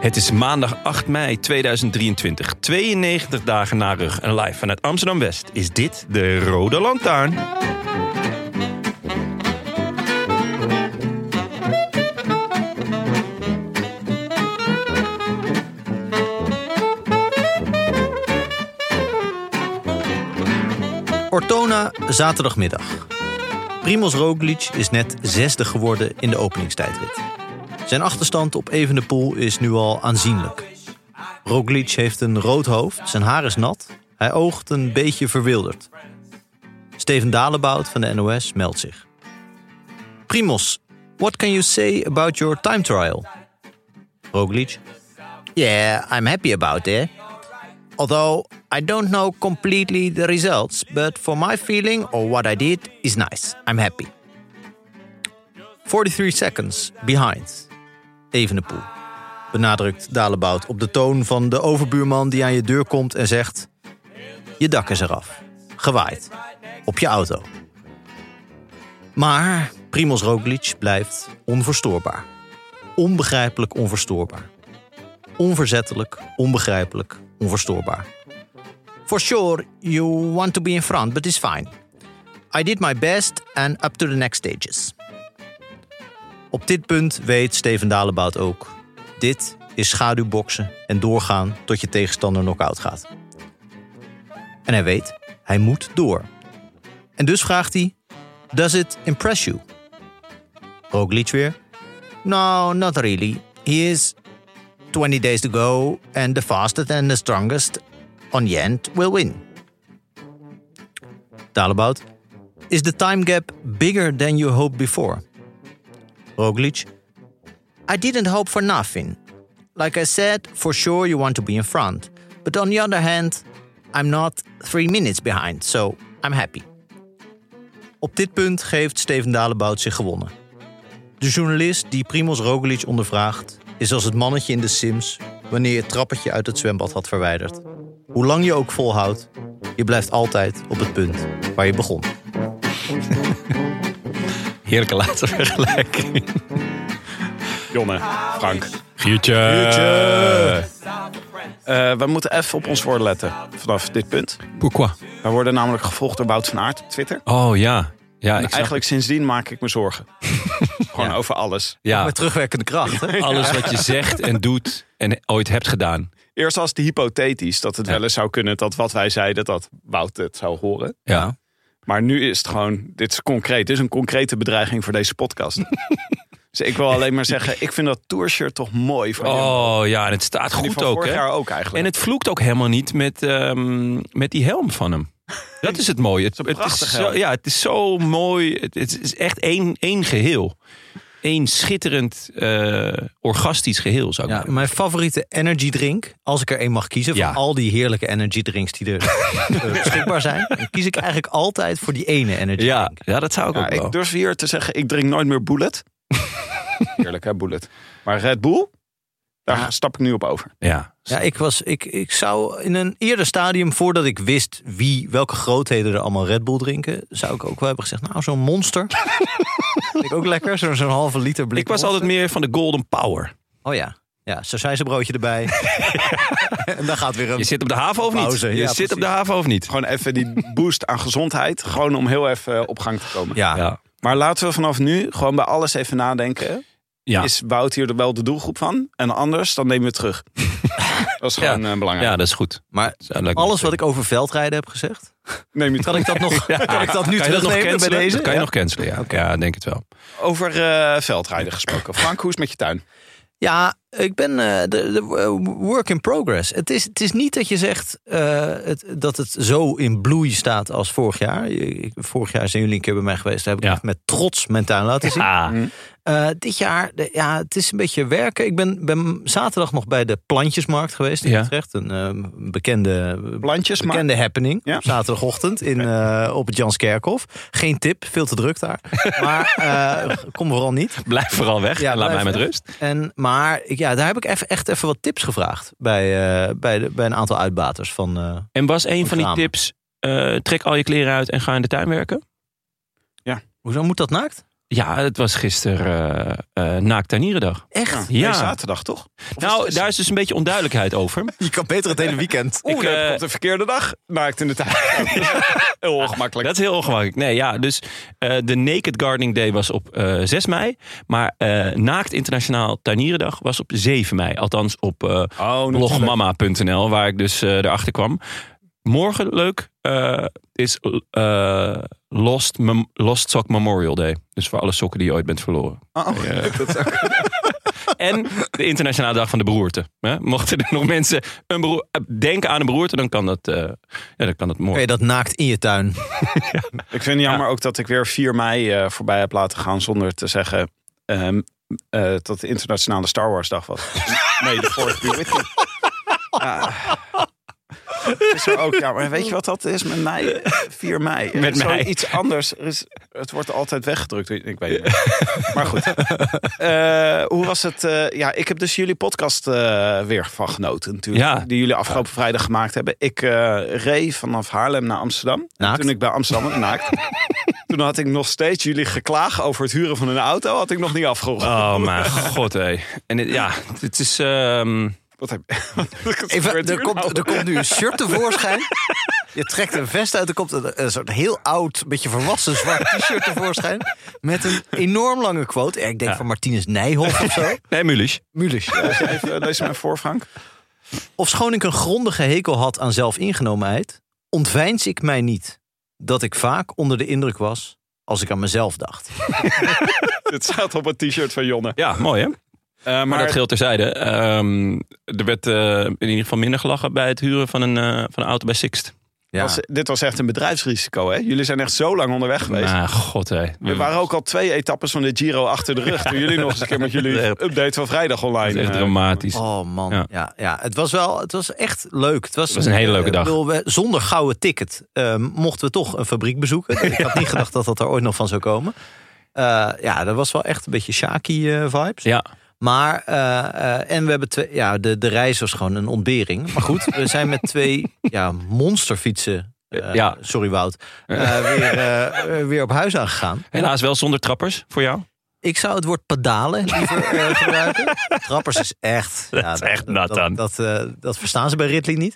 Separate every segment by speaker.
Speaker 1: Het is maandag 8 mei 2023, 92 dagen na rug en live vanuit Amsterdam West. Is dit de Rode Lantaarn?
Speaker 2: Ortona, zaterdagmiddag. Primoz Roglic is net zesde geworden in de openingstijdrit. Zijn achterstand op Evenepoel is nu al aanzienlijk. Roglic heeft een rood hoofd, zijn haar is nat. Hij oogt een beetje verwilderd. Steven Dalebout van de NOS meldt zich. Primoz, what can you say about your time trial? Roglic. Yeah, I'm happy about it. Although I don't know completely the results, but for my feeling or what I did is nice. I'm happy. 43 seconds behind. Evenepoel. Benadrukt Dalebout op de toon van de overbuurman die aan je deur komt en zegt... Je dak is eraf. Gewaaid. Op je auto. Maar Primoz Roglic blijft onverstoorbaar. Onbegrijpelijk onverstoorbaar. Onverzettelijk, onbegrijpelijk, onverstoorbaar. For sure, you want to be in front, but it's fine. I did my best and up to the next stages. Op dit punt weet Steven Dalebout ook. Dit is schaduwboksen en doorgaan tot je tegenstander knock-out gaat. En hij weet, hij moet door. En dus vraagt hij, does it impress you? Roglic weer, no, not really. He is 20 days to go and the fastest and the strongest on the end will win. Dalebout, is the time gap bigger than you hoped before? Roglic, I didn't hope for nothing. Like I said, for sure you want to be in front. But on the other hand, I'm not three minutes behind, so I'm happy. Op dit punt geeft Steven Dalebout zich gewonnen. De journalist die Primoz Roglic ondervraagt, is als het mannetje in de Sims wanneer je het trappetje uit het zwembad had verwijderd. Hoe lang je ook volhoudt, je blijft altijd op het punt waar je begon.
Speaker 1: Heerlijke laatste vergelijking. Jonne, Frank.
Speaker 3: Giertje.
Speaker 1: Eh, we moeten even op ons woord letten vanaf dit punt.
Speaker 3: Pourquoi?
Speaker 1: We worden namelijk gevolgd door Wout van Aert op Twitter.
Speaker 3: Oh ja. Ja,
Speaker 1: En
Speaker 3: ik snap
Speaker 1: eigenlijk sindsdien maak ik me zorgen. Gewoon over alles.
Speaker 3: ja,
Speaker 2: Met terugwerkende kracht, hè?
Speaker 3: alles wat je zegt en doet en ooit hebt gedaan.
Speaker 1: Eerst was het hypothetisch dat het wel eens zou kunnen dat wat wij zeiden, dat Wout het zou horen.
Speaker 3: Ja.
Speaker 1: Maar nu is het gewoon, dit is concreet. Dit is een concrete bedreiging voor deze podcast. dus ik wil alleen maar zeggen, ik vind dat tourshirt toch mooi. Van jullie.
Speaker 3: Oh ja, en het staat
Speaker 1: Die
Speaker 3: goed
Speaker 1: van
Speaker 3: ook,
Speaker 1: vorig
Speaker 3: hè?
Speaker 1: jaar ook eigenlijk.
Speaker 3: En het vloekt ook helemaal niet met, ehm, met die helm van hem. Dat is het mooie. Het,
Speaker 1: een
Speaker 3: het
Speaker 1: prachtig
Speaker 3: is
Speaker 1: helm.
Speaker 3: zo, ja, het is zo mooi. Het, het is echt één, één geheel. Eén schitterend, eh, orgastisch geheel, zou ik
Speaker 2: Ja,
Speaker 3: maar
Speaker 2: mijn favoriete energy drink, als ik er één mag kiezen,
Speaker 3: Ja.
Speaker 2: van al die heerlijke energy drinks die er eh, beschikbaar zijn, dan kies ik eigenlijk altijd voor die ene energy
Speaker 3: Ja,
Speaker 2: drink.
Speaker 3: ja, dat zou ik
Speaker 1: Ja,
Speaker 3: ook wel.
Speaker 1: ik durf hier te zeggen, ik drink nooit meer Bullet. Eerlijk hè, Bullet. Maar Red Bull, daar stap ik nu op over.
Speaker 3: ja.
Speaker 2: Ja, ik, was, ik, ik zou in een eerder stadium, voordat ik wist wie, welke grootheden er allemaal Red Bull drinken, zou ik ook wel hebben gezegd, nou zo'n monster. Vind ik ook lekker, zo'n zo'n halve liter blik.
Speaker 3: ik was
Speaker 2: Monster.
Speaker 3: altijd meer van de golden power.
Speaker 2: Oh ja, ja broodje erbij. en dan gaat weer een...
Speaker 3: Je zit op de haven of niet?
Speaker 2: Pauze,
Speaker 3: je
Speaker 2: ja,
Speaker 3: zit op de
Speaker 2: precies.
Speaker 3: haven of niet?
Speaker 1: Gewoon even die boost aan gezondheid. Gewoon om heel even eh, op gang te komen.
Speaker 2: Ja,
Speaker 3: Ja.
Speaker 1: Maar laten we vanaf nu gewoon bij alles even nadenken.
Speaker 3: Ja.
Speaker 1: Is Wout hier wel de doelgroep van? En anders, dan nemen we het terug. dat is gewoon eh, belangrijk.
Speaker 3: ja, dat is goed.
Speaker 2: maar
Speaker 3: Zou leuk
Speaker 2: alles
Speaker 3: zijn.
Speaker 2: wat ik over veldrijden heb gezegd,
Speaker 1: Neem je het
Speaker 2: kan ik dat nog, kan ik dat nu
Speaker 3: kan je dat nog
Speaker 2: terugnemen bij
Speaker 3: cancelen?
Speaker 2: deze?
Speaker 3: Dat kan je
Speaker 2: Ja.
Speaker 3: nog cancelen, ja. Ja, denk het wel.
Speaker 1: Over eh, veldrijden gesproken. Frank, hoe is het met je tuin?
Speaker 2: Ja, Ik ben eh, de, de work in progress. Het is, het is niet dat je zegt eh, het, dat het zo in bloei staat als vorig jaar. Ik- Vorig jaar zijn jullie een keer bij mij geweest. Daar heb ik
Speaker 3: Ja.
Speaker 2: echt met trots mijn tuin laten zien.
Speaker 1: Mm.
Speaker 3: Ah,
Speaker 2: Eh, dit jaar, de- ja, het is een beetje werken. Ik ben, ben zaterdag nog bij de plantjesmarkt geweest in
Speaker 3: Ja.
Speaker 2: Utrecht. Een eh, bekende,
Speaker 1: Plantjesmarkt?
Speaker 2: bekende happening.
Speaker 1: Ja.
Speaker 2: Op zaterdagochtend in, eh, op het Janskerkhof. Geen tip, veel te druk daar. Maar eh, kom vooral niet.
Speaker 3: blijf vooral weg
Speaker 2: Ja,
Speaker 3: en laat
Speaker 2: blijf
Speaker 3: mij met
Speaker 2: weg.
Speaker 3: rust.
Speaker 2: En, maar ik- ja, daar heb ik even, echt even wat tips gevraagd bij, eh, bij, de, bij een aantal uitbaters. Van, eh,
Speaker 3: En was een van die
Speaker 2: Kramer.
Speaker 3: tips, eh, trek al je kleren uit en ga in de tuin werken?
Speaker 2: hoezo moet dat naakt?
Speaker 3: Ja, het was gisteren eh eh naakt tuinierendag.
Speaker 2: Echt?
Speaker 3: Ja.
Speaker 1: Nee, zaterdag toch? Of is
Speaker 3: Nou,
Speaker 1: het-
Speaker 3: daar is dus een beetje onduidelijkheid over.
Speaker 2: Je kan beter het hele weekend.
Speaker 1: Oeh,
Speaker 3: ik,
Speaker 1: dan heb ik
Speaker 3: eh,
Speaker 1: op de verkeerde dag naakt in de tuin. Heel ongemakkelijk.
Speaker 3: Ah, Dat is heel ongemakkelijk. Nee, ja, dus eh, de Naked Gardening Day was op eh, 6 mei. Maar eh, Naakt Internationaal Tuinierendag was op 7 mei. Althans op eh,
Speaker 1: Oh,
Speaker 3: blogmama.nl, waar ik dus eh, erachter kwam. Morgen, leuk, eh, is eh, Lost, Mem- Lost Sock Memorial Day. Dus voor alle sokken die je ooit bent verloren. En de Internationale Dag van de Beroerte. Hè? Mochten er nog mensen een beroer- eh, denken aan een beroerte, dan kan dat, eh, ja, dan kan dat
Speaker 2: Oké,
Speaker 3: morgen.
Speaker 2: dat naakt in je tuin.
Speaker 1: Ik vind het jammer ook dat ik weer 4 mei eh, voorbij heb laten gaan zonder te zeggen ehm, eh, dat de internationale Star Wars dag was. nee, de vorige be with you. Ja. Het is er ook jammer. En Weet je wat dat is met mij? 4 mei. Er
Speaker 3: Met
Speaker 1: is zo
Speaker 3: mij.
Speaker 1: Iets anders. Er is, het wordt altijd weggedrukt. Ik weet het niet. Maar goed. Eh, hoe was het? eh, ja, ik heb dus jullie podcast eh, weer van genoten natuurlijk.
Speaker 3: Ja.
Speaker 1: Die jullie afgelopen vrijdag gemaakt hebben. Ik eh reed vanaf Haarlem naar Amsterdam.
Speaker 2: Naakt?
Speaker 1: Toen ik bij Amsterdam was, naakt. Toen had ik nog steeds jullie geklaag over het huren van een auto. Had ik nog niet afgehoord.
Speaker 3: Oh mijn god, hé. En het- ja, het is... ehm,
Speaker 1: Wat heb ik? Oh.
Speaker 2: Even, er, komt, er komt nu een shirt tevoorschijn. Je trekt een vest uit, er komt een, een soort heel oud, beetje volwassen zwart t-shirt tevoorschijn. Met een enorm lange quote. Ik denk van Martinus Nijhoff of zo.
Speaker 3: nee, Mulisch.
Speaker 2: Mulisch.
Speaker 1: Even, lees mijn voor, Frank.
Speaker 2: Of schoon ik een grondige hekel had aan zelfingenomenheid, ontwijns ik mij niet dat ik vaak onder de indruk was als ik aan mezelf dacht.
Speaker 1: Dit staat op het t-shirt van Jonne. Eh,
Speaker 3: Ja, mooi hè?
Speaker 1: maar
Speaker 3: Maar dat geldt terzijde. Ehm, er werd eh, in ieder geval minder gelachen bij het huren van een, eh, van een auto bij Sixt.
Speaker 2: Ja.
Speaker 1: was- dit was echt een bedrijfsrisico, hè? Jullie zijn echt zo lang onderweg geweest.
Speaker 3: Maar god hé.
Speaker 1: We waren ook al twee etappes van de Giro achter de rug. Toen jullie nog eens een keer met jullie update van vrijdag online.
Speaker 3: Het is echt
Speaker 1: eh,
Speaker 3: dramatisch.
Speaker 2: Oh man,
Speaker 3: Ja.
Speaker 2: ja. Ja, Het was wel, het was echt leuk. Het was,
Speaker 3: was een hele leuke
Speaker 2: Ik
Speaker 3: dag.
Speaker 2: bedoel, we- zonder gouden ticket eh, mochten we toch een fabriek bezoeken. Ik had niet gedacht dat dat er ooit nog van zou komen. Eh, ja, dat was wel echt een beetje eh, Shaki-vibes.
Speaker 3: Ja,
Speaker 2: Maar, eh, eh, en we hebben twee, ja, de, de reis was gewoon een ontbering. Maar goed, we zijn met twee ja, monsterfietsen, eh,
Speaker 3: Ja.
Speaker 2: sorry Wout, eh, weer, eh, eh, weer op huis aangegaan.
Speaker 3: helaas wel zonder trappers voor jou.
Speaker 2: Ik zou het woord pedalen liever eh, gebruiken. Trappers is echt... Dat
Speaker 3: is echt nat dan.
Speaker 2: Dat, eh, dat verstaan ze bij Ridley niet.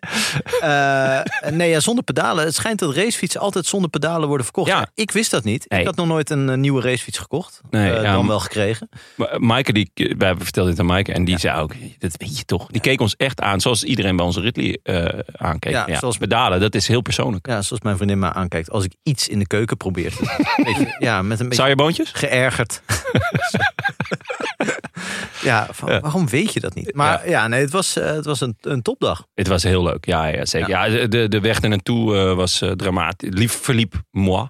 Speaker 2: Eh, nee, ja, zonder pedalen. Het schijnt dat racefietsen altijd zonder pedalen worden verkocht.
Speaker 3: Ja.
Speaker 2: Ik wist dat niet.
Speaker 3: Nee.
Speaker 2: Ik had nog nooit een eh, nieuwe racefiets gekocht.
Speaker 3: Nee,
Speaker 2: Eh,
Speaker 3: ja,
Speaker 2: dan
Speaker 3: maar-
Speaker 2: wel gekregen.
Speaker 3: Maar, eh, Maaike, die, wij vertelden dit aan Maaike en die zei ook, dat weet je toch. Die keek ons echt aan, zoals iedereen bij onze Ridley eh, aankeek. Ja,
Speaker 2: Ja, zoals-
Speaker 3: pedalen, dat is heel persoonlijk.
Speaker 2: Ja, zoals mijn vriendin me aankijkt. Als ik iets in de keuken probeer. te doen. Weet je, ja, met een beetje
Speaker 3: Zou je boontjes?
Speaker 2: geërgerd. ja, van, waarom weet je dat niet? Maar ja, nee, het was, eh, het was een, een topdag.
Speaker 3: Het was heel leuk, ja, ja zeker. Ja. de, de weg er naartoe eh, was eh, dramatisch. Het lief verliep moi.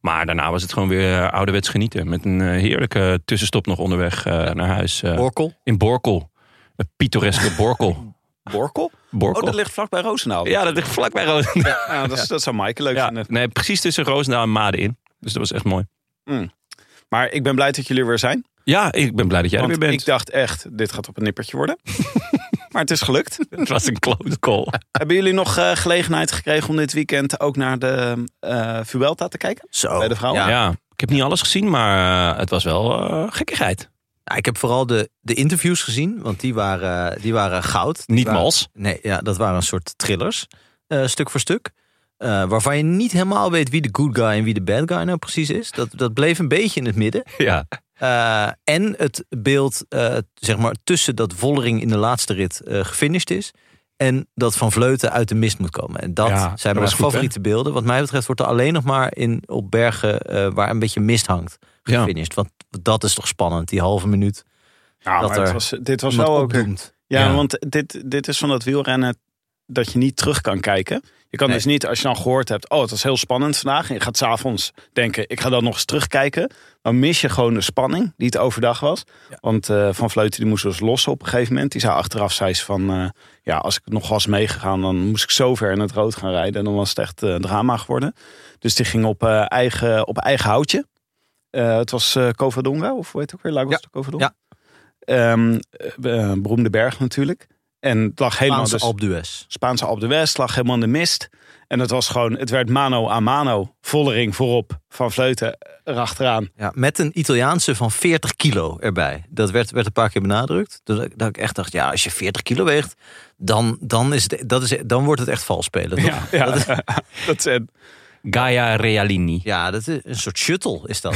Speaker 3: Maar daarna was het gewoon weer eh, ouderwets genieten. Met een eh, heerlijke tussenstop nog onderweg eh, naar huis. eh,
Speaker 2: Orkel.
Speaker 3: in Borkel. Een pittoreske Borkel.
Speaker 1: Borkel?
Speaker 3: Borkel.
Speaker 1: Oh, dat ligt vlakbij Roosendaal.
Speaker 3: Oh, Ja, dat ligt vlakbij Roosendaal.
Speaker 1: Ja, dat, is- dat zou Maaike leuk
Speaker 3: Ja,
Speaker 1: vinden.
Speaker 3: nee, precies tussen Roosendaal en Maden in. Dus dat was echt mooi.
Speaker 1: Maar ik ben blij dat jullie er weer zijn.
Speaker 3: Ja, ik ben blij dat jij er
Speaker 1: want
Speaker 3: weer bent.
Speaker 1: ik dacht echt, dit gaat op een nippertje worden. maar het is gelukt.
Speaker 3: Het was een close call.
Speaker 1: Hebben jullie nog eh, gelegenheid gekregen om dit weekend ook naar de eh Vuelta te kijken?
Speaker 2: Zo.
Speaker 1: Bij de vrouwen?
Speaker 3: Ja.
Speaker 2: Ja.
Speaker 3: ik heb niet alles gezien, maar eh, het was wel eh, gekkigheid.
Speaker 2: Ja, ik heb vooral de, de interviews gezien, want die waren, die waren goud. Die
Speaker 3: Niet
Speaker 2: waren-
Speaker 3: mals.
Speaker 2: Nee, ja, dat waren een soort thrillers, eh, stuk voor stuk. Eh, waarvan je niet helemaal weet wie de good guy en wie de bad guy nou precies is. Dat, dat bleef een beetje in het midden.
Speaker 3: Ja.
Speaker 2: Eh, en het beeld, eh, zeg maar, tussen dat Vollering in de laatste rit eh gefinished is. En dat Van Vleuten uit de mist moet komen. En dat
Speaker 3: Ja, dat
Speaker 2: zijn
Speaker 3: was
Speaker 2: mijn
Speaker 3: goed, hè?
Speaker 2: favoriete beelden. Wat mij betreft wordt er alleen nog maar in, op bergen eh, waar een beetje mist hangt
Speaker 3: Ja.
Speaker 2: gefinished. Want dat is toch spannend, die halve minuut
Speaker 1: Nou,
Speaker 2: dat
Speaker 1: maar het
Speaker 2: er
Speaker 1: was, dit was
Speaker 2: iemand
Speaker 1: wel ook...
Speaker 2: opdoemt.
Speaker 1: Ja,
Speaker 2: Ja.
Speaker 1: want dit, dit is van dat wielrennen dat je niet terug kan kijken. Je kan
Speaker 2: Nee.
Speaker 1: dus niet, als je dan gehoord hebt, oh het was heel spannend vandaag. En je gaat s'avonds denken, ik ga dan nog eens terugkijken. Dan mis je gewoon de spanning die het overdag was. Want eh, Van Vleuten die moest dus los op een gegeven moment. Die zei achteraf, zei ze van, eh, ja als ik nog was meegegaan, dan moest ik zo ver in het rood gaan rijden. En dan was het echt eh, drama geworden. Dus die ging op, eh, eigen, op eigen houtje. Eh, het was eh Covadonga, of hoe heet het ook weer? Lagos
Speaker 2: Ja,
Speaker 1: de Covadonga. Ehm, eh, eh, beroemde berg natuurlijk. En het lag helemaal
Speaker 2: Spaanse
Speaker 1: dus,
Speaker 2: Alpe d'Huez.
Speaker 1: Spaanse Alp de West lag helemaal in de mist. En het was gewoon, het werd mano a mano. Vollering voorop, Van Vleuten eh, erachteraan.
Speaker 2: Ja, met een Italiaanse van 40 kilo erbij. Dat werd, werd een paar keer benadrukt. Dus dat, dat ik echt dacht, ja, als je 40 kilo weegt, dan, dan, is het, dat is, dan wordt het echt vals spelen. toch?
Speaker 1: Ja, ja. Dat, is, eh,
Speaker 3: Gaia Realini.
Speaker 2: Ja, dat is een soort shuttle is dat.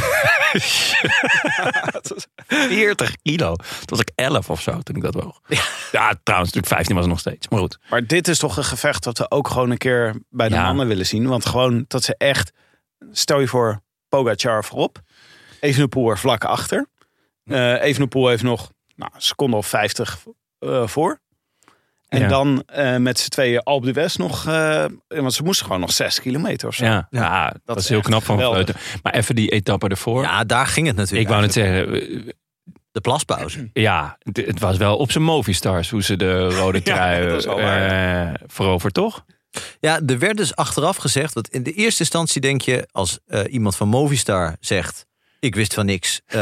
Speaker 3: 40 kilo. Toen was ik 11 of zo toen ik dat woog. Ja, trouwens, natuurlijk 15 was het nog steeds. Maar goed.
Speaker 1: maar dit is toch een gevecht dat we ook gewoon een keer bij de
Speaker 3: Ja.
Speaker 1: mannen willen zien. Want gewoon dat ze echt, stel je voor Pogacar voorop. Evenepoel er vlak achter. Eh Evenepoel heeft nog nou, een seconde of 50 eh, voor. En
Speaker 3: Ja.
Speaker 1: dan eh, met z'n tweeën Alpe de West nog. eh, want ze moesten gewoon nog 6 kilometer of zo.
Speaker 3: Ja, ja, dat,
Speaker 1: dat
Speaker 3: is
Speaker 1: is
Speaker 3: heel
Speaker 1: echt
Speaker 3: knap van
Speaker 1: geweldig.
Speaker 3: Vleuten. Maar even die etappe ervoor.
Speaker 2: Ja, daar ging het
Speaker 3: ik
Speaker 2: natuurlijk.
Speaker 3: wou net
Speaker 2: eigenlijk.
Speaker 3: zeggen, eh,
Speaker 2: De plaspauze.
Speaker 3: ja, het, het was wel op zijn Movistars hoe ze de rode trui
Speaker 1: dat is wel
Speaker 3: eh veroverd, toch?
Speaker 2: Ja, er werd dus achteraf gezegd, want in de eerste instantie denk je, als eh, iemand van Movistar zegt, ik wist van niks, eh,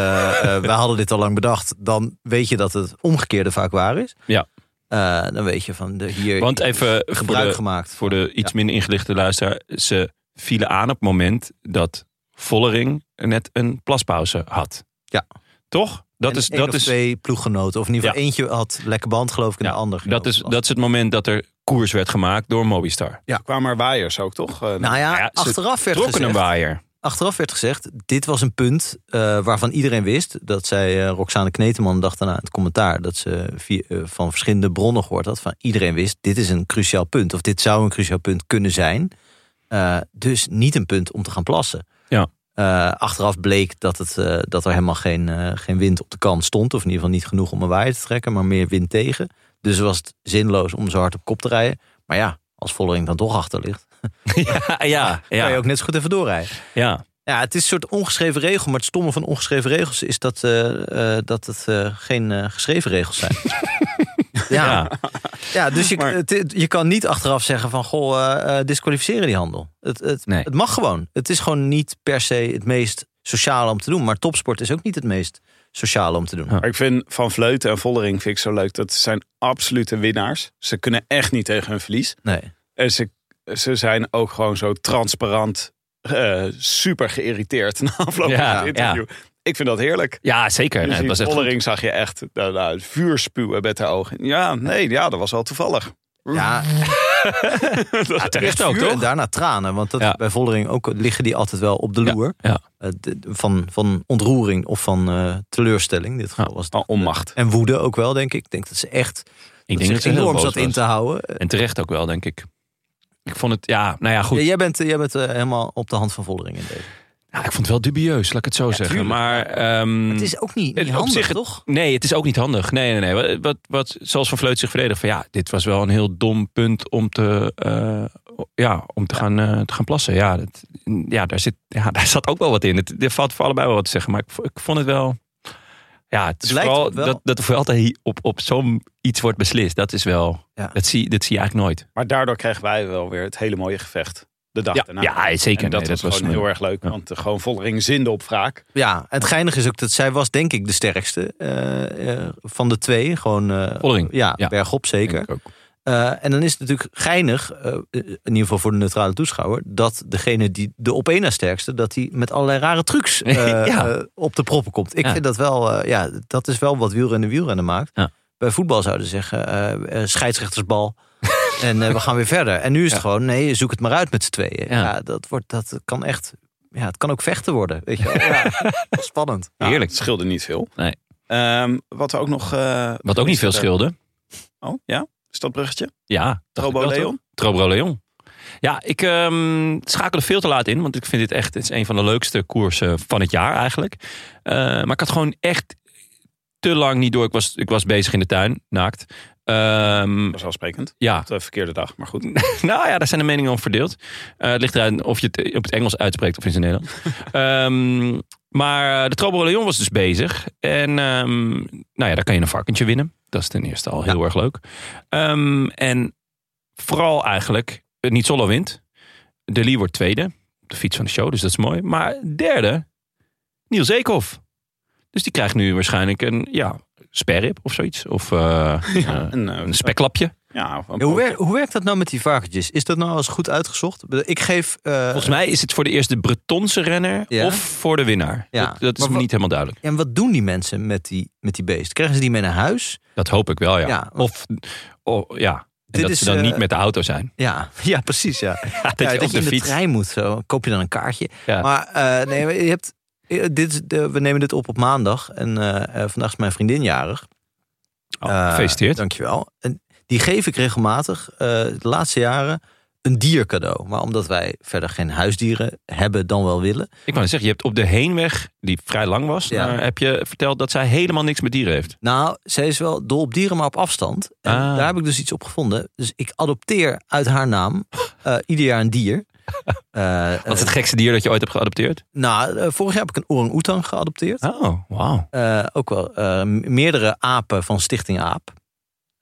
Speaker 2: eh, we hadden dit al lang bedacht, dan weet je dat het omgekeerde vaak waar is.
Speaker 3: Ja.
Speaker 2: Eh, dan weet je van de, hier
Speaker 3: Want even voor
Speaker 2: gebruik
Speaker 3: de,
Speaker 2: gemaakt.
Speaker 3: voor de iets minder ingelichte luisteraar. Ze vielen aan op het moment dat Vollering net een plaspauze had.
Speaker 2: Ja.
Speaker 3: Toch? Dat
Speaker 2: En
Speaker 3: is,
Speaker 2: één
Speaker 3: dat
Speaker 2: of
Speaker 3: is,
Speaker 2: twee ploeggenoten, of in ieder geval eentje had lekker band geloof ik en
Speaker 3: ja,
Speaker 2: de ander. ging
Speaker 3: dat,
Speaker 2: over
Speaker 3: is,
Speaker 2: de
Speaker 3: dat is het moment dat er koers werd gemaakt door Mobistar.
Speaker 1: Er kwamen er waaiers ook, toch? Eh,
Speaker 2: plas. Nou ja,
Speaker 3: Ja, ze
Speaker 2: achteraf werd
Speaker 3: Trokken een
Speaker 2: gezegd,
Speaker 3: waaier.
Speaker 2: achteraf werd gezegd, dit was een punt eh, waarvan iedereen wist. Dat zei eh, Roxane Kneteman dacht daarna in het commentaar. Dat ze via, eh, van verschillende bronnen gehoord had. Van iedereen wist, dit is een cruciaal punt. Of dit zou een cruciaal punt kunnen zijn. Eh, dus niet een punt om te gaan plassen.
Speaker 3: Ja.
Speaker 2: Eh, achteraf bleek dat, het, eh, dat er helemaal geen, eh, geen wind op de kant stond. Of in ieder geval niet genoeg om een waaier te trekken. Maar meer wind tegen. Dus was het zinloos om zo hard op kop te rijden. Maar ja, als Vollering dan toch achter ligt.
Speaker 3: ja, Ah, ja,
Speaker 2: Kan je
Speaker 3: ja,
Speaker 2: ook net zo goed even doorrijden.
Speaker 3: ja.
Speaker 2: Ja, het is een soort ongeschreven regel. Maar het stomme van ongeschreven regels is dat, eh, eh, dat het eh, geen eh, geschreven regels zijn. ja. Ja. dus je,
Speaker 1: Maar-
Speaker 2: het- je kan niet achteraf zeggen van... goh, eh, eh, disqualificeren die handel. Het, het,
Speaker 3: Nee.
Speaker 2: het mag gewoon. Het is gewoon niet per se het meest sociale om te doen. Maar topsport is ook niet het meest sociale om te doen.
Speaker 3: Ja.
Speaker 1: Maar ik vind Van Vleuten en Vollering vind ik zo leuk. Dat zijn absolute winnaars. Ze kunnen echt niet tegen hun verlies.
Speaker 2: Nee.
Speaker 1: En ze, ze zijn ook gewoon zo transparant, eh, super geïrriteerd na afloop
Speaker 3: Ja,
Speaker 1: van het interview. Ik vind dat heerlijk.
Speaker 3: Ja, zeker.
Speaker 1: Je
Speaker 2: Dus
Speaker 3: Nee, het was
Speaker 1: ziet
Speaker 3: echt goed.
Speaker 1: Vollering zag je echt nou, nou, het vuur spuwen met haar ogen. Ja, nee, ja, dat was wel toevallig.
Speaker 2: Ja,
Speaker 3: Ja, terecht ook,
Speaker 2: vuur en
Speaker 3: toch?
Speaker 2: daarna tranen. Want dat,
Speaker 3: Ja.
Speaker 2: bij Voldering ook liggen die altijd wel op de loer.
Speaker 3: ja.
Speaker 2: Eh, de- van, van ontroering of van eh, teleurstelling. In dit geval was het
Speaker 1: Van onmacht.
Speaker 2: En woede ook wel, denk ik. Ik denk dat ze echt
Speaker 3: Ik denk
Speaker 2: dat
Speaker 3: dat
Speaker 2: ze
Speaker 3: ze heel
Speaker 2: enorm
Speaker 3: boos
Speaker 2: zat in
Speaker 3: was.
Speaker 2: te houden. Eh,
Speaker 3: En terecht ook wel, denk ik. Ik vond het, ja, nou ja, goed. Hmm.
Speaker 2: ja, jij bent, eh, jij bent eh, helemaal op de hand van Voldering in deze.
Speaker 3: Ja, ik vond het wel dubieus, laat ik het zo zeggen.
Speaker 2: tuurlijk.
Speaker 3: Maar, ehm,
Speaker 2: Het is ook niet, niet
Speaker 3: op
Speaker 2: handig,
Speaker 3: zich het-
Speaker 2: toch?
Speaker 3: Nee, het is ook niet handig. Nee, nee, nee. Wat, wat, zoals Van Vleut zich verdedigt van ja, dit was wel een heel dom punt om te, eh, ja, om te, Gaan, eh, te gaan plassen. Ja, dat, ja, daar zit, ja, daar zat ook wel wat in. Het, er valt voor allebei wel wat te zeggen, maar ik, vo- ik vond het wel... Ja, het is
Speaker 2: Het lijkt
Speaker 3: vooral
Speaker 2: op wel.
Speaker 3: dat, dat er altijd hi- op, op zo'n iets wordt beslist. Dat is wel,
Speaker 2: Ja.
Speaker 3: dat, zie, dat zie je eigenlijk nooit.
Speaker 1: Maar daardoor kregen wij wel weer het hele mooie gevecht. De dag
Speaker 3: Ja,
Speaker 1: daarna.
Speaker 3: ja, zeker.
Speaker 1: En dat,
Speaker 3: Nee,
Speaker 1: was, gewoon heel erg leuk.
Speaker 3: Ja.
Speaker 1: Want eh, gewoon Vollering zinde op wraak.
Speaker 2: Ja, het geinige is ook dat zij was denk ik de sterkste eh, eh, van de twee. Gewoon, eh,
Speaker 3: Vollering.
Speaker 2: Ja,
Speaker 3: Ja.
Speaker 2: bergop zeker.
Speaker 3: denk ik ook.
Speaker 2: Eh, en dan is het natuurlijk geinig, eh, in ieder geval voor de neutrale toeschouwer, dat degene die de op één na sterkste, dat die met allerlei rare trucs eh,
Speaker 3: Ja.
Speaker 2: eh, op de proppen komt. Ik
Speaker 3: Ja.
Speaker 2: vind dat wel, eh, ja, dat is wel wat wielrennen wielrennen maakt.
Speaker 3: Ja.
Speaker 2: Bij voetbal zouden ze zeggen, eh, eh, scheidsrechtersbal. en eh, we gaan weer verder. En nu is het gewoon, nee, zoek het maar uit met z'n tweeën. Ja,
Speaker 3: Ja.
Speaker 2: dat, wordt, dat kan echt, ja, het kan ook vechten worden. Weet je wel. Ja, wel spannend.
Speaker 1: Nou,
Speaker 3: Heerlijk.
Speaker 1: Het scheelde niet veel.
Speaker 3: Nee.
Speaker 1: Ehm, wat er ook nog... eh,
Speaker 3: Wat ook niet veel
Speaker 1: is er-
Speaker 3: scheelde.
Speaker 1: Oh, ja? Is dat bruggetje?
Speaker 3: Ja, dacht ik
Speaker 1: Robo
Speaker 3: wel, toch?
Speaker 1: Leon?
Speaker 3: Trobro Leon. Ja, ik ehm schakel er veel te laat in, want ik vind dit echt het is een van de leukste koersen van het jaar eigenlijk. Eh, maar ik had gewoon echt te lang niet door. Ik was, ik was bezig in de tuin, naakt. Ehm,
Speaker 1: Vanzelfsprekend.
Speaker 3: ja,
Speaker 1: Op de verkeerde dag, maar goed.
Speaker 3: nou ja, daar zijn de meningen over verdeeld. Eh, het ligt eraan of je het op het Engels uitspreekt of in zijn Nederlands. Ehm, maar de Troboro Leon was dus bezig. En ehm, nou ja, daar kan je een varkentje winnen. Dat is ten eerste al heel erg leuk. Ehm, en vooral eigenlijk, eh, niet solo wint. De Lee wordt tweede. op De fiets van de show, dus dat is mooi. Maar derde, Niels Eekhoff. Dus die krijgt nu waarschijnlijk een ja, sperrip of zoiets. Of eh, eh,
Speaker 1: En, eh,
Speaker 3: een speklapje.
Speaker 1: ja, of een
Speaker 2: Ja, hoe, wer- hoe werkt dat nou met die varkentjes? Is dat nou eens goed uitgezocht? Ik geef... eh,
Speaker 3: Volgens mij is het voor de eerste Bretonse renner
Speaker 2: Ja.
Speaker 3: of voor de winnaar.
Speaker 2: Ja.
Speaker 3: Dat, dat is
Speaker 2: Maar
Speaker 3: me
Speaker 2: wa-
Speaker 3: niet helemaal duidelijk.
Speaker 2: En wat doen die mensen met die, met die beest? Krijgen ze die mee naar huis?
Speaker 3: Dat hoop ik wel, ja.
Speaker 2: Ja.
Speaker 3: Of oh, ja. En
Speaker 2: Dit
Speaker 3: dat
Speaker 2: is,
Speaker 3: ze dan
Speaker 2: eh,
Speaker 3: niet met de auto zijn.
Speaker 2: Ja, ja precies. Ja.
Speaker 3: Ja, dat je op de
Speaker 2: in
Speaker 3: fiets.
Speaker 2: de trein moet. Zo. Koop je dan een kaartje.
Speaker 3: Ja.
Speaker 2: Maar eh, nee, maar je hebt, eh, dit, is de- we nemen dit op op maandag. En eh, eh, vandaag is mijn vriendin jarig.
Speaker 3: Oh,
Speaker 2: Eh,
Speaker 3: gefeliciteerd.
Speaker 2: Dankjewel. En die geef ik regelmatig eh, de laatste jaren een diercadeau. Maar omdat wij verder geen huisdieren hebben dan wel willen.
Speaker 3: Ik wou net zeggen, je hebt op de heenweg, die vrij lang was,
Speaker 2: Ja.
Speaker 3: daar heb je verteld dat zij helemaal niks met dieren heeft.
Speaker 2: Nou, zij is wel dol op dieren, maar op afstand. En
Speaker 3: Ah.
Speaker 2: daar heb ik dus iets op gevonden. Dus ik adopteer uit haar naam eh, ieder jaar een dier. Eh,
Speaker 3: Wat is
Speaker 2: eh,
Speaker 3: het gekste dier dat je ooit hebt geadopteerd?
Speaker 2: nou, eh, vorig jaar heb ik een orang-oetang geadopteerd.
Speaker 3: Oh, wauw.
Speaker 2: Eh, ook wel eh, me- meerdere apen van Stichting Aap.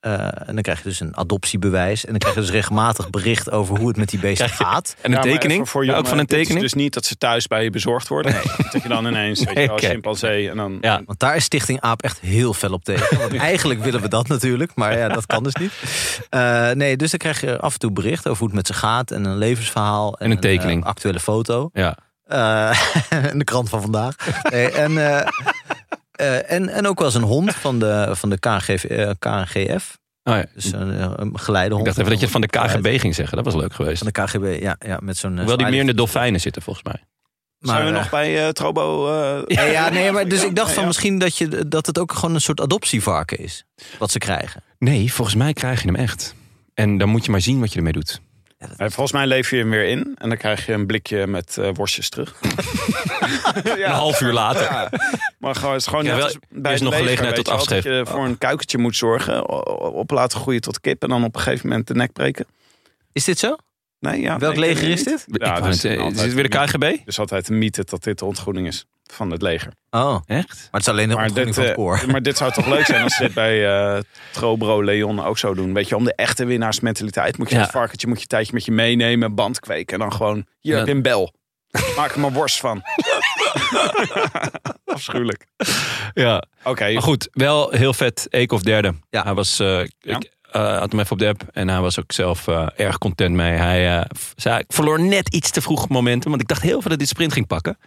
Speaker 2: Eh, en dan krijg je dus een adoptiebewijs. En dan krijg je dus regelmatig bericht over hoe het met die beesten gaat.
Speaker 3: En een
Speaker 1: Ja, maar
Speaker 3: tekening?
Speaker 1: even voor
Speaker 3: Ja, ook
Speaker 1: jongen,
Speaker 3: van een
Speaker 1: dit is
Speaker 3: tekening?
Speaker 1: Dus niet dat ze thuis bij je bezorgd worden. Dat je dan ineens, weet
Speaker 3: Nee,
Speaker 1: je wel,
Speaker 3: oké.
Speaker 1: chimpansee en dan...
Speaker 3: Ja.
Speaker 2: Want daar is Stichting Aap echt heel fel op tegen. Want eigenlijk willen we dat natuurlijk, maar ja, dat kan dus niet. Eh, nee, dus dan krijg je af en toe bericht over hoe het met ze gaat. En een levensverhaal.
Speaker 3: En een tekening.
Speaker 2: eh, actuele foto.
Speaker 3: Ja.
Speaker 2: Eh, en de krant van vandaag. Nee, en, eh, eh, en, en ook wel eens een hond van de, van de KGV, eh, KNGF.
Speaker 3: Oh, ja.
Speaker 2: Dus een, eh, een geleidehond.
Speaker 3: Ik dacht even dat je het van de KGB ging zeggen. Dat was leuk geweest.
Speaker 2: Van de KGB, ja, ja met zo'n... eh,
Speaker 3: Hoewel die meer in de
Speaker 2: zwaaier.
Speaker 3: dolfijnen zitten, volgens mij.
Speaker 1: Zijn we
Speaker 2: Maar, eh,
Speaker 1: nog bij eh, Trobo? eh,
Speaker 2: Ja, ja, nee, maar dus ik dacht
Speaker 1: nee,
Speaker 2: van
Speaker 1: ja.
Speaker 2: misschien dat, je, dat het ook gewoon een soort adoptievarken is. Wat ze krijgen.
Speaker 3: Nee, volgens mij krijg je hem echt. En dan moet je maar zien wat je ermee doet.
Speaker 1: Eh, Volgens mij lever je hem weer in en dan krijg je een blikje met eh, worstjes terug.
Speaker 3: Een half uur later.
Speaker 1: Maar gewoon, het is gewoon
Speaker 3: Ja,
Speaker 1: net
Speaker 3: wel,
Speaker 1: als bij
Speaker 3: er is
Speaker 1: de
Speaker 3: nog
Speaker 1: lever,
Speaker 3: gelegenheid
Speaker 1: weet
Speaker 3: tot
Speaker 1: je wel,
Speaker 3: afschrift.
Speaker 1: Dat je voor een kuikentje moet zorgen, o- o- op laten groeien tot kip en dan op een gegeven moment de nek breken.
Speaker 2: Is dit zo?
Speaker 1: Nee, ja,
Speaker 2: Welk
Speaker 1: nee, ik
Speaker 2: leger
Speaker 1: weet
Speaker 2: is
Speaker 1: het
Speaker 2: dit?
Speaker 1: niet.
Speaker 3: Ik
Speaker 1: Ja,
Speaker 3: wou
Speaker 1: dus
Speaker 3: net zeggen, is het weer de KGB?
Speaker 1: Dus altijd de mythe dat dit de ontgroening is van het leger.
Speaker 2: Oh, maar
Speaker 3: Echt?
Speaker 2: het is alleen de
Speaker 1: Maar
Speaker 2: ontgroening van
Speaker 1: dit,
Speaker 2: het
Speaker 1: eh,
Speaker 2: koor.
Speaker 1: maar dit zou toch leuk zijn als ze dit bij eh Trobro Leon ook zo doen. Weet je, om de echte winnaarsmentaliteit moet je
Speaker 3: Ja.
Speaker 1: dat varkentje moet je een tijdje met je meenemen, band kweken en dan gewoon hier
Speaker 3: Ja.
Speaker 1: heb je een bel. Maak er maar worst van. Afschuwelijk.
Speaker 3: Ja.
Speaker 1: Oké,
Speaker 3: Maar goed, wel heel vet. Eek of derde.
Speaker 2: Ja.
Speaker 3: Hij was, eh, ik eh, had hem even op de app. En hij was ook zelf eh, erg content mee. Hij eh, v- zei, ik verloor net iets te vroeg momenten. Want ik dacht heel veel dat dit sprint ging pakken.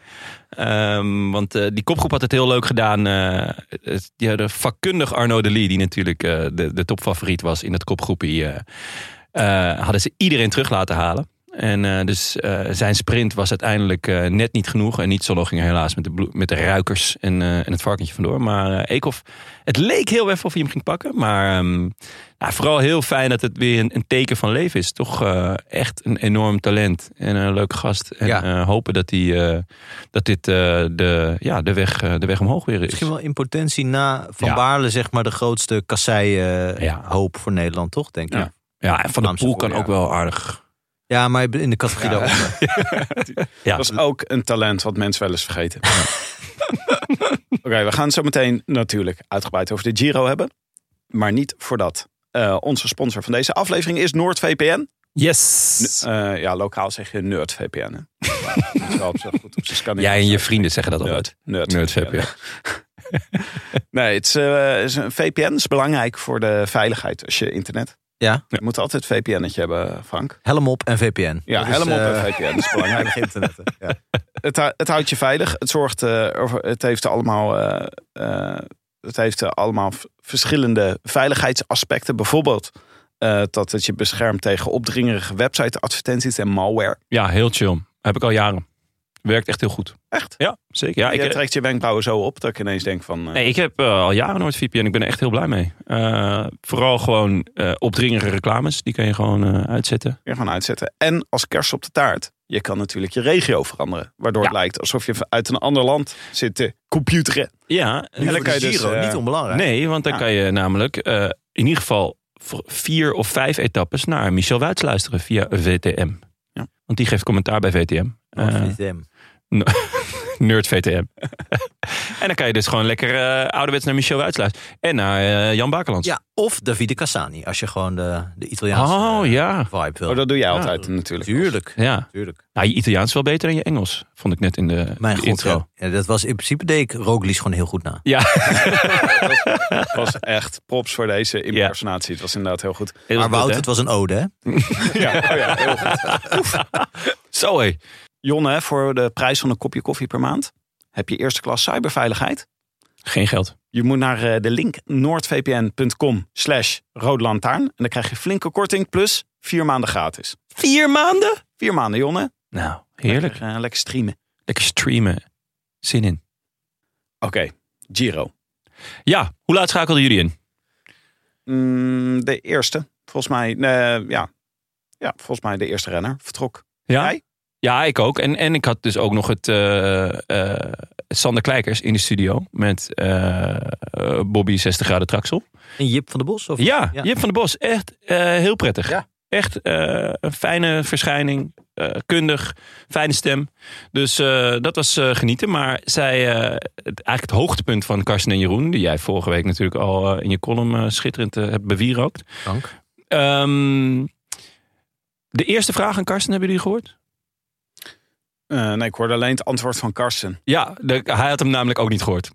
Speaker 3: Ehm, want eh, die kopgroep had het heel leuk gedaan. eh het- die hadden vakkundig Arno de Lee. Die natuurlijk eh, de, de topfavoriet was in dat kopgroepje. eh eh, hadden ze iedereen terug laten halen. En eh, dus eh, zijn sprint was uiteindelijk eh, net niet genoeg. En niet zo ging er helaas met de, bloe- met de ruikers en, eh, en het varkentje vandoor. Maar eh Eekhoff, het leek heel even of hij hem ging pakken. Maar ehm, nou, vooral heel fijn dat het weer een, een teken van leven is. Toch eh, echt een enorm talent en een leuke gast. En
Speaker 2: Ja.
Speaker 3: eh, hopen dat, hij eh, dat dit eh, de, ja, de, weg, eh, de weg omhoog weer is.
Speaker 2: Misschien wel in potentie na Van
Speaker 3: Ja.
Speaker 2: Baarle, zeg maar, de grootste
Speaker 3: Ja.
Speaker 2: kasseien-hoop voor Nederland, toch? Denk ik.
Speaker 1: Ja.
Speaker 2: Ja,
Speaker 3: Ja, en Van de
Speaker 2: Vlaamse
Speaker 3: Poel kan
Speaker 2: voorjaar.
Speaker 3: ook wel aardig.
Speaker 2: maar in de categorie daaronder.
Speaker 3: Ja,
Speaker 1: Dat is ook een talent wat mensen wel eens vergeten. Oké, we gaan het zo meteen natuurlijk uitgebreid over de Giro hebben. Maar niet voordat. Eh, onze sponsor van deze aflevering is NoordVPN.
Speaker 3: yes.
Speaker 1: Eh, ja, lokaal zeg je NerdVPN. Hè? Maar dat is wel op zich goed op zich kan
Speaker 3: Jij en je vrienden zeggen dat altijd.
Speaker 1: Nerd. Nerd.
Speaker 3: Nerd VPN.
Speaker 1: Nee, het is, eh, is een VPN is belangrijk voor de veiligheid als je internet.
Speaker 2: Ja.
Speaker 1: Je moet altijd een VPN'tje hebben, Frank.
Speaker 2: Helm op en VPN.
Speaker 1: Ja,
Speaker 2: Dat is,
Speaker 1: helemaal op
Speaker 2: eh,
Speaker 1: een VPN is belangrijk.
Speaker 2: weinig internet. hè. Ja.
Speaker 1: het, hou- het houdt je veilig. Het zorgt eh, over- het heeft allemaal, eh, eh, het heeft eh, allemaal v- verschillende veiligheidsaspecten. Bijvoorbeeld eh, dat het je beschermt tegen opdringerige website advertenties en malware.
Speaker 3: Ja, heel chill. Heb ik al jaren. Werkt echt heel goed.
Speaker 1: Echt?
Speaker 3: Ja, zeker. Ja,
Speaker 1: Ja, je
Speaker 3: ik, eh,
Speaker 1: trekt je wenkbrauwen zo op dat ik ineens denk van. eh,
Speaker 3: nee, ik heb eh, al jaren nooit VPN. Ik ben er echt heel blij mee. Eh, vooral gewoon eh opdringere reclames. Die kun je gewoon eh, uitzetten.
Speaker 1: weer gaan uitzetten. En als kerst op de taart Je kan natuurlijk je regio veranderen. Waardoor het lijkt alsof je uit een ander land zit te computeren.
Speaker 3: Ja,
Speaker 2: Nu
Speaker 1: dan
Speaker 2: voor
Speaker 1: kan
Speaker 2: de
Speaker 1: je dus,
Speaker 2: Giro,
Speaker 1: eh,
Speaker 2: niet onbelangrijk.
Speaker 3: nee, want dan
Speaker 1: Ja.
Speaker 3: kan je namelijk eh, in ieder geval v- vier of vijf etappes naar Michel Wuits luisteren via VTM.
Speaker 1: Ja.
Speaker 3: Want die geeft commentaar bij VTM.
Speaker 2: Of
Speaker 3: Eh,
Speaker 2: niet hem.
Speaker 3: Nerd VTM. en dan kan je dus gewoon lekker eh ouderwets naar Michel Wuits luisteren. En naar eh, Jan Bakelands.
Speaker 2: Ja, of Davide Cassani, als je gewoon de, de Italiaanse
Speaker 3: Oh
Speaker 2: eh,
Speaker 3: ja,
Speaker 2: vibe wil.
Speaker 1: Oh, dat doe jij
Speaker 3: Ja,
Speaker 1: altijd natuurlijk.
Speaker 2: Tuurlijk.
Speaker 3: ja.
Speaker 2: Tuurlijk.
Speaker 3: Nou, je Italiaans is wel beter dan je Engels, vond ik net in de,
Speaker 2: Mijn
Speaker 3: de
Speaker 2: god,
Speaker 3: intro.
Speaker 2: ja. Ja, dat was in principe deed ik Roglic gewoon heel goed na.
Speaker 3: Ja,
Speaker 1: Het was echt props voor deze impersonatie. Het was inderdaad heel goed.
Speaker 3: Heel
Speaker 2: Maar
Speaker 3: goed,
Speaker 2: Wout,
Speaker 3: hè?
Speaker 2: het was een ode, hè?
Speaker 1: Ja, oh ja heel goed.
Speaker 3: Zo hé.
Speaker 1: Jonne, voor de prijs van een kopje koffie per maand heb je eerste klas cyberveiligheid.
Speaker 3: Geen geld.
Speaker 1: Je moet naar eh, de link noordvpn.com slash roodlantaarn. En dan krijg je flinke korting plus vier maanden gratis.
Speaker 3: Vier maanden?
Speaker 1: Vier maanden, Jonne.
Speaker 3: Nou, heerlijk.
Speaker 1: Lekker, eh, lekker streamen.
Speaker 3: Lekker streamen. Zin in.
Speaker 1: Oké, Giro.
Speaker 3: Ja, hoe laat schakelden jullie in?
Speaker 1: Mm, de eerste, volgens mij. eh, ja. ja, volgens mij de eerste renner vertrok. Jij?
Speaker 3: Ja, ik ook. En, en ik had dus ook nog het eh, eh, Sander Kleikers in de studio met eh, eh, Bobby 60 graden traksel.
Speaker 2: Een Jip van de Bos? Of?
Speaker 3: Ja,
Speaker 2: Ja.
Speaker 3: Jip van der Bos. Echt eh, heel prettig.
Speaker 2: Ja.
Speaker 3: Echt eh, een fijne verschijning. eh, kundig, fijne stem. Dus eh, dat was eh, genieten. Maar zij, eh, het, eigenlijk het hoogtepunt van Karsten en Jeroen, die jij vorige week natuurlijk al eh, in je column eh, schitterend eh, hebt bewierookt.
Speaker 2: Dank.
Speaker 3: Ehm, de eerste vraag aan Karsten, hebben jullie gehoord?
Speaker 1: Eh, nee, ik hoorde alleen het antwoord van Karsten.
Speaker 3: Ja, de- hij had hem namelijk ook niet gehoord.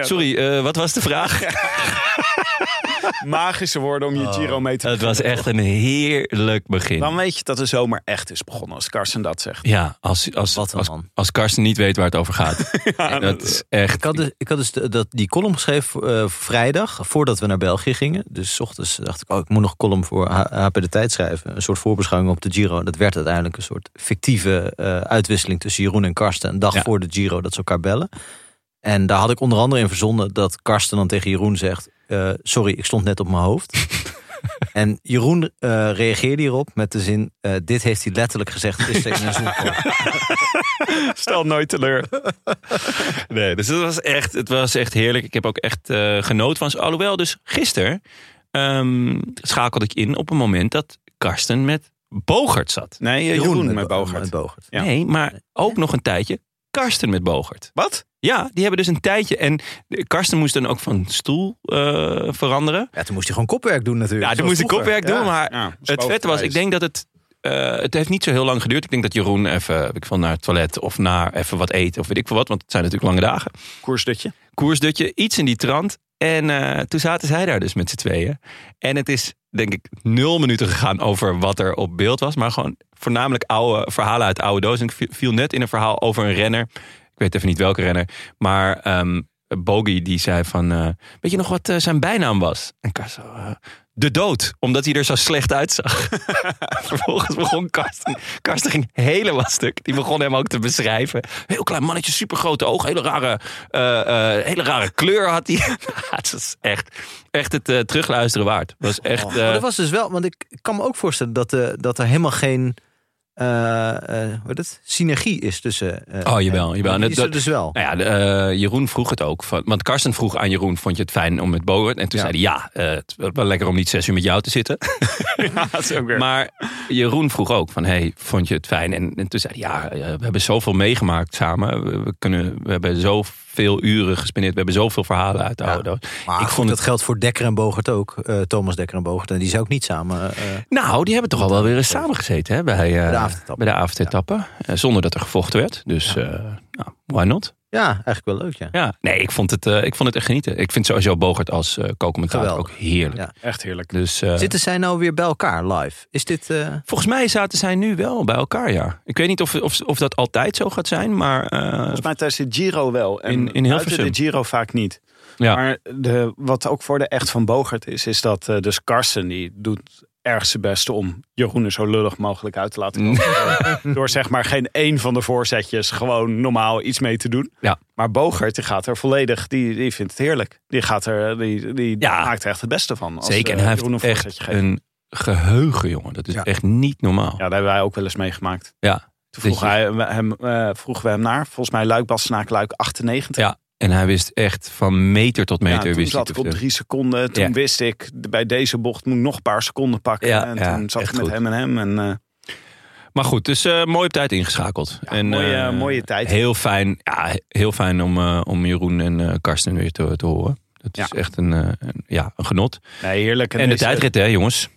Speaker 3: Sorry, eh, wat was de vraag?
Speaker 1: Magische woorden om je Giro mee te
Speaker 3: Het was echt een heerlijk
Speaker 1: Dan
Speaker 3: begin.
Speaker 1: weet je dat de zomer echt is begonnen, als Karsten dat zegt.
Speaker 3: Ja, als, als,
Speaker 2: Wat een
Speaker 3: als,
Speaker 2: man.
Speaker 3: als Karsten niet weet waar het over gaat. En dat is echt.
Speaker 2: Ik had dus, ik had dus de- dat, die column geschreven eh, vrijdag, voordat we naar België gingen. Dus 's ochtends dacht ik, oh, ik moet nog een column voor H- HP De Tijd schrijven. Een soort voorbeschouwing op de Giro. En dat werd uiteindelijk een soort fictieve eh, uitwisseling tussen Jeroen en Karsten. Een dag
Speaker 3: Ja.
Speaker 2: voor de Giro dat ze elkaar bellen. En daar had ik onder andere in verzonnen dat Karsten dan tegen Jeroen zegt... eh, sorry, ik stond net op mijn hoofd. en Jeroen eh, reageerde hierop met de zin... eh, dit heeft hij letterlijk gezegd gisteren in een Zoom-call.
Speaker 1: Stel nooit teleur.
Speaker 3: Nee, dus het was echt, het was echt heerlijk. Ik heb ook echt eh genoten van ze. Alhoewel, dus gisteren ehm, schakelde ik in op een moment dat Karsten met Bogert zat.
Speaker 1: Nee, eh, Jeroen, met
Speaker 2: Bo-
Speaker 1: Bogert.
Speaker 2: Met Bogert.
Speaker 1: Ja.
Speaker 3: Nee, maar ook nog een tijdje Karsten met Bogert.
Speaker 1: Wat?
Speaker 3: Ja, die hebben dus een tijdje. En Karsten moest dan ook van stoel eh, veranderen.
Speaker 2: Ja, toen moest hij gewoon kopwerk doen natuurlijk.
Speaker 3: Ja, toen
Speaker 2: Zoals
Speaker 3: moest ik
Speaker 2: vroeger.
Speaker 3: kopwerk doen, maar Het vette was, ik denk dat het. eh, het heeft niet zo heel lang geduurd. Ik denk dat Jeroen even weet ik, van naar het toilet of naar even wat eten of weet ik veel wat. Want het zijn natuurlijk lange dagen.
Speaker 1: eh. Koersdutje.
Speaker 3: Koersdutje, iets in die trant. En eh, toen zaten zij daar dus met z'n tweeën. En het is denk ik nul minuten gegaan over wat er op beeld was. Maar gewoon voornamelijk oude verhalen uit oude doos. En ik vi- viel net in een verhaal over een renner. Ik weet even niet welke renner. Maar ehm Bogie die zei van... eh, weet je nog wat eh, zijn bijnaam was? En Karsten... eh, de dood, omdat hij er zo slecht uitzag. Vervolgens begon Karsten. Karsten ging helemaal stuk. Die begon hem ook te beschrijven. Heel klein mannetje, supergrote ogen, hele rare, eh, eh, hele rare kleur had hij. het was echt, echt het eh, terugluisteren waard. Het was echt. eh,
Speaker 2: Maar dat was dus wel, want ik kan me ook voorstellen dat, eh, dat er helemaal geen eh, eh, hoe heet het? synergie is tussen. eh,
Speaker 3: Oh, jawel,
Speaker 2: en-
Speaker 3: jawel. Dat-
Speaker 2: maar Die is er
Speaker 3: dat-
Speaker 2: dus wel.
Speaker 3: Nou ja, de, eh, Jeroen vroeg het ook. Van, want Karsten vroeg aan Jeroen, vond je het fijn om met Bogert? En toen
Speaker 2: Ja.
Speaker 3: zei hij, ja, eh, het was wel lekker om niet zes uur met jou te zitten.
Speaker 1: dat is ook weer.
Speaker 3: Maar Jeroen vroeg ook van, hey, vond je het fijn? En, en toen zei hij, ja, eh, we hebben zoveel meegemaakt samen. We, we kunnen, we hebben zoveel uren gespendeerd. We hebben zoveel verhalen uit de
Speaker 2: Ja.
Speaker 3: oude doos.
Speaker 2: Maar
Speaker 3: ik
Speaker 2: goed,
Speaker 3: vond
Speaker 2: dat
Speaker 3: het...
Speaker 2: geldt voor Dekker en Bogert ook. eh, Thomas Dekker en Bogert. En die zijn ook niet samen. eh,
Speaker 3: Nou, die hebben toch al wel weer eens samengezeten hè, bij, eh,
Speaker 2: de avondetappe.
Speaker 3: bij de avondetappen. Eh, zonder dat er gevochten werd. Dus eh, nou, why not?
Speaker 2: ja, eigenlijk wel leuk, ja.
Speaker 3: Ja. Nee, ik vond, het, eh, ik vond het echt genieten. Ik vind sowieso Bogert als eh co-commentator ook
Speaker 2: Geweldig.
Speaker 3: heerlijk.
Speaker 2: Ja.
Speaker 1: Echt heerlijk.
Speaker 3: Dus, eh,
Speaker 2: Zitten zij nou weer bij elkaar live? Is dit. eh,
Speaker 3: Volgens mij zaten zij nu wel bij elkaar, ja. Ik weet niet of, of, of dat altijd zo gaat zijn, maar... eh,
Speaker 1: Volgens mij tijdens de Giro wel. En
Speaker 3: In- in
Speaker 1: buiten
Speaker 3: Hilversum.
Speaker 1: de Giro vaak niet.
Speaker 3: ja.
Speaker 1: Maar de, wat ook voor de echt van Bogert is, is dat eh, dus Karsten die doet erg zijn best om Jeroen er zo lullig mogelijk uit te laten komen. Door- Door zeg maar geen één van de voorzetjes gewoon normaal iets mee te doen.
Speaker 3: Ja.
Speaker 1: Maar Bogert die gaat er volledig, die, die vindt het heerlijk. Die, gaat er, die, die
Speaker 3: Ja.
Speaker 1: maakt er echt het beste van. Als,
Speaker 3: Zeker, en
Speaker 1: eh,
Speaker 3: hij
Speaker 1: Jeroen
Speaker 3: heeft
Speaker 1: een
Speaker 3: echt
Speaker 1: voorzetje geeft.
Speaker 3: een geheugen, jongen. Dat is
Speaker 2: Ja.
Speaker 3: echt niet normaal. Ja.
Speaker 1: Ja, daar hebben wij ook wel eens meegemaakt.
Speaker 3: ja.
Speaker 1: Toen vroeg
Speaker 3: Dat je-
Speaker 1: hij, hem, eh, vroegen we hem naar. Volgens mij Luik Bastenaak Luik 98.
Speaker 3: En hij wist echt van meter tot
Speaker 1: Ja,
Speaker 3: meter.
Speaker 1: toen
Speaker 3: wist hij
Speaker 1: zat ik
Speaker 3: het
Speaker 1: op
Speaker 3: of zo.
Speaker 1: drie seconden. Toen
Speaker 3: Ja.
Speaker 1: wist ik, de- bij deze bocht moet ik nog een paar seconden pakken.
Speaker 3: Ja,
Speaker 1: en
Speaker 3: ja,
Speaker 1: toen zat ik
Speaker 3: echt
Speaker 1: met
Speaker 3: goed.
Speaker 1: hem en hem. En, eh,
Speaker 3: Maar goed, dus eh, mooi op tijd ingeschakeld. en,
Speaker 1: mooie-
Speaker 3: eh,
Speaker 1: mooie tijd.
Speaker 3: Heel fijn, ja, he- heel fijn om, eh, om Jeroen en eh, Karsten weer te, te horen. Dat is
Speaker 1: Ja. eh,
Speaker 3: echt een, eh, een- ja, een genot.
Speaker 1: nee, heerlijk.
Speaker 3: En de
Speaker 1: deze-
Speaker 3: tijdrit, hè, jongens?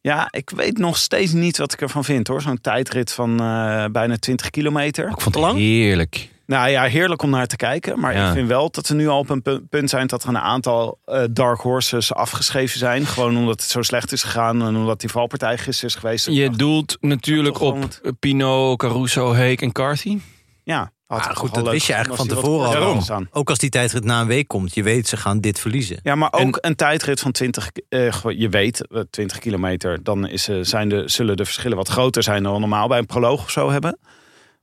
Speaker 1: Ja, ik weet nog steeds niet wat ik ervan vind hoor. Zo'n tijdrit van eh, bijna 20 kilometer.
Speaker 3: Ik vond het
Speaker 2: Lang?
Speaker 3: heerlijk.
Speaker 1: Nou ja, heerlijk om naar te kijken. Maar
Speaker 3: Ja.
Speaker 1: ik vind wel dat we nu al op een pu- punt zijn dat er een aantal eh, dark horses afgeschreven zijn. Gewoon omdat het zo slecht is gegaan en omdat die valpartij gisteren is geweest.
Speaker 3: Je doelt natuurlijk
Speaker 1: Toch
Speaker 3: op
Speaker 1: gewoon wat-
Speaker 3: eh, Pino, Caruso, Heek en Carthy.
Speaker 1: Ja, had ik
Speaker 2: Ah,
Speaker 1: toch
Speaker 2: goed,
Speaker 1: wel
Speaker 2: dat
Speaker 1: leuk
Speaker 2: wist je eigenlijk van
Speaker 1: gevonden als
Speaker 2: tevoren
Speaker 1: die wat korter
Speaker 2: al.
Speaker 1: had staan.
Speaker 2: Ook als die tijdrit na een week komt, je weet ze gaan dit verliezen.
Speaker 1: Ja, maar ook een tijdrit van 20, eh, gewoon- je weet, eh, 20 kilometer, dan is, eh, zijn de, zullen de verschillen wat groter zijn dan we normaal bij een proloog of zo hebben.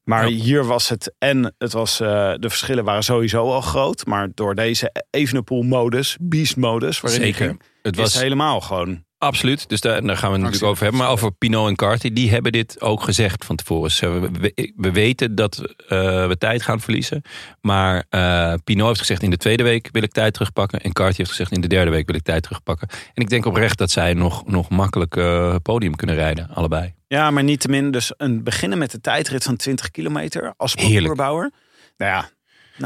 Speaker 1: Maar hier was het, en het was, eh, de verschillen waren sowieso al groot, maar door deze Evenepoel-modus, beast-modus, waarin die ging,
Speaker 3: Het
Speaker 1: is
Speaker 3: was
Speaker 1: het helemaal gewoon.
Speaker 3: absoluut, dus daar, daar gaan we het natuurlijk
Speaker 1: Actie.
Speaker 3: over hebben. Maar over Pino en Carthy, die hebben dit ook gezegd van tevoren. Ze- we- we, we weten dat eh, we tijd gaan verliezen. Maar eh Pino heeft gezegd in de tweede week wil ik tijd terugpakken. En Carthy heeft gezegd in de derde week wil ik tijd terugpakken. En ik denk oprecht dat zij nog, nog makkelijk eh, podium kunnen rijden, allebei.
Speaker 1: Ja, maar niettemin, dus een beginnen met de tijdrit van 20 kilometer als
Speaker 3: Heerlijk.
Speaker 1: parcoursbouwer. Nou ja,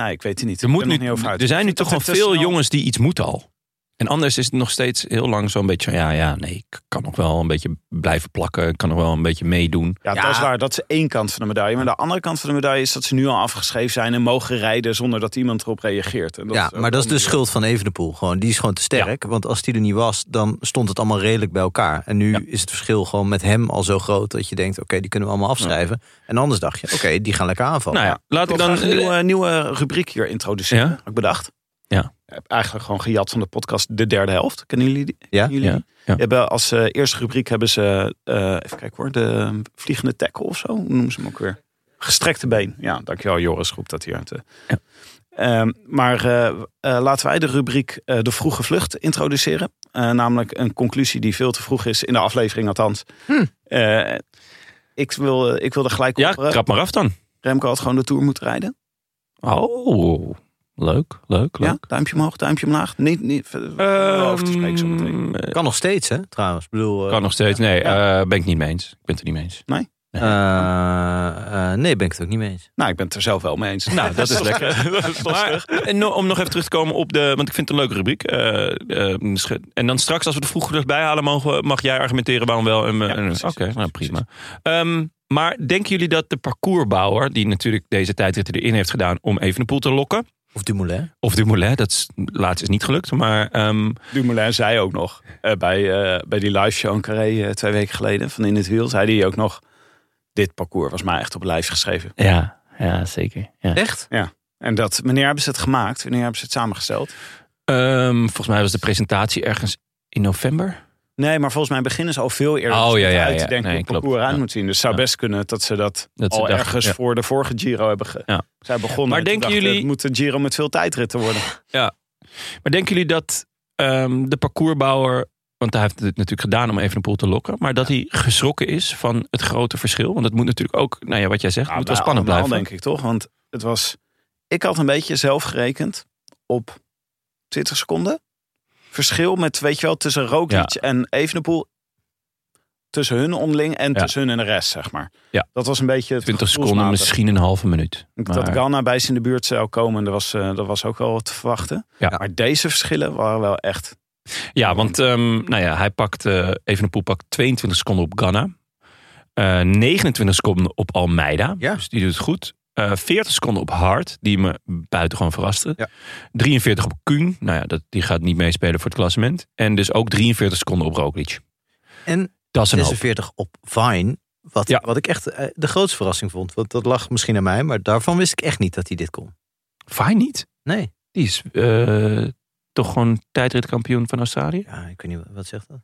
Speaker 1: nee, ik weet het niet.
Speaker 3: Er,
Speaker 1: Ik
Speaker 3: moet
Speaker 1: ben nog
Speaker 3: nu,
Speaker 1: niet over uit.
Speaker 3: er zijn nu
Speaker 1: Ik vind
Speaker 3: toch
Speaker 1: dat
Speaker 3: wel
Speaker 1: er tussen
Speaker 3: veel
Speaker 1: al-
Speaker 3: jongens die iets moeten al. En anders is het nog steeds heel lang zo'n beetje... van, Ja, ja, nee, ik kan nog wel een beetje blijven plakken. Ik kan nog wel een beetje meedoen.
Speaker 1: Ja, dat is waar. Dat is één kant van de medaille. Maar de andere kant van de medaille is dat ze nu al afgeschreven zijn en mogen rijden zonder dat iemand erop reageert. En dat
Speaker 2: ja,
Speaker 1: ook
Speaker 2: maar dat is dus
Speaker 1: wel
Speaker 2: de schuld
Speaker 1: moeilijk.
Speaker 2: van Evenepoel. Gewoon. Die is gewoon te sterk. Want als die er niet was, dan stond het allemaal redelijk bij elkaar. En nu is het verschil gewoon met hem al zo groot... dat je denkt, oké, die kunnen we allemaal afschrijven. En anders dacht je, oké, die gaan lekker aanvallen.
Speaker 3: nou ja, laat ik
Speaker 1: Ik wil
Speaker 3: dan... eh,
Speaker 1: graag een nieuwe, nieuwe rubriek hier introduceren.
Speaker 3: Ja?
Speaker 1: Had ik bedacht.
Speaker 3: Ja.
Speaker 1: Ik heb eigenlijk gewoon gejat van de podcast De Derde Helft. Kennen jullie die?
Speaker 2: Ja,
Speaker 1: Kennen jullie
Speaker 3: ja,
Speaker 1: die?
Speaker 3: ja.
Speaker 1: Die Hebben als eh, eerste rubriek hebben ze, eh, even kijken hoor, de vliegende tackle of zo. Hoe noemen ze hem ook weer? Gestrekte been. Ja, dankjewel Joris, roept dat hier. uit, eh.
Speaker 3: Ja.
Speaker 1: Ehm, maar eh, eh, laten wij de rubriek eh, De Vroege Vlucht introduceren. Eh, namelijk een conclusie die veel te vroeg is, in de aflevering althans. Eh, ik, wil, ik wil er gelijk
Speaker 3: Hm. Ja,
Speaker 1: op. eh,
Speaker 3: trap maar af dan.
Speaker 1: Remco had gewoon de Tour moeten rijden.
Speaker 3: Oh, leuk, leuk,
Speaker 1: Ja,
Speaker 3: leuk.
Speaker 1: duimpje omhoog, duimpje omlaag. Niet, niet eh,
Speaker 3: Ehm,
Speaker 1: over te spreken zo meteen.
Speaker 3: eh,
Speaker 2: Kan nog steeds, hè, trouwens. Ik bedoel, eh,
Speaker 3: kan nog steeds. Nee, eh, ben ik niet mee eens. Ik ben het er niet mee eens.
Speaker 2: eh, eh, nee, ben ik het ook niet mee eens.
Speaker 1: Nou, ik ben het er zelf wel mee eens.
Speaker 3: Nou, dat is lekker. maar, en no- om nog even terug te komen op de... Want ik vind het een leuke rubriek. eh, eh, misschien- en dan straks, als we de vroege bij halen, mogen, we- mag jij argumenteren waarom wel. En, we- en-
Speaker 1: precies,
Speaker 3: Oké, nou
Speaker 1: precies.
Speaker 3: prima. Ehm, maar denken jullie dat de parcoursbouwer... die natuurlijk deze tijdrit erin heeft gedaan om even een poel te lokken...
Speaker 2: Of Dumoulin.
Speaker 3: of Dumoulin, dat is, laatst is niet gelukt. Maar ehm,
Speaker 1: Dumoulin zei ook nog eh, bij, eh, bij die live show in Carré eh, twee weken geleden van In het Wiel, zei hij ook nog, dit parcours was mij echt op het lijf geschreven.
Speaker 3: ja, ja, zeker. Ja.
Speaker 2: Echt?
Speaker 1: En dat, wanneer hebben ze het gemaakt? Wanneer hebben ze het samengesteld?
Speaker 3: Ehm, volgens mij was de presentatie ergens in november.
Speaker 1: Nee, maar volgens mij beginnen ze al veel eerder
Speaker 3: Oh,
Speaker 1: dus
Speaker 3: ja,
Speaker 1: met
Speaker 3: ja,
Speaker 1: uit
Speaker 3: ja.
Speaker 1: te
Speaker 3: Nee,
Speaker 1: denken hoe het
Speaker 3: klopt.
Speaker 1: parcours aan
Speaker 3: Ja.
Speaker 1: moet zien. Dus het zou
Speaker 3: Ja.
Speaker 1: best kunnen dat ze dat,
Speaker 3: Dat ze
Speaker 1: al
Speaker 3: dachten,
Speaker 1: Oh, ergens
Speaker 3: ja.
Speaker 1: voor de vorige Giro hebben ge-
Speaker 3: Ja.
Speaker 1: zijn begonnen.
Speaker 3: Maar
Speaker 1: En toen
Speaker 3: denken
Speaker 1: dachten,
Speaker 3: jullie-
Speaker 1: Het moet een Giro met veel tijdritten worden.
Speaker 3: Maar denken jullie dat ehm, de parcoursbouwer, want hij heeft het natuurlijk gedaan om even een poel te lokken, maar dat hij geschrokken is van het grote verschil? Want het moet natuurlijk ook, nou ja, wat jij zegt, het moet wel
Speaker 1: bij
Speaker 3: spannend
Speaker 1: nou, allemaal,
Speaker 3: blijven.
Speaker 1: denk ik toch? Want het was. Ik had een beetje zelf gerekend op 20 seconden. Verschil met, weet je wel, tussen Roglic en Evenepoel. Tussen hun onderling en
Speaker 3: Ja.
Speaker 1: tussen hun en de rest, zeg maar.
Speaker 3: Ja.
Speaker 1: Dat was een beetje het
Speaker 3: 20 seconden,
Speaker 1: gevoelsmatig.
Speaker 3: misschien een halve minuut.
Speaker 1: Dat
Speaker 3: Maar-
Speaker 1: Ghana bij ze in de buurt zou komen, dat was, eh, dat was ook wel te verwachten.
Speaker 3: Ja.
Speaker 1: Maar deze verschillen waren wel echt...
Speaker 3: Ja, want ehm, nou ja, hij pakt eh even een poel pakt 22 seconden op Ghana. Eh, 29 seconden op Almeida.
Speaker 2: Ja.
Speaker 3: Dus die doet het goed. Eh, 40 seconden op Hart, die me buitengewoon verraste.
Speaker 2: Ja.
Speaker 3: 43 op Kuhn. Nou ja, dat, die gaat niet meespelen voor het klassement. En dus ook 43 seconden op Roglic.
Speaker 2: En
Speaker 3: Dat is een hoop.
Speaker 2: 46 op Vine. Wat,
Speaker 3: Ja.
Speaker 2: wat ik echt eh, de grootste verrassing vond. Want dat lag misschien aan mij, maar daarvan wist ik echt niet dat hij dit kon.
Speaker 3: Fijn niet.
Speaker 2: Nee.
Speaker 3: Die is eh, toch gewoon tijdritkampioen van Australië.
Speaker 2: Ja, ik weet niet, wat- wat zegt dat?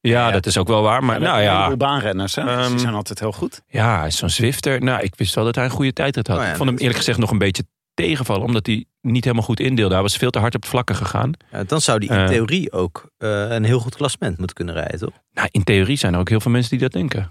Speaker 3: Ja, dat is ook wel waar. Maar nou
Speaker 1: Een
Speaker 3: ja,
Speaker 1: heleboel baanrenners, hè? Dus
Speaker 3: Ehm,
Speaker 1: die zijn altijd heel goed.
Speaker 3: ja hij is zo'n Zwifter. Nou, ik wist wel dat hij een goede tijdrit had.
Speaker 2: Oh ja,
Speaker 3: ik vond hem
Speaker 2: dat-
Speaker 3: eerlijk gezegd nog een beetje tegenvallen. Omdat hij niet helemaal goed indeelde. Hij was veel te hard op het vlakken gegaan.
Speaker 2: Ja, dan zou die in
Speaker 3: Eh.
Speaker 2: theorie ook eh, een heel goed klassement moeten kunnen rijden, toch?
Speaker 3: Nou, in theorie zijn er ook heel veel mensen die dat denken.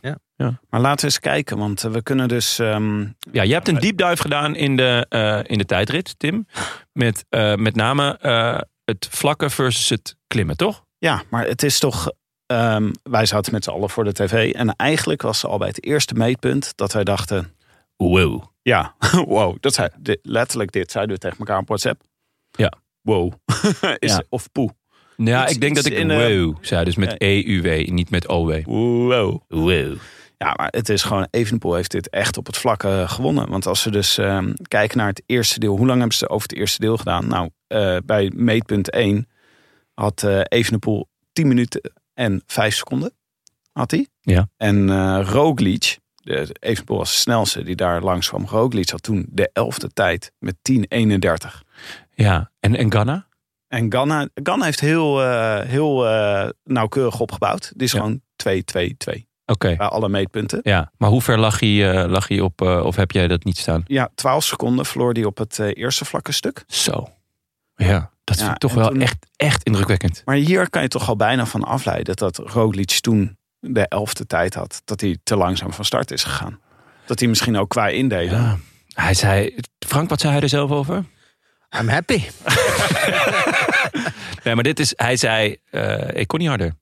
Speaker 1: Maar laten we eens kijken, want eh, we kunnen dus... ehm,
Speaker 3: Ja, je hebt een deep dive gedaan in de, eh, in de tijdrit, Tim. Met eh, met name eh, het vlakken versus het klimmen, toch?
Speaker 1: ja, maar het is toch... ehm, wij zaten met z'n allen voor de tv. En eigenlijk was ze al bij het eerste meetpunt dat wij dachten...
Speaker 3: Wow.
Speaker 1: Ja, wow. Dat zei, dit- letterlijk dit zeiden we tegen elkaar op WhatsApp.
Speaker 3: Ja.
Speaker 1: Wow. is,
Speaker 3: Ja.
Speaker 1: Of poe.
Speaker 3: Ja,
Speaker 1: Iets-
Speaker 3: ik denk dat
Speaker 1: iets
Speaker 3: ik
Speaker 1: in, eh,
Speaker 3: wow zei. Dus met
Speaker 1: ja.
Speaker 3: EUW, niet met OW.
Speaker 1: Wow.
Speaker 3: Wow.
Speaker 1: Ja, maar het is gewoon, Evenepoel heeft dit echt op het vlak eh, gewonnen. Want als we dus ehm, kijken naar het eerste deel, hoe lang hebben ze over het eerste deel gedaan? Nou, eh, bij meetpunt 1 had eh Evenepoel 10 minuten en 5 seconden. Had hij.
Speaker 3: Ja.
Speaker 1: En eh Roglic, de, Evenepoel was de snelste die daar langs kwam. Roglic had toen de elfde tijd met 10.31.
Speaker 3: Ja, en, en Ghana?
Speaker 1: En Ganna, Ganna heeft heel, eh, heel eh, nauwkeurig opgebouwd. Het is
Speaker 3: Ja.
Speaker 1: gewoon 2-2-2
Speaker 3: Oké.
Speaker 1: bij alle meetpunten.
Speaker 3: Ja, maar hoe ver lag hij, eh, lag hij op, eh, of heb jij dat niet staan?
Speaker 1: Ja, 12 seconden verloor die op het eh, eerste vlakke stuk.
Speaker 3: Zo. Ja, dat
Speaker 1: Ja,
Speaker 3: vind ik toch
Speaker 1: en
Speaker 3: wel
Speaker 1: toen-
Speaker 3: echt, echt indrukwekkend.
Speaker 1: Maar hier kan je toch al bijna van afleiden dat Roglic toen de elfde tijd had. Dat hij te langzaam van start is gegaan. Dat hij misschien ook qua indelen.
Speaker 3: Ja. Hij zei, Frank, wat zei hij er zelf over?
Speaker 2: I'm happy.
Speaker 3: Nee, maar dit is, hij zei, eh, ik kon niet harder.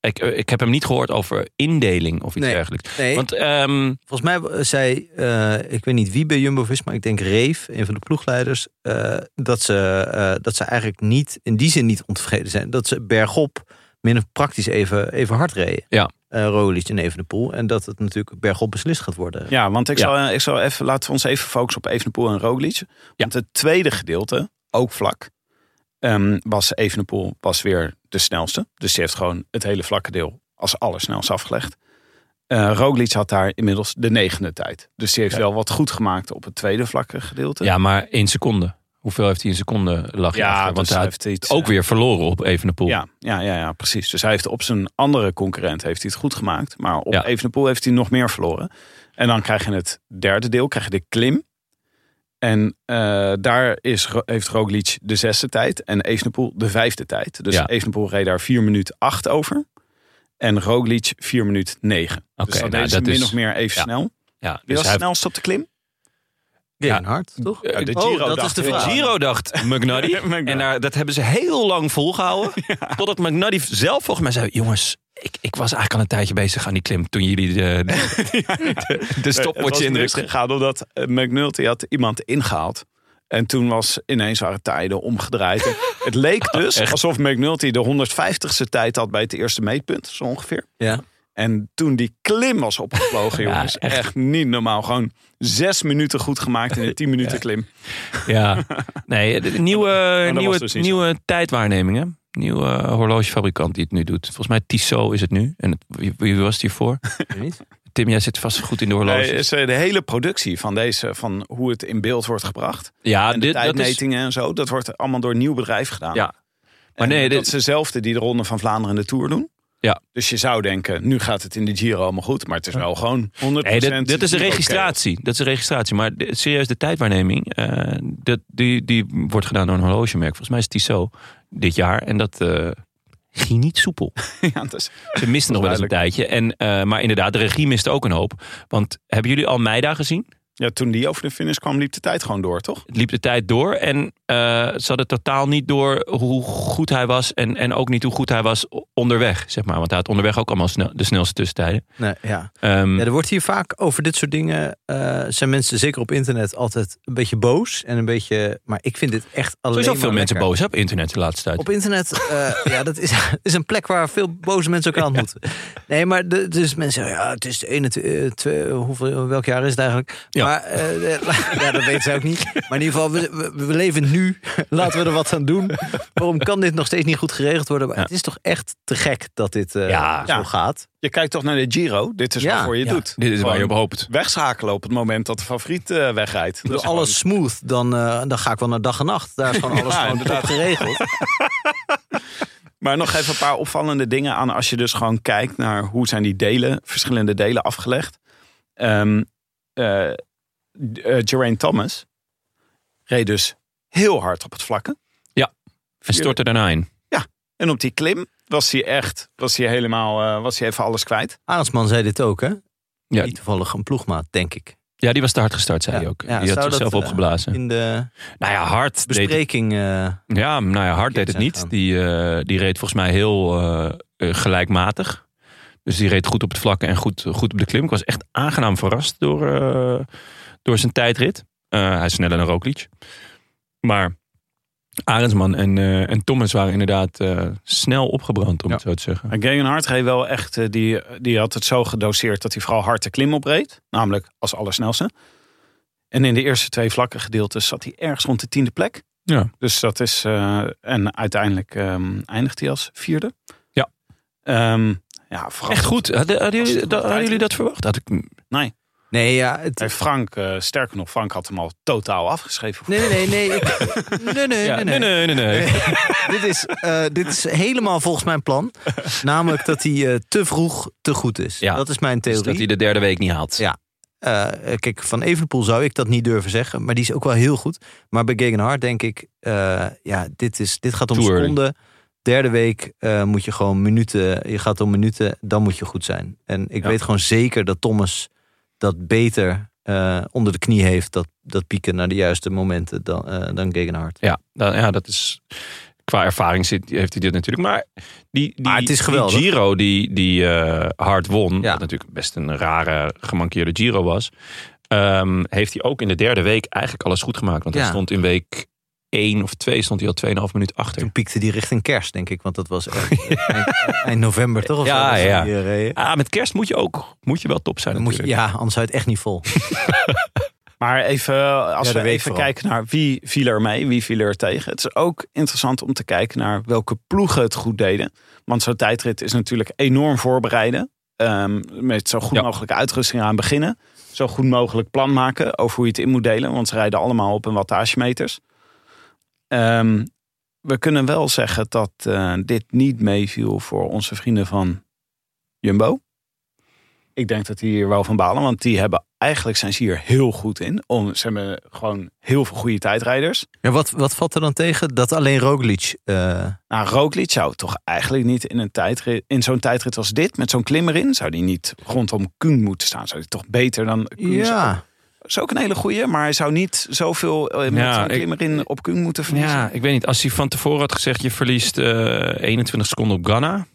Speaker 3: Ik, eh, ik heb hem niet gehoord over indeling of iets
Speaker 2: Nee.
Speaker 3: dergelijks.
Speaker 2: Nee,
Speaker 3: Want ehm,
Speaker 2: eh, volgens mij zei, eh, ik weet niet wie bij Jumbo-Visma, ik denk Reef, een van de ploegleiders, eh, dat, ze, eh, dat ze eigenlijk niet, in die zin niet ontevreden zijn. Dat ze bergop min of praktisch even, even hard reden.
Speaker 3: Ja.
Speaker 2: Eh, Roglic en Evenepoel. En dat het natuurlijk bergop beslist gaat worden.
Speaker 1: Ja, want ik
Speaker 3: Ja.
Speaker 1: zal, eh, ik zal even, laten we ons even focussen op Evenepoel en Roglic. Want het tweede gedeelte, ook vlak, ehm, was Evenepoel was weer de snelste. Dus die heeft gewoon het hele vlakke deel als allersnelst afgelegd. Eh Roglic had daar inmiddels de negende tijd. Dus die heeft wel wat goed gemaakt op het tweede vlakke gedeelte.
Speaker 3: ja, maar één seconde. Hoeveel heeft hij in seconden lag hij
Speaker 1: Ja,
Speaker 3: achter?
Speaker 1: dus
Speaker 3: Want hij
Speaker 1: hij
Speaker 3: heeft
Speaker 1: heeft iets,
Speaker 3: ook
Speaker 1: eh,
Speaker 3: weer verloren op Evenepoel.
Speaker 1: Ja, ja, ja, ja, precies. Dus hij heeft op zijn andere concurrent heeft hij het goed gemaakt. Maar op
Speaker 3: Ja.
Speaker 1: Evenepoel heeft hij nog meer verloren. En dan krijg je het derde deel, krijg je de klim. En eh, daar is, Ro- heeft Roglic de zesde tijd en Evenepoel de vijfde tijd. Dus
Speaker 3: Ja.
Speaker 1: Evenepoel reed daar 4 minuten 8 over. En Roglic 4 minuten 9.
Speaker 3: Oké,
Speaker 1: dus
Speaker 3: nou,
Speaker 1: dat deden ze
Speaker 3: dat
Speaker 1: min
Speaker 3: is-
Speaker 1: of meer even
Speaker 3: ja.
Speaker 1: snel. Wie
Speaker 3: Ja, dus
Speaker 1: was
Speaker 3: hij
Speaker 1: het
Speaker 3: heeft-
Speaker 1: snelst op de klim?
Speaker 3: Ja.
Speaker 2: hard, toch?
Speaker 3: Eh,
Speaker 1: de
Speaker 2: oh,
Speaker 1: Giro
Speaker 2: dat
Speaker 1: dacht
Speaker 2: is Oh, de
Speaker 1: ik.
Speaker 3: De
Speaker 2: vraag.
Speaker 3: Giro dacht McNuddy.
Speaker 1: McNuddy.
Speaker 3: En daar, dat hebben ze heel lang volgehouden. Totdat McNuddy zelf volgens mij zei... Jongens, ik, ik was eigenlijk al een tijdje bezig aan die klim... toen jullie de, de, de, de stopwatch
Speaker 1: Eh, Het was
Speaker 3: indrukten.
Speaker 1: misgegaan omdat eh, McNulty had iemand ingehaald. En toen was ineens waren tijden omgedraaid. En het leek
Speaker 3: Oh,
Speaker 1: dus alsof McNulty de 150ste tijd had bij het eerste meetpunt, zo ongeveer.
Speaker 2: Ja.
Speaker 1: En toen die klim was opgevlogen,
Speaker 3: Ja,
Speaker 1: jongens,
Speaker 3: echt.
Speaker 1: echt. niet normaal. Gewoon zes minuten goed gemaakt in de tien minuten klim.
Speaker 3: Ja, nee, de nieuwe,
Speaker 1: dat
Speaker 3: nieuwe,
Speaker 1: was dus niet zo.
Speaker 3: nieuwe tijdwaarnemingen. Nieuwe eh, horlogefabrikant die het nu doet. Volgens mij Tissot is het nu. En het, wie, wie was het hiervoor?
Speaker 2: Niet?
Speaker 3: Tim, jij zit vast goed in de horloges.
Speaker 1: Nee, is, eh, de hele productie van deze, van hoe het in beeld wordt gebracht.
Speaker 3: ja,
Speaker 1: en de
Speaker 3: Ah, dit, dat is,
Speaker 1: tijdmetingen en zo, dat wordt allemaal door een nieuw bedrijf gedaan.
Speaker 3: ja. Maar
Speaker 1: En
Speaker 3: nee,
Speaker 1: dat
Speaker 3: dit-
Speaker 1: is dezelfde die de Ronde van Vlaanderen en de Tour doen.
Speaker 3: Ja.
Speaker 1: Dus je zou denken, nu gaat het in de Giro allemaal goed. Maar het is wel gewoon 100%.
Speaker 3: Nee, dit, dit is een
Speaker 1: Giro chaos.
Speaker 3: registratie. Dat is een registratie. Maar de- serieus, de tijdwaarneming, eh, dat, die, die wordt gedaan door een horlogemerk. Volgens mij is het Tissot dit jaar. En dat eh, ging niet soepel.
Speaker 1: Ja, het is-
Speaker 3: Ze misten nog wel eens een tijdje. En, eh, maar inderdaad, de regie miste ook een hoop. Want hebben jullie Almeida gezien?
Speaker 1: ja, toen die over de finish kwam, liep de tijd gewoon door, toch?
Speaker 3: Het liep de tijd door. En eh ze hadden totaal niet door hoe goed hij was. En, en ook niet hoe goed hij was onderweg, zeg maar. Want hij had onderweg ook allemaal snel, de snelste tussentijden.
Speaker 2: Nee, ja.
Speaker 3: Ehm,
Speaker 2: Ja, er wordt hier vaak over dit soort dingen. eh, zijn mensen, zeker op internet, altijd een beetje boos. En een beetje. Maar ik vind dit echt alleen.
Speaker 3: sowieso
Speaker 2: maar
Speaker 3: veel mensen
Speaker 2: lekker.
Speaker 3: boos hè, op internet de laatste tijd.
Speaker 2: Op internet, eh, ja, dat is, is een plek waar veel boze mensen elkaar ontmoeten. Nee, maar de, dus mensen zeggen, ja, het is de ene, twee, eh, twee- hoeveel, welk jaar is het eigenlijk?
Speaker 3: Ja.
Speaker 2: Maar, eh, ja, dat weten ze ook niet. Maar in ieder geval, we, we, we leven nu. Laten we er wat aan doen. Waarom kan dit nog steeds niet goed geregeld worden? Maar
Speaker 3: Ja.
Speaker 2: het is toch echt te gek dat dit eh,
Speaker 3: Ja.
Speaker 2: zo
Speaker 1: Ja.
Speaker 2: gaat.
Speaker 1: Je kijkt toch naar de Giro? Dit is
Speaker 2: Ja,
Speaker 1: waarvoor je het
Speaker 3: Ja,
Speaker 1: doet.
Speaker 3: Dit is waar je op
Speaker 1: Gewoon
Speaker 3: hoopt.
Speaker 1: Wegschakelen op het moment dat de favoriet eh, wegrijdt.
Speaker 2: Ik
Speaker 1: Dat
Speaker 2: bedoel,
Speaker 1: is
Speaker 2: alles smooth, dan, eh, dan ga ik wel naar dag en nacht. Daar is gewoon alles gewoon top geregeld.
Speaker 1: Maar nog even een paar opvallende dingen aan als je dus gewoon kijkt naar hoe zijn die delen, verschillende delen afgelegd. Ehm eh, eh, Geraint Thomas reed dus heel hard op het vlakke.
Speaker 3: En stort er daarna in.
Speaker 1: En op die klim was hij echt, was hij helemaal, eh, was hij even alles kwijt.
Speaker 2: Arendsman zei dit ook, hè?
Speaker 3: Ja.
Speaker 2: Niet toevallig een ploegmaat, denk ik.
Speaker 3: Ja, die was te hard gestart, zei hij ook. die
Speaker 2: zou
Speaker 3: had
Speaker 2: dat,
Speaker 3: zichzelf
Speaker 2: eh,
Speaker 3: opgeblazen.
Speaker 2: In de
Speaker 3: Nou ja, hard deed het
Speaker 2: bespreking. eh,
Speaker 3: Ja, nou ja, Hart
Speaker 2: Kids
Speaker 3: deed het
Speaker 2: zijn
Speaker 3: niet.
Speaker 2: gaan.
Speaker 3: Die, eh, die reed volgens mij heel eh, eh, gelijkmatig. Dus die reed goed op het vlak en goed, goed op de klim. Ik was echt aangenaam verrast door, eh, door zijn tijdrit. Eh, hij is sneller dan Roglic. Maar Arendsman en, eh, en Thomas waren inderdaad eh, snel opgebrand, om
Speaker 2: Ja.
Speaker 3: het zo te zeggen.
Speaker 1: En Gegenhard reed wel echt, eh, die, die had het zo gedoseerd dat hij vooral hard de klim opreed. Namelijk als allersnelste. En in de eerste twee vlakke gedeeltes zat hij ergens rond de tiende plek.
Speaker 3: Ja.
Speaker 1: Dus dat is, eh, en uiteindelijk ehm, eindigt hij als vierde.
Speaker 3: Ja.
Speaker 1: Ehm, ja, Frank,
Speaker 3: Echt goed. Hadden, hadden
Speaker 1: Als het
Speaker 3: jullie, dat,
Speaker 1: goed
Speaker 3: hadden
Speaker 1: uitkomt.
Speaker 3: jullie dat verwacht? Had ik,
Speaker 2: nee, ja. Het,
Speaker 1: Eh, Frank, eh, sterker nog, Frank had hem al totaal afgeschreven.
Speaker 2: nee, nee, nee. Nee, ik- nee, nee,
Speaker 3: Ja,
Speaker 2: nee, nee.
Speaker 3: nee, nee. nee.
Speaker 2: dit, is, eh, dit is helemaal volgens mijn plan. Namelijk dat hij eh, te vroeg te goed is.
Speaker 3: Ja.
Speaker 2: Dat is mijn
Speaker 3: Dus
Speaker 2: theorie.
Speaker 3: dat hij de derde week niet haalt.
Speaker 2: Ja. Eh, kijk, van Evenepoel zou ik dat niet durven zeggen. Maar die is ook wel heel goed. Maar bij Gegenhard denk ik... eh, ja, dit, is, dit gaat om
Speaker 3: Too early.
Speaker 2: seconden. Derde week eh, moet je gewoon minuten... Je gaat om minuten, dan moet je goed zijn. En ik
Speaker 3: Ja.
Speaker 2: weet gewoon zeker dat Thomas dat beter eh, onder de knie heeft. Dat, dat pieken naar de juiste momenten dan, eh dan Gegenhard.
Speaker 3: Ja, nou, ja dat is. Qua ervaring zit, heeft hij dit natuurlijk. Maar, die, die,
Speaker 2: Maar het is geweldig.
Speaker 3: die Giro die, die eh, hard won,
Speaker 2: Ja.
Speaker 3: wat natuurlijk best een rare gemankeerde Giro was, ehm, heeft hij ook in de derde week eigenlijk alles goed gemaakt. Want hij
Speaker 2: Ja.
Speaker 3: stond in week 1 of 2 stond hij al 2,5 minuut achter.
Speaker 2: Toen piekte die richting kerst, denk ik. Want dat was echt, eind, eind november toch? Of
Speaker 3: Ja,
Speaker 2: zo, dat ze
Speaker 3: ja.
Speaker 2: die, eh, reden.
Speaker 3: Ah, met kerst moet je ook moet je wel top zijn.
Speaker 2: Dan moet je,
Speaker 3: natuurlijk.
Speaker 2: ja, anders hou je het echt niet vol.
Speaker 1: Maar even, eh, als
Speaker 2: Ja, de
Speaker 1: we
Speaker 2: week
Speaker 1: even
Speaker 2: vooral.
Speaker 1: kijken naar wie viel er mee, wie viel er tegen. Het is ook interessant om te kijken naar welke ploegen het goed deden. Want zo'n tijdrit is natuurlijk enorm voorbereiden. Ehm, met zo goed
Speaker 3: Ja.
Speaker 1: mogelijk uitrusting aan beginnen. Zo goed mogelijk plan maken over hoe je het in moet delen. Want ze rijden allemaal op een wattagemeters. Ehm, we kunnen wel zeggen dat eh, dit niet meeviel voor onze vrienden van Jumbo. Ik denk dat die hier wel van balen, want die hebben eigenlijk zijn ze hier heel goed in. Om, ze hebben gewoon heel veel goede tijdrijders.
Speaker 2: Ja, wat, wat valt er dan tegen? Dat alleen Roglic... eh,
Speaker 1: Nou, Roglic zou toch eigenlijk niet in, een tijdrit, in zo'n tijdrit als dit, met zo'n klim erin, zou die niet rondom Kuhn moeten staan. Zou die toch beter dan Kuhn staan?
Speaker 2: ja,
Speaker 1: Is ook een hele goeie, maar hij zou niet zoveel eh, met
Speaker 3: Ja,
Speaker 1: zo'n
Speaker 3: ik-
Speaker 1: klim erin op Kuhn moeten verliezen.
Speaker 3: ja, ik weet niet. Als hij van tevoren had gezegd, je verliest eh, 21 seconden op Ghana,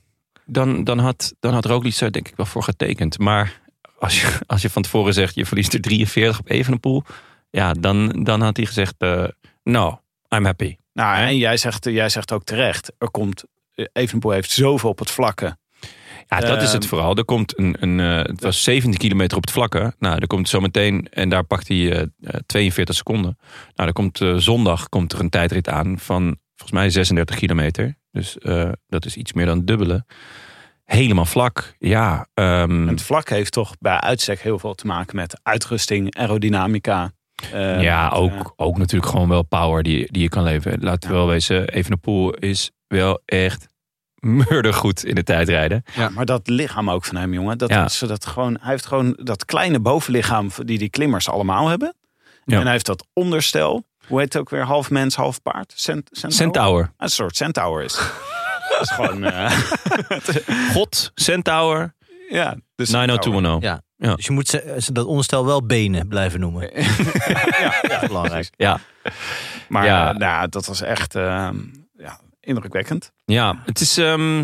Speaker 3: dan, dan, had, dan had Roglic daar denk ik wel voor getekend. Maar als je, als je van tevoren zegt, je verliest er 43 op Evenepoel, ja, dan, dan had hij gezegd, eh, no, I'm happy.
Speaker 1: Nou, en jij zegt, jij zegt ook terecht, er komt, eh, Evenepoel heeft zoveel op het vlakke.
Speaker 3: Hmm. Ja, dat is het
Speaker 1: Ehm.
Speaker 3: vooral. Er komt een, een eh, het was 17 kilometer op het vlakke. Nou, er komt zometeen, en daar pakt hij eh, eh, 42 seconden. Nou, er komt eh, zondag komt er een tijdrit aan van volgens mij 36 kilometer. Dus eh, dat is iets meer dan het dubbele. Helemaal vlak, ja. ehm,
Speaker 1: En het vlak heeft toch bij uitstek heel veel te maken met uitrusting, aerodynamica. eh,
Speaker 3: ja,
Speaker 1: met,
Speaker 3: ook,
Speaker 1: eh,
Speaker 3: ook natuurlijk gewoon wel power die, die je kan leveren. Laten we wel wezen, Evenepoel is wel echt murdergoed in de tijdrijden.
Speaker 1: Maar dat lichaam ook van hem, jongen. Dat
Speaker 3: Ja.
Speaker 1: ze dat gewoon, hij heeft gewoon dat kleine bovenlichaam die die klimmers allemaal hebben.
Speaker 3: Ja.
Speaker 1: En hij heeft dat onderstel. Hoe heet het ook weer? Half mens, half paard? Cent, centaur?
Speaker 3: Centaur.
Speaker 1: Een soort centaur is. het. dat is gewoon... eh,
Speaker 3: God, Centaur,
Speaker 1: ja, de centaur.
Speaker 3: 90210.
Speaker 2: ja. Dus je moet ze, ze dat onderstel wel benen blijven noemen. ja, dat is belangrijk.
Speaker 3: ja.
Speaker 1: Maar
Speaker 3: Ja.
Speaker 1: eh, nou, dat was echt eh, ja, indrukwekkend.
Speaker 3: Ja, het is. ehm,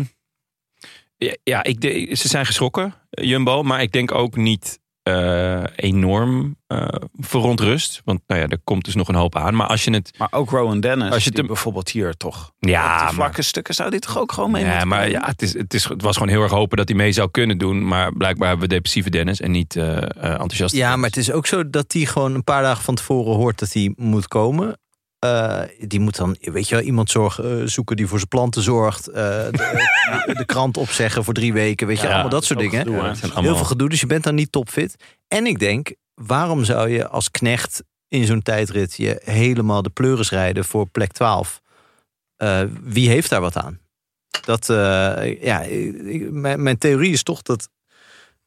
Speaker 3: ja, ja, ik de- ze zijn geschrokken, Jumbo. Maar ik denk ook niet eh, enorm eh verontrust. Want nou ja, er komt dus nog een hoop aan. Maar als je het.
Speaker 1: Maar ook Rowan Dennis,
Speaker 3: Als je
Speaker 1: die
Speaker 3: te-
Speaker 1: bijvoorbeeld hier toch... op
Speaker 3: Ja,
Speaker 1: die vlakke
Speaker 3: maar,
Speaker 1: stukken zou dit toch ook gewoon mee
Speaker 3: ja,
Speaker 1: moeten
Speaker 3: maar
Speaker 1: komen?
Speaker 3: ja, het, is, het, is, het was gewoon heel erg hopen dat hij mee zou kunnen doen. Maar blijkbaar hebben we depressieve Dennis en niet eh, eh, enthousiaste.
Speaker 2: Ja,
Speaker 3: Dennis.
Speaker 2: maar het is ook zo dat die gewoon een paar dagen van tevoren hoort dat hij moet komen. Eh, die moet dan, weet je wel, iemand zorgen, eh, zoeken die voor zijn planten zorgt. eh, de, de- de krant opzeggen voor drie weken, weet je,
Speaker 3: Ja,
Speaker 2: allemaal dat soort
Speaker 1: ook
Speaker 2: dingen.
Speaker 1: gedoe, hè?
Speaker 3: Het zijn
Speaker 2: Heel
Speaker 3: allemaal-
Speaker 2: veel gedoe, dus je bent dan niet topfit. En ik denk, waarom zou je als knecht in zo'n tijdrit je helemaal de pleuris rijden voor plek 12? Eh, wie heeft daar wat aan? Dat, eh, ja, ik- ik- mijn, mijn theorie is toch dat.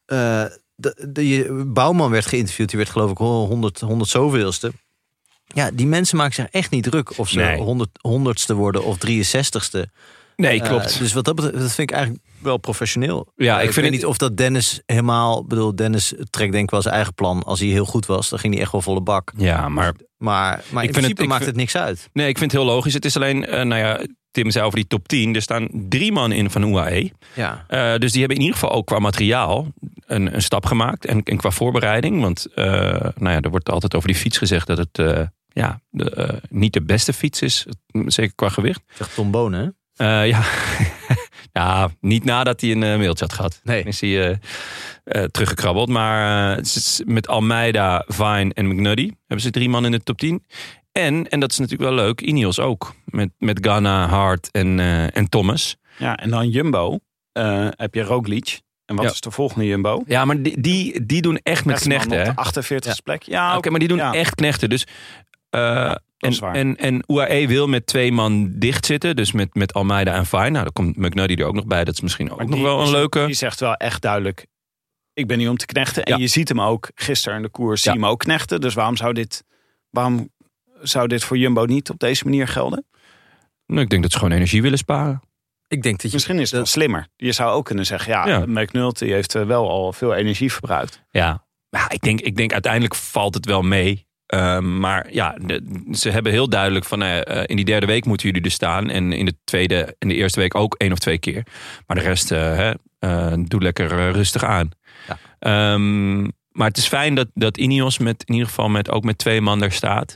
Speaker 2: eh, de, de, je- Bouwman werd geïnterviewd, die werd geloof ik honderd, honderd zoveelste. Ja, die mensen maken zich echt niet druk of ze
Speaker 3: Nee.
Speaker 2: 100 honderdste worden of 63ste.
Speaker 3: Nee,
Speaker 2: Eh,
Speaker 3: klopt.
Speaker 2: dus wat dat betreft, dat vind ik eigenlijk wel professioneel.
Speaker 3: Ja,
Speaker 2: Eh,
Speaker 3: ik
Speaker 2: ik
Speaker 3: vind
Speaker 2: weet
Speaker 3: het-
Speaker 2: niet of dat Dennis helemaal... bedoel, Dennis trekt denk ik wel zijn eigen plan. Als hij heel goed was, dan ging hij echt wel volle bak.
Speaker 3: ja, maar
Speaker 2: Maar, maar in
Speaker 3: vind het-
Speaker 2: principe
Speaker 3: ik
Speaker 2: maakt
Speaker 3: vind-
Speaker 2: het niks uit.
Speaker 3: nee, ik vind het heel logisch. Het is alleen, eh, nou ja, Tim zei over die top 10. Er staan drie man in van UAE.
Speaker 2: Ja.
Speaker 3: Eh, dus die hebben in ieder geval ook qua materiaal een, een stap gemaakt. En, en qua voorbereiding. Want eh, nou ja, er wordt altijd over die fiets gezegd dat het eh, ja, de, eh, niet de beste fiets is. mm, Zeker qua gewicht.
Speaker 2: Zegt Tom Bonen, hè?
Speaker 3: Eh, ja. ja, niet nadat hij een eh, mailtje had gehad.
Speaker 2: Nee.
Speaker 3: Dan Is hij eh, eh, teruggekrabbeld. Maar eh, het is met Almeida, Vine en McNuddy hebben ze drie man in de top 10. En, en dat is natuurlijk wel leuk, Ineos ook. Met, met Ghana, Hart en, eh, en Thomas.
Speaker 1: Ja, en dan Jumbo. eh, heb je Roglic. En wat
Speaker 3: Ja.
Speaker 1: is de volgende Jumbo?
Speaker 3: Ja, maar die, die, die doen echt met
Speaker 1: Echt
Speaker 3: knechten. hè?
Speaker 1: Op de 48e
Speaker 2: Ja.
Speaker 1: plek.
Speaker 3: Ah,
Speaker 1: Ja,
Speaker 3: Oké,
Speaker 1: oké.
Speaker 3: maar die doen
Speaker 1: Ja.
Speaker 3: echt knechten. Dus, eh,
Speaker 1: is
Speaker 3: en,
Speaker 1: waar.
Speaker 3: en, en UAE wil met twee man dicht zitten. Dus met, met Almeida en Fine. Nou, dan komt McNuddy er ook nog bij. Dat is misschien ook
Speaker 1: Maar
Speaker 3: nog
Speaker 1: die
Speaker 3: wel een
Speaker 1: is-
Speaker 3: leuke.
Speaker 1: Die zegt wel echt duidelijk, ik ben hier om te knechten. En
Speaker 3: Ja.
Speaker 1: je ziet hem ook gisteren in de koers,
Speaker 3: Ja.
Speaker 1: zie je hem ook knechten. Dus waarom zou dit, waarom zou dit voor Jumbo niet op deze manier gelden?
Speaker 3: Nou, ik denk dat ze gewoon energie willen sparen.
Speaker 2: Ik denk dat je...
Speaker 1: Misschien is het wel
Speaker 2: dat-
Speaker 1: slimmer. Je zou ook kunnen zeggen, ja,
Speaker 3: Ja.
Speaker 1: McNulty heeft eh, wel al veel energie verbruikt.
Speaker 3: Ja, maar ik, denk, ik denk uiteindelijk valt het wel mee. Eh, maar ja, de- ze hebben heel duidelijk van eh, eh, in die derde week moeten jullie er staan. En in de tweede en de eerste week ook één of twee keer. Maar de rest, eh, hè, eh, doe lekker eh, rustig aan.
Speaker 2: Ja.
Speaker 3: Ehm, maar het is fijn dat, dat Ineos met, in ieder geval met, ook met twee man daar staat.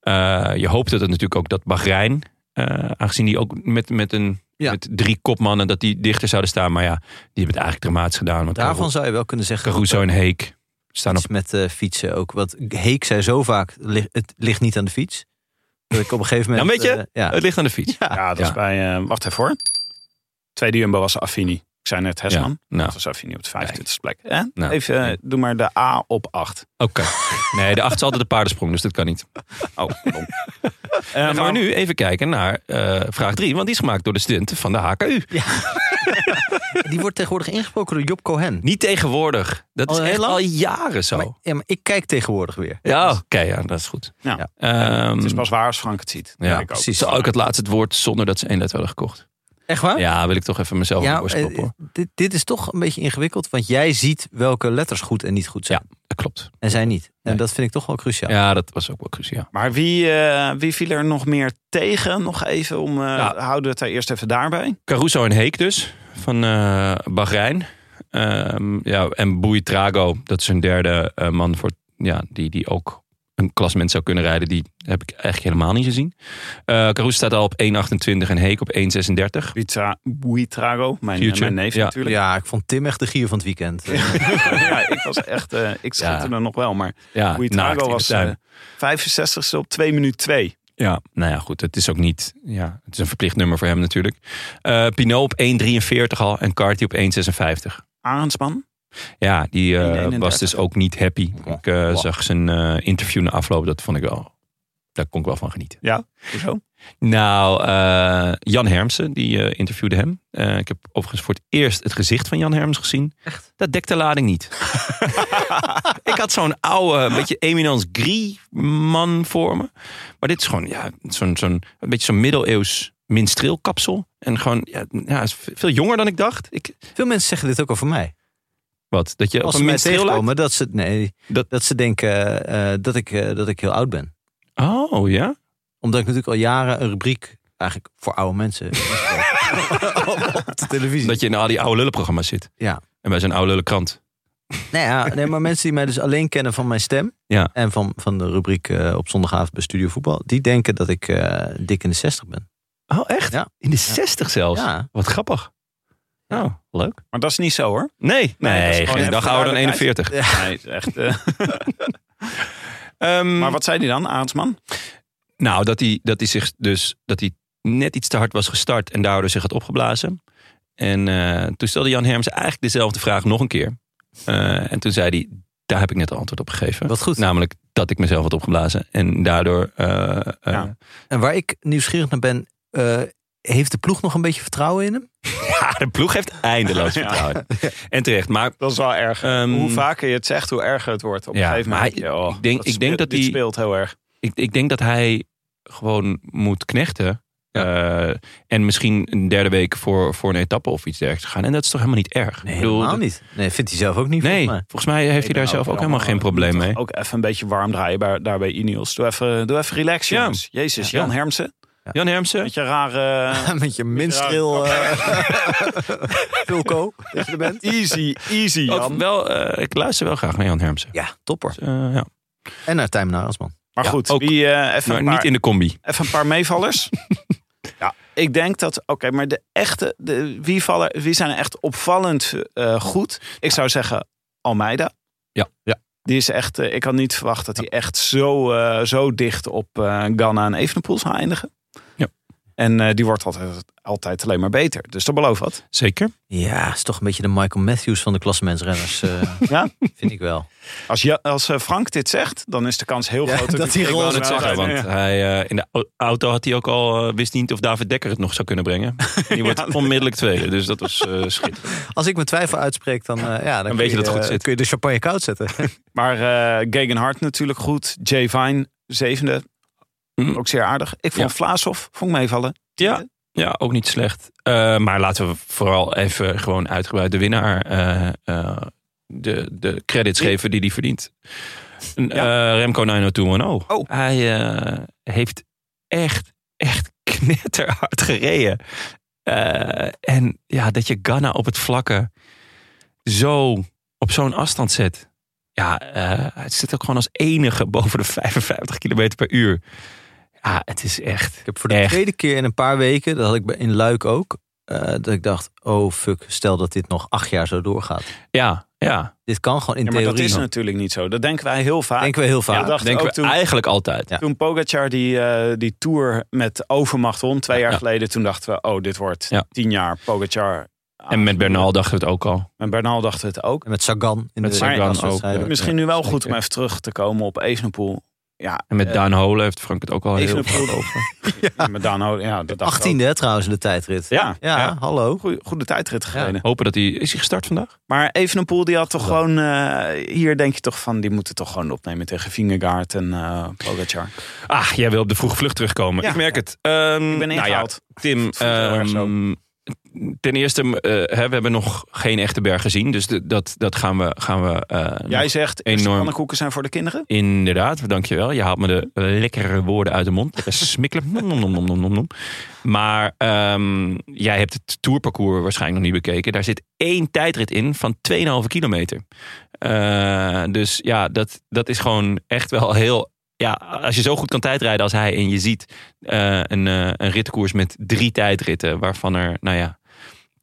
Speaker 3: Eh, je hoopt dat het natuurlijk ook dat Bahrein, eh, aangezien die ook met, met, een,
Speaker 2: Ja.
Speaker 3: met drie kopmannen, dat die dichter zouden staan. Maar ja, die hebben het eigenlijk dramatisch gedaan. Want
Speaker 2: Daarvan zou je wel kunnen zeggen...
Speaker 3: Caruso en Heek staan op
Speaker 2: iets met eh, fietsen ook. Want Heek zei zo vaak, "Lig- het ligt niet aan de fiets. Dat ik op een gegeven moment...
Speaker 3: Ja, weet je?
Speaker 2: eh, ja.
Speaker 3: Het ligt aan de fiets.
Speaker 1: Ja, dat is
Speaker 3: Ja.
Speaker 1: bij, eh, wacht even hoor. Tweede Jumbo was Affini. Ik zei net Hesman.
Speaker 3: Nou,
Speaker 1: Dat was Affini op de 25e plek. Eh?
Speaker 3: Nou.
Speaker 1: Even, eh, doe maar de A op 8.
Speaker 3: oké. Nee, de acht is altijd de paardensprong, dus dat kan niet.
Speaker 1: Oh, pardon. Eh,
Speaker 3: Dan gaan we nu even kijken naar eh, vraag 3, want die is gemaakt door de studenten van de HKU.
Speaker 2: Die wordt tegenwoordig ingesproken door Job Cohen.
Speaker 3: Niet tegenwoordig. Dat
Speaker 2: Al
Speaker 3: is
Speaker 2: heel
Speaker 3: echt
Speaker 2: lang?
Speaker 3: al jaren zo.
Speaker 2: Maar, ja, maar ik kijk tegenwoordig weer.
Speaker 3: ja, oké, ja, dat is goed.
Speaker 1: Ja.
Speaker 3: Ehm,
Speaker 1: Het is pas waar als Frank het ziet.
Speaker 3: ja,
Speaker 1: ik ook.
Speaker 3: precies. Zo, ook het laatste woord zonder dat ze één let hadden gekocht.
Speaker 2: Echt
Speaker 1: Oh.
Speaker 2: waar?
Speaker 3: Ja, wil ik toch even mezelf ja,
Speaker 2: Ja,
Speaker 3: op de borst kloppen, Oh,
Speaker 2: eh,
Speaker 3: hoor.
Speaker 2: dit, dit is toch een beetje ingewikkeld, want jij ziet welke letters goed en niet goed zijn.
Speaker 3: Dat klopt.
Speaker 2: En zij niet. En
Speaker 3: Nee.
Speaker 2: dat vind ik toch wel cruciaal.
Speaker 3: Ja, dat was ook wel cruciaal.
Speaker 1: Maar wie, eh, wie viel er nog meer tegen? Nog even om. eh,
Speaker 3: Ja.
Speaker 1: Houden we het daar eerst even daarbij?
Speaker 3: Caruso en Heek dus, van eh Bahrein. Ehm, ja, en Boei Trago, dat is een derde eh, man voor, ja, die, die ook een klassement zou kunnen rijden. Die heb ik eigenlijk helemaal niet gezien. Eh Caruso staat al op 1,28 en Heek op 1,36.
Speaker 1: Buitra- Buitrago, mijn, eh,
Speaker 3: Future.
Speaker 1: mijn neef
Speaker 3: Ja.
Speaker 1: natuurlijk.
Speaker 2: Ja, ik vond Tim echt de gier van het weekend.
Speaker 1: Ja. ik was echt. eh, ik schitterde nog wel. Maar
Speaker 3: Ja, naakt in
Speaker 1: Buitrago
Speaker 3: de
Speaker 1: was
Speaker 3: tuin.
Speaker 1: eh, 65ste op 2 minuut 2.
Speaker 3: Ja, nou ja, goed. Het is ook niet. Ja, het is een verplicht nummer voor hem natuurlijk. Eh Pinot op 1,43 al en Carty op 1,56.
Speaker 1: Arendsman.
Speaker 3: Ja, die eh,
Speaker 1: 1,31.
Speaker 3: was dus ook niet happy. Ik eh,
Speaker 2: Wow.
Speaker 3: zag zijn eh, interview na afloop. Dat vond ik wel. Daar kon ik wel van genieten.
Speaker 1: Hoezo?
Speaker 3: Nou, eh, Jan Hermsen, die eh, interviewde hem. Eh, ik heb overigens voor het eerst het gezicht van Jan Hermsen gezien. Echt? Dat dekt de lading niet. ik had zo'n oude, beetje Eminence Gris man voor me. Maar dit is gewoon, ja, zo'n, zo'n, een beetje zo'n middeleeuws minstreel kapsel. En gewoon, ja, ja, is veel jonger dan ik dacht. Ik,
Speaker 2: Veel mensen zeggen dit ook over mij.
Speaker 3: wat, dat je
Speaker 2: Als
Speaker 3: op
Speaker 2: ze
Speaker 3: een
Speaker 2: mij
Speaker 3: minstreel lijkt?
Speaker 2: tegenkomen, dat ze, nee,
Speaker 3: Dat-
Speaker 2: dat... ze denken eh, dat, ik, eh, dat ik heel oud ben.
Speaker 3: Oh, ja?
Speaker 2: Omdat ik natuurlijk al jaren een rubriek eigenlijk voor oude mensen op de televisie.
Speaker 3: Dat je in al die oude lullenprogramma's zit.
Speaker 2: Ja.
Speaker 3: En bij zo'n oude lullenkrant.
Speaker 2: Nee, ja, nee, maar mensen die mij dus alleen kennen van mijn stem.
Speaker 3: Ja.
Speaker 2: En van, van de rubriek eh, op zondagavond bij Studio Voetbal. Die denken dat ik eh, dik in de 60 ben.
Speaker 3: Oh, echt?
Speaker 2: Ja.
Speaker 3: In de 60 zelfs?
Speaker 2: Ja.
Speaker 3: Wat grappig. Nou, leuk.
Speaker 1: Maar dat is niet zo hoor.
Speaker 3: Nee,
Speaker 1: Nee, dat is
Speaker 3: nee,
Speaker 1: gewoon
Speaker 3: geen
Speaker 1: even
Speaker 3: dag ouder dan
Speaker 1: duidelijkheid.
Speaker 3: 41.
Speaker 1: Nee, het is echt, eh,
Speaker 3: Ehm,
Speaker 1: maar wat zei hij dan, Arendsman?
Speaker 3: Nou, dat hij, dat hij zich dus dat hij net iets te hard was gestart en daardoor zich had opgeblazen. En eh, toen stelde Jan Herms eigenlijk dezelfde vraag nog een keer. Eh, en toen zei hij, daar heb ik net een antwoord op gegeven.
Speaker 2: Wat goed.
Speaker 3: Namelijk dat ik mezelf had opgeblazen. En daardoor... eh, eh, ja.
Speaker 1: Ja.
Speaker 2: En waar ik nieuwsgierig naar ben, eh, heeft de ploeg nog een beetje vertrouwen in hem?
Speaker 3: de ploeg heeft eindeloos vertrouwen. En terecht. Maar
Speaker 1: Dat is wel erg.
Speaker 3: Ehm,
Speaker 1: hoe vaker je het zegt, hoe erger het wordt. Op
Speaker 3: ja,
Speaker 1: een gegeven
Speaker 3: maar
Speaker 1: moment.
Speaker 3: hij-
Speaker 1: denk je, oh,
Speaker 3: ik denk- ik denk
Speaker 1: speelt-
Speaker 3: dat
Speaker 1: dit
Speaker 3: die-
Speaker 1: speelt heel erg.
Speaker 3: Ik, ik denk dat hij gewoon moet knechten. Eh, en misschien een derde week voor, voor een etappe of iets dergelijks gaan. En dat is toch helemaal niet erg?
Speaker 2: Nee,
Speaker 3: Ik bedoel,
Speaker 2: helemaal
Speaker 3: dat-
Speaker 2: niet. Nee, vindt hij zelf ook niet.
Speaker 3: Nee,
Speaker 2: volgens mij.
Speaker 3: volgens mij heeft hij daar zelf ook helemaal geen probleem mee.
Speaker 1: Ook even een beetje warm draaien bij, daar bij Ineos. Doe even, doe even relax,
Speaker 3: Ja.
Speaker 1: jongens. Jezus, Jan Hermsen.
Speaker 3: Jan Hermsen?
Speaker 1: Met je rare...
Speaker 2: Met je minstreel, eh Vulco, dat je er bent.
Speaker 1: easy, easy,
Speaker 3: Ook
Speaker 1: Jan.
Speaker 3: wel, eh, ik luister wel graag naar Jan Hermsen.
Speaker 2: Ja, topper.
Speaker 3: Dus, eh, ja.
Speaker 2: En naar Tijmen Arensman.
Speaker 1: Maar
Speaker 3: Ja,
Speaker 1: goed,
Speaker 3: ook.
Speaker 1: wie, eh, even,
Speaker 3: Maar
Speaker 1: een paar,
Speaker 3: niet in de combi.
Speaker 1: even een paar meevallers. ja, ik denk dat... Oké, maar de echte... De, wie, vallen, wie zijn er echt opvallend eh, goed? Ik zou zeggen Almeida.
Speaker 3: Ja, ja.
Speaker 1: Die is echt... eh, ik had niet verwacht dat hij echt zo, eh, zo dicht op eh Ghana en Evenepoel zou eindigen.
Speaker 3: Ja.
Speaker 1: En eh, die wordt altijd, altijd alleen maar beter. Dus dat belooft wat.
Speaker 3: Zeker.
Speaker 2: Ja, is toch een beetje de Michael Matthews van de klassementsrenners. eh,
Speaker 1: Ja.
Speaker 2: Vind ik wel.
Speaker 1: Als, ja, als eh, Frank dit zegt, dan is de kans heel
Speaker 2: Ja,
Speaker 1: groot
Speaker 2: dat hij
Speaker 1: ik
Speaker 2: roze
Speaker 1: wel
Speaker 2: zou
Speaker 1: eens
Speaker 2: zijn,
Speaker 1: uit-
Speaker 3: want
Speaker 1: ja.
Speaker 3: hij, eh, in de au- auto had hij ook al, eh, wist niet of David Dekker het nog zou kunnen brengen. Die wordt onmiddellijk tweede, dus dat was eh schitterend.
Speaker 2: Als ik mijn twijfel uitspreek, dan, eh, ja, dan, kun
Speaker 3: weet je dat
Speaker 2: eh,
Speaker 3: goed zit.
Speaker 2: kun je de champagne koud zetten.
Speaker 1: Maar eh Gegenhard natuurlijk goed. Jay Vine, zevende.
Speaker 3: Mhm.
Speaker 1: Ook zeer aardig. Ik vond
Speaker 3: Ja.
Speaker 1: Vlaashoff, vond ik meevallen.
Speaker 3: Ja, ja ook niet slecht. Eh, maar laten we vooral even gewoon uitgebreid de winnaar eh, eh, de, de credits geven die hij verdient. Een, eh, Remco 90210.
Speaker 1: Oh.
Speaker 3: Hij eh, heeft echt, echt knetterhard gereden. Eh, en ja, dat je Ganna op het vlakke zo op zo'n afstand zet. Ja, eh, het zit ook gewoon als enige boven de 55 km per uur. Ja, het is echt.
Speaker 2: Ik heb voor de
Speaker 3: Echt.
Speaker 2: tweede keer in een paar weken, dat had ik bij- in Luik ook, eh, dat ik dacht, oh fuck, stel dat dit nog acht jaar zo doorgaat.
Speaker 3: Ja, ja.
Speaker 2: Dit kan gewoon in
Speaker 1: Ja, maar
Speaker 2: theorie.
Speaker 1: dat is
Speaker 2: nog.
Speaker 1: natuurlijk niet zo. Dat denken wij heel vaak.
Speaker 2: Denken we heel
Speaker 3: Ja,
Speaker 2: vaak.
Speaker 3: dat
Speaker 1: dacht
Speaker 3: denken we
Speaker 1: ook toen-
Speaker 3: eigenlijk altijd.
Speaker 2: Ja.
Speaker 1: Toen Pogacar die, eh, die tour met overmacht won, twee jaar
Speaker 3: Ja.
Speaker 1: geleden, toen dachten we, oh, dit wordt
Speaker 3: Ja.
Speaker 1: tien jaar Pogacar.
Speaker 3: En met Bernal dachten we het ook al.
Speaker 1: En Bernal dacht het ook.
Speaker 2: En met Sagan in
Speaker 3: Met
Speaker 2: de
Speaker 3: Sagan
Speaker 2: wereldwedstrijden.
Speaker 3: ook, ja.
Speaker 1: Misschien nu wel
Speaker 3: zeker.
Speaker 1: goed om even terug te komen op Evenepoel. Ja,
Speaker 3: En met
Speaker 1: eh,
Speaker 3: Daan Hole heeft Frank het ook al heel
Speaker 1: Evenepoel.
Speaker 3: veel over.
Speaker 1: ja. met Daan Ho- ja, dat dacht ik ook.
Speaker 2: 18e hè, trouwens in de tijdrit.
Speaker 1: Ja,
Speaker 2: Ja,
Speaker 3: ja.
Speaker 2: hallo.
Speaker 1: goeie- goede tijdrit gereden.
Speaker 3: Hopen dat hij... Is hij gestart vandaag?
Speaker 1: Maar Evenepoel die had toch
Speaker 2: Ja.
Speaker 1: gewoon... eh, hier denk je toch van, die moeten toch gewoon opnemen tegen Vingegaard en eh Pogacar.
Speaker 3: Ah, jij wil op de vroege vlucht terugkomen.
Speaker 1: Ja.
Speaker 3: ik merk het. Ehm,
Speaker 1: Ik ben
Speaker 3: nou ja,
Speaker 1: ingehaald.
Speaker 3: Tim,
Speaker 1: voelt heel erg zo.
Speaker 3: ehm, ten eerste, eh, hè, we hebben nog geen echte berg gezien. Dus de- dat, dat gaan we... Gaan we eh,
Speaker 1: Jij
Speaker 3: nog-
Speaker 1: zegt, eerst de
Speaker 3: enorm.
Speaker 1: pannenkoeken zijn voor de kinderen.
Speaker 3: Inderdaad, dankjewel. Je haalt me de lekkere woorden uit de mond. Lekker smikkelen. Nom, nom, nom, nom, nom, nom, nom. Maar ehm, jij hebt het tourparcours waarschijnlijk nog niet bekeken. Daar zit één tijdrit in van 2,5 kilometer. Eh, dus ja, dat, dat is gewoon echt wel heel... Ja, als je zo goed kan tijdrijden als hij en je ziet eh, een, eh, een ritkoers met drie tijdritten... waarvan er, nou ja,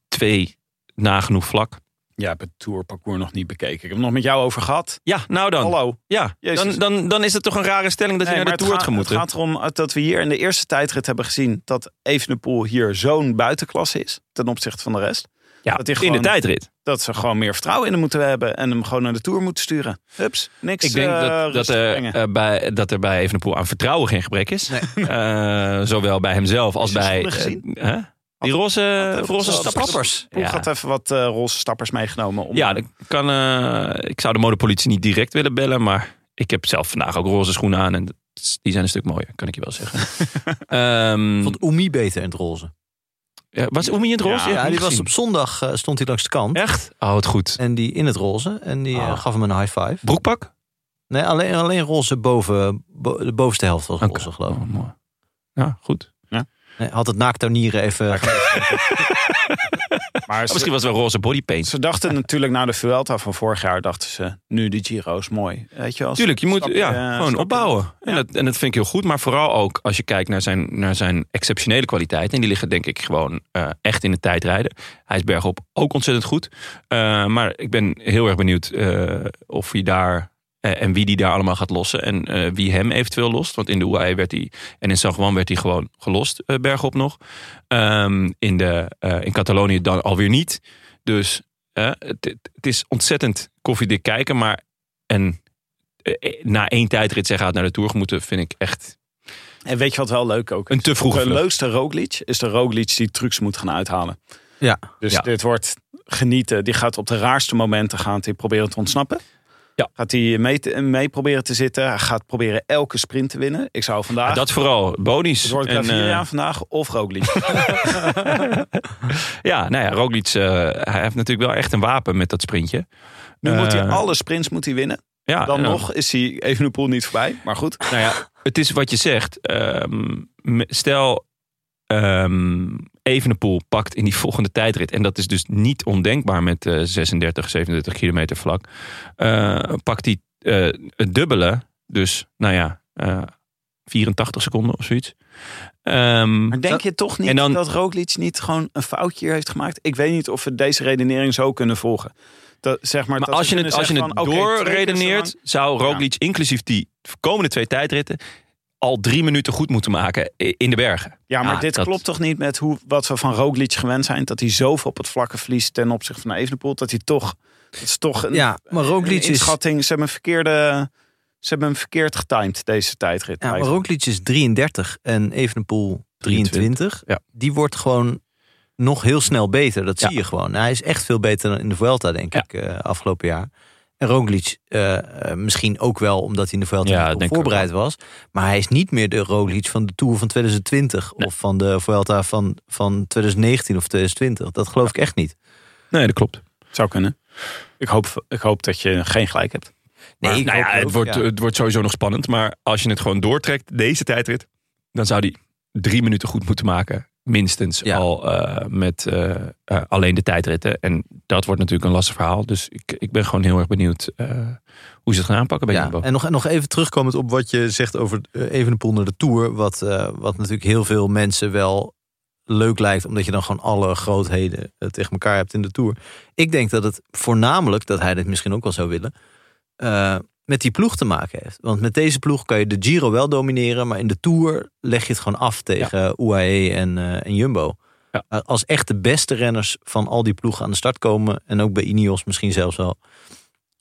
Speaker 3: twee nagenoeg vlak.
Speaker 1: Jij hebt het tourparcours nog niet bekeken. Ik heb het nog met jou over gehad.
Speaker 3: Ja, nou dan.
Speaker 1: Hallo.
Speaker 3: Ja, dan,
Speaker 1: Jezus.
Speaker 3: dan, dan is het toch een rare stelling dat
Speaker 1: Nee,
Speaker 3: je naar
Speaker 1: maar
Speaker 3: de Tour had
Speaker 1: het, gaat, het
Speaker 3: gemoeten.
Speaker 1: gaat erom eh, dat we hier in de eerste tijdrit hebben gezien... dat Evenepoel hier zo'n buitenklasse is ten opzichte van de rest.
Speaker 3: Ja,
Speaker 1: Dat hij gewoon-
Speaker 3: in de tijdrit.
Speaker 1: Dat ze gewoon meer vertrouwen in hem moeten hebben... en hem gewoon naar de Tour moeten sturen. Hups, niks
Speaker 3: Ik denk
Speaker 1: eh,
Speaker 3: dat, dat,
Speaker 1: rustig
Speaker 3: er,
Speaker 1: brengen.
Speaker 3: eh, bij, dat er bij Evenepoel aan vertrouwen geen gebrek is. Eh, zowel bij hemzelf als
Speaker 1: Is hij
Speaker 3: bij...
Speaker 1: schoenen gezien?
Speaker 3: eh, hè? Die roze,
Speaker 1: had-
Speaker 3: roze
Speaker 1: had- had-
Speaker 3: stappers.
Speaker 2: Stappers.
Speaker 1: Poel
Speaker 3: Ja.
Speaker 1: had even wat eh roze stappers meegenomen. Om,
Speaker 3: Ja, dat kan, eh, ik zou de modepolitie niet direct willen bellen. Maar ik heb zelf vandaag ook roze schoenen aan. En dat is- die zijn een stuk mooier, kan ik je wel zeggen. Ehm,
Speaker 2: Ik vond Oemi beter in het roze.
Speaker 3: ja, was Oemi in het roze?
Speaker 2: Ja,
Speaker 3: Ik heb
Speaker 2: die
Speaker 3: niet
Speaker 2: was
Speaker 3: gezien.
Speaker 2: op zondag, eh, stond hij langs de kant.
Speaker 3: Echt? Oh, het goed.
Speaker 2: En die in het roze. En die eh,
Speaker 3: Ah.
Speaker 2: gaf hem een high five.
Speaker 3: Broekpak?
Speaker 2: Nee, alleen, alleen roze boven, bo- de bovenste helft was
Speaker 3: Oké.
Speaker 2: roze, geloof ik.
Speaker 3: Oh, mooi. Ja, goed.
Speaker 2: Nee, had het naakttuinieren even...
Speaker 1: maar
Speaker 3: Ja,
Speaker 1: ze-
Speaker 3: misschien was het wel roze bodypaint.
Speaker 1: Ze dachten natuurlijk na de Vuelta van vorig jaar, dachten ze, nu die Giro is mooi. Weet je wel?
Speaker 3: Tuurlijk, je moet
Speaker 1: Stapje,
Speaker 3: ja,
Speaker 1: eh,
Speaker 3: gewoon
Speaker 1: stapje.
Speaker 3: opbouwen. En,
Speaker 1: Ja.
Speaker 3: dat, en dat vind ik heel goed. Maar vooral ook als je kijkt naar zijn, naar zijn exceptionele kwaliteiten. En die liggen denk ik gewoon eh, echt in de tijdrijden. Hij is bergop ook ontzettend goed. Eh, maar ik ben heel erg benieuwd eh, of hij daar... eh, en wie die daar allemaal gaat lossen. En eh, wie hem eventueel lost. Want in de UAE werd hij... En in San Juan werd hij gewoon gelost, eh, bergop nog. Ehm, in, de, eh, in Catalonië dan alweer niet. Dus eh, het, het is ontzettend koffiedik kijken. Maar... En eh, na één tijdrit zeggen gaat naar de Tour moeten, vind ik echt
Speaker 1: En weet je wat wel leuk ook is?
Speaker 3: een te vroege
Speaker 1: De
Speaker 3: vlucht.
Speaker 1: leukste Roglic is de Roglic die trucs moet gaan uithalen.
Speaker 2: ja.
Speaker 1: Dus
Speaker 3: Ja.
Speaker 1: dit wordt genieten. Die gaat op de raarste momenten gaan die proberen te ontsnappen.
Speaker 3: Ja.
Speaker 1: Gaat hij mee, te- mee proberen te zitten. Hij gaat proberen elke sprint te winnen. Ik zou vandaag... Dus
Speaker 3: Ja, dat vooral. Bonies.
Speaker 1: het wordt
Speaker 3: En,
Speaker 1: Gaviria
Speaker 3: eh,
Speaker 1: vandaag of Roglic.
Speaker 3: ja, nou ja, Roglic, eh, hij heeft natuurlijk wel echt een wapen met dat sprintje.
Speaker 1: nu moet hij
Speaker 3: Eh, Ah,
Speaker 1: alle sprints moet hij winnen.
Speaker 3: ja,
Speaker 1: Dan
Speaker 3: en
Speaker 1: nog is hij Evenepoel niet voorbij. Maar goed.
Speaker 3: Nou ja, het is wat je zegt. Ehm, m- stel, ehm Evenepoel pakt in die volgende tijdrit... en dat is dus niet ondenkbaar met eh, 36, 37 kilometer vlak... eh, pakt hij eh, het dubbele, dus nou ja, eh, 84 seconden of zoiets. Ehm,
Speaker 1: Maar denk je toch niet
Speaker 3: En dan-
Speaker 1: dat Roglic niet gewoon een foutje hier heeft gemaakt? Ik weet niet of we deze redenering zo kunnen volgen. Dat, zeg maar,
Speaker 3: Maar
Speaker 1: dat
Speaker 3: als
Speaker 1: we
Speaker 3: je het,
Speaker 1: kunnen
Speaker 3: als je het
Speaker 1: zeggen van, oké, twee keer zo
Speaker 3: doorredeneert, zou Roglic inclusief die komende twee tijdritten al drie minuten goed moeten maken i- in de bergen.
Speaker 1: Ja, maar
Speaker 3: Ah,
Speaker 1: dit
Speaker 3: dat-
Speaker 1: klopt toch niet met hoe, wat we van Roglic gewend zijn? Dat hij zoveel op het vlakke verliest ten opzichte van Evenepoel. Dat hij toch... Dat is toch een,
Speaker 2: Ja, maar Roglic
Speaker 1: een
Speaker 2: is,
Speaker 1: inschatting. Ze hebben een verkeerde... Ze hebben hem verkeerd getimed, deze tijdrit.
Speaker 2: ja, maar
Speaker 1: eigenlijk.
Speaker 2: Roglic is 33 en Evenepoel 23.
Speaker 3: ja.
Speaker 2: Die wordt gewoon nog heel snel beter. Dat
Speaker 3: Ja.
Speaker 2: zie je gewoon. Hij is echt veel beter dan in de Vuelta, denk
Speaker 3: Ja.
Speaker 2: ik, eh, afgelopen jaar. En Roglic eh, eh, misschien ook wel omdat hij in de Vuelta
Speaker 3: Ja,
Speaker 2: niet
Speaker 3: dat
Speaker 2: op
Speaker 3: denk ik
Speaker 2: voorbereid was. Maar hij is niet meer de Roglic van de Tour van 2020. Of van de Vuelta van, van 2019 of 2020. Dat geloof ik echt niet.
Speaker 3: Nee, dat klopt.
Speaker 1: Zou kunnen. Ik hoop, ik hoop dat je geen gelijk hebt.
Speaker 2: Nee, ik
Speaker 3: nou
Speaker 2: hoop
Speaker 3: ja,
Speaker 2: het
Speaker 3: het,
Speaker 2: ook,
Speaker 3: wordt,
Speaker 2: ja.
Speaker 3: het wordt sowieso nog spannend. Maar als je het gewoon doortrekt, deze tijdrit, dan zou die drie minuten goed moeten maken. Minstens
Speaker 2: Ja.
Speaker 3: al eh, met eh, eh, alleen de tijdritten. En dat wordt natuurlijk een lastig verhaal. Dus ik, ik ben gewoon heel erg benieuwd eh, hoe ze het gaan aanpakken bij
Speaker 2: Ja,
Speaker 3: Jumbo.
Speaker 2: en nog, nog even terugkomend op wat je zegt over eh, Evenepoel naar de Tour. Wat, eh, wat natuurlijk heel veel mensen wel leuk lijkt. Omdat je dan gewoon alle grootheden eh, tegen elkaar hebt in de Tour. Ik denk dat het voornamelijk, dat hij dit misschien ook wel zou willen... eh, met die ploeg te maken heeft. Want met deze ploeg kan je de Giro wel domineren. Maar in de Tour leg je het gewoon af tegen UAE en, eh, en Jumbo.
Speaker 3: Ja.
Speaker 2: Eh, Als echt de beste renners van al die ploegen aan de start komen. En ook bij Ineos misschien zelfs wel.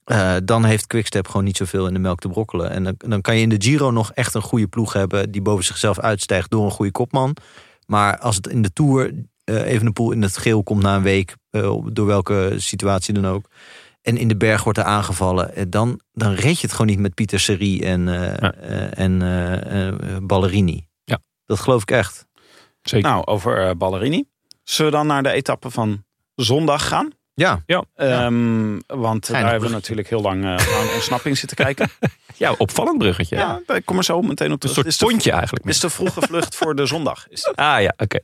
Speaker 2: Eh, dan heeft Quickstep gewoon niet zoveel in de melk te brokkelen. En dan, dan kan je in de Giro nog echt een goede ploeg hebben... die boven zichzelf uitstijgt door een goede kopman. Maar als het in de Tour eh Evenepoel in het geel komt na een week... eh, door welke situatie dan ook... en in de berg wordt er aangevallen... eh, dan, dan red je het gewoon niet met Pieter Serie en, eh,
Speaker 3: Ja.
Speaker 2: eh, en eh, eh, Ballerini.
Speaker 3: Ja.
Speaker 2: Dat geloof ik echt.
Speaker 3: Ik-
Speaker 1: Nou, over eh, Ballerini. Zullen we dan naar de etappe van zondag gaan?
Speaker 2: Ja,
Speaker 1: Ehm, want daar hebben we
Speaker 2: bruggetje.
Speaker 1: natuurlijk heel lang eh, aan ontsnapping zitten kijken.
Speaker 3: Ja, opvallend bruggetje.
Speaker 1: Ja, ik kom er zo meteen op
Speaker 3: Een
Speaker 1: terug.
Speaker 3: soort
Speaker 1: Dit is de-
Speaker 3: tontje eigenlijk.
Speaker 1: dit is de vroege vlucht voor de zondag. Is dit.
Speaker 3: Ah ja, oké.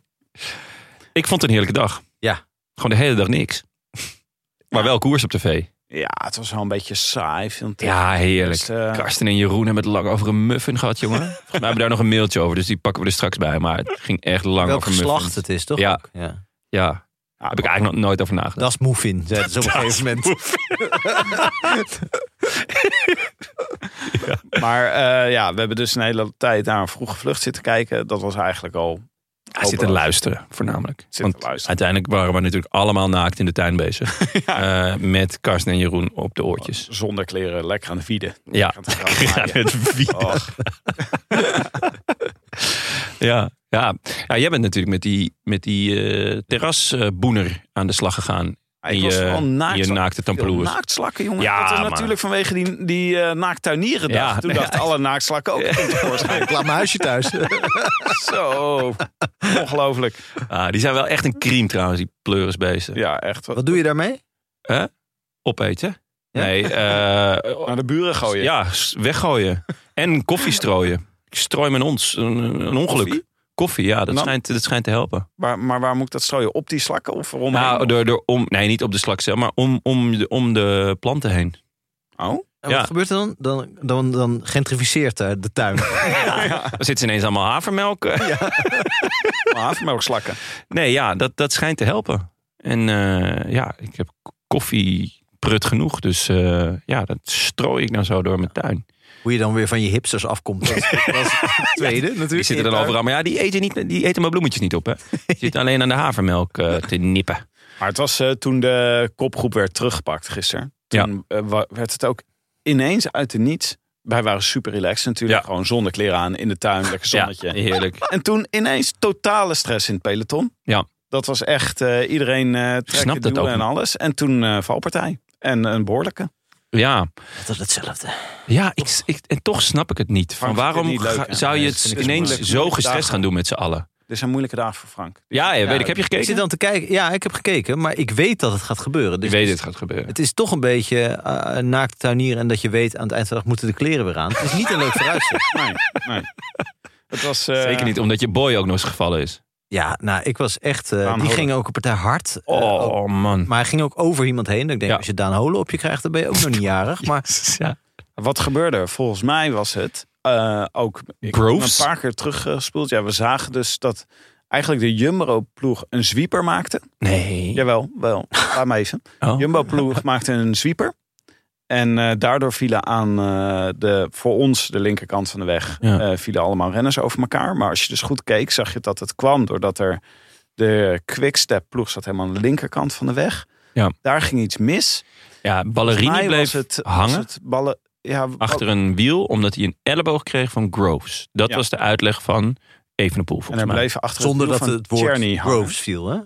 Speaker 3: Ik vond het een heerlijke dag.
Speaker 2: Ja.
Speaker 3: Gewoon de hele dag niks. Maar wel koers op tv.
Speaker 1: Ja, het was wel een beetje saai. Vind ik.
Speaker 3: Ja, heerlijk.
Speaker 1: Dus, eh,
Speaker 3: Karsten en Jeroen hebben het lang over een muffin gehad, jongen. Volgens mij hebben we daar nog een mailtje over, dus die pakken we er straks bij. Maar het ging echt lang
Speaker 2: welk
Speaker 3: over muffins.
Speaker 2: geslacht het is, toch?
Speaker 3: Ja.
Speaker 2: ook? ja.
Speaker 3: Ja,
Speaker 1: Ja,
Speaker 3: heb ik eigenlijk nog nooit over nagedacht.
Speaker 2: Das Moefin, zeiden ze op een gegeven moment.
Speaker 1: Maar eh, ja, we hebben dus een hele tijd naar een vroege vlucht zitten kijken. Dat was eigenlijk al.
Speaker 3: Hij zit te luisteren, voornamelijk.
Speaker 1: te
Speaker 3: Want
Speaker 1: luisteren.
Speaker 3: uiteindelijk waren we natuurlijk allemaal naakt in de tuin bezig. Eh, met Karsten en Jeroen op de oortjes.
Speaker 1: Zonder kleren, lekker aan de vieden.
Speaker 3: Ja,
Speaker 1: Lekker aan
Speaker 3: Ja, Oh,
Speaker 1: het graf maaien.
Speaker 3: het wie-
Speaker 1: Och,
Speaker 3: ja. Ja. ja, jij bent natuurlijk met die, met die eh terrasboener eh, aan de slag gegaan.
Speaker 1: ik
Speaker 3: In
Speaker 1: was
Speaker 3: je-
Speaker 1: vooral
Speaker 3: in je
Speaker 1: naakt.
Speaker 3: naakte
Speaker 1: Veel
Speaker 3: tampeloers.
Speaker 1: Naaktslakken, jongen.
Speaker 3: Ja,
Speaker 1: dat is
Speaker 3: maar-
Speaker 1: natuurlijk vanwege die, die eh naakttuinieren dag.
Speaker 3: Ja,
Speaker 1: Toen
Speaker 3: nee,
Speaker 1: dachten alle naaktslakken ook. komt tevoorschijn.
Speaker 2: Ik laat mijn huisje thuis.
Speaker 1: Zo, ongelooflijk.
Speaker 3: Ah, die zijn wel echt een crime trouwens, die pleurisbeesten.
Speaker 1: Ja, echt.
Speaker 2: Wat doe je daarmee?
Speaker 3: Opeten?
Speaker 2: Ja?
Speaker 3: Nee, eh,
Speaker 1: Naar de buren gooien.
Speaker 3: Ja, s- weggooien. En koffie strooien. Ik strooi mijn ons. Een, een ongeluk. Koffie,
Speaker 1: Koffie?
Speaker 3: ja, dat
Speaker 1: Nou.
Speaker 3: schijnt, dat schijnt te helpen.
Speaker 1: Maar, maar waar moet ik dat strooien? Op die slakken of eromheen?
Speaker 3: Nou, door, door, om, nee, niet op de slak zelf, maar om, om, de, om de planten heen.
Speaker 1: oh?
Speaker 2: En
Speaker 3: Ja.
Speaker 2: wat gebeurt er dan? Dan, dan, dan gentrificeert eh, de tuin.
Speaker 3: Dan zitten ze ineens allemaal havermelk. eh.
Speaker 1: havermelkslakken.
Speaker 3: Nee, ja, dat, dat schijnt te helpen. En eh, ja, ik heb k- koffie prut genoeg. Dus eh, ja, dat strooi ik dan zo door mijn tuin.
Speaker 2: Hoe je dan weer van je hipsters afkomt. Dat is, dat is het tweede natuurlijk.
Speaker 3: Die zitten er overal. Maar ja, die eten, niet, die eten mijn bloemetjes niet op, hè. Die zitten alleen aan de havermelk eh, te nippen.
Speaker 1: Maar het was eh, toen de kopgroep werd teruggepakt gisteren. Toen eh, wa- werd het ook ineens uit de niets. Wij waren super relaxed natuurlijk.
Speaker 3: Ja.
Speaker 1: Gewoon zonder kleren aan in de tuin, lekker zonnetje.
Speaker 3: Ja, heerlijk.
Speaker 1: En toen ineens totale stress in het peloton.
Speaker 3: Ja.
Speaker 1: Dat was echt eh, iedereen eh trekken,
Speaker 3: Snapt het
Speaker 1: duwen
Speaker 3: ook
Speaker 1: en
Speaker 3: niet.
Speaker 1: alles. En toen eh, valpartij. En een behoorlijke.
Speaker 3: Ja,
Speaker 2: Dat is hetzelfde.
Speaker 3: ja ik, ik, en toch snap ik het niet. Van
Speaker 1: Frank vindt
Speaker 3: waarom
Speaker 1: het niet leuk,
Speaker 3: ga-
Speaker 1: hè?
Speaker 3: zou je
Speaker 1: Nee,
Speaker 3: het
Speaker 1: dat vind ik
Speaker 3: ineens
Speaker 1: moeilijk.
Speaker 3: zo
Speaker 1: Moeilijke
Speaker 3: gestrest
Speaker 1: dagen.
Speaker 3: gaan doen met z'n allen?
Speaker 1: Dit zijn moeilijke dagen voor Frank.
Speaker 3: Ja, ja, weet ik. Heb je
Speaker 2: Ik zit
Speaker 3: gekeken?
Speaker 2: dan te kijken. Ja, ik heb gekeken, maar ik weet dat het gaat gebeuren. Dus
Speaker 3: Ik weet dit gaat gebeuren.
Speaker 2: Het is toch een beetje eh, naakt tuinieren en dat je weet aan het eind van de dag moeten de kleren weer aan. Het is niet een leuk vooruitzicht.
Speaker 1: Nee, nee. Het was, eh,
Speaker 3: Zeker niet, omdat je boy ook nog eens gevallen is.
Speaker 2: Ja, nou, ik was echt. eh, die
Speaker 1: Holen.
Speaker 2: ging ook een partij hard. eh, ook-
Speaker 3: Oh, man.
Speaker 2: maar hij ging ook over iemand heen. Dat Ik denk,
Speaker 3: Ja.
Speaker 2: als je Daan Holen op je krijgt, dan ben je ook nog niet jarig. Maar
Speaker 3: Ja.
Speaker 1: Wat gebeurde? er? Volgens mij was het eh, ook ik heb
Speaker 3: Groves?
Speaker 1: hem een paar keer teruggespoeld. Ja, we zagen dus dat eigenlijk de Jumbo-ploeg een zwieper maakte.
Speaker 3: Nee.
Speaker 1: Jawel, wel. Laat maar even.
Speaker 3: Oh.
Speaker 1: Jumbo-ploeg maakte een zwieper. En eh, daardoor vielen aan eh, de, voor ons de linkerkant van de weg
Speaker 3: Ja.
Speaker 1: eh, vielen allemaal renners over elkaar. Maar als je dus goed keek, zag je dat het kwam doordat er de Quickstep-ploeg zat helemaal aan de linkerkant van de weg.
Speaker 3: Ja.
Speaker 1: Daar ging iets mis.
Speaker 3: Ja,
Speaker 1: Volgens
Speaker 3: ballerine
Speaker 1: mij
Speaker 3: bleef
Speaker 1: was het, was
Speaker 3: hangen
Speaker 1: het oh. ballen, ja, wa-
Speaker 3: achter een wiel omdat hij een elleboog kreeg van Groves. Dat
Speaker 1: Ja.
Speaker 3: was de uitleg van Evenepoel
Speaker 1: En
Speaker 3: volgens
Speaker 1: er
Speaker 3: mij.
Speaker 1: bleven achter
Speaker 2: zonder
Speaker 1: wiel
Speaker 2: dat
Speaker 1: van
Speaker 2: het woord
Speaker 1: Tierney hangen.
Speaker 2: Groves viel, hè?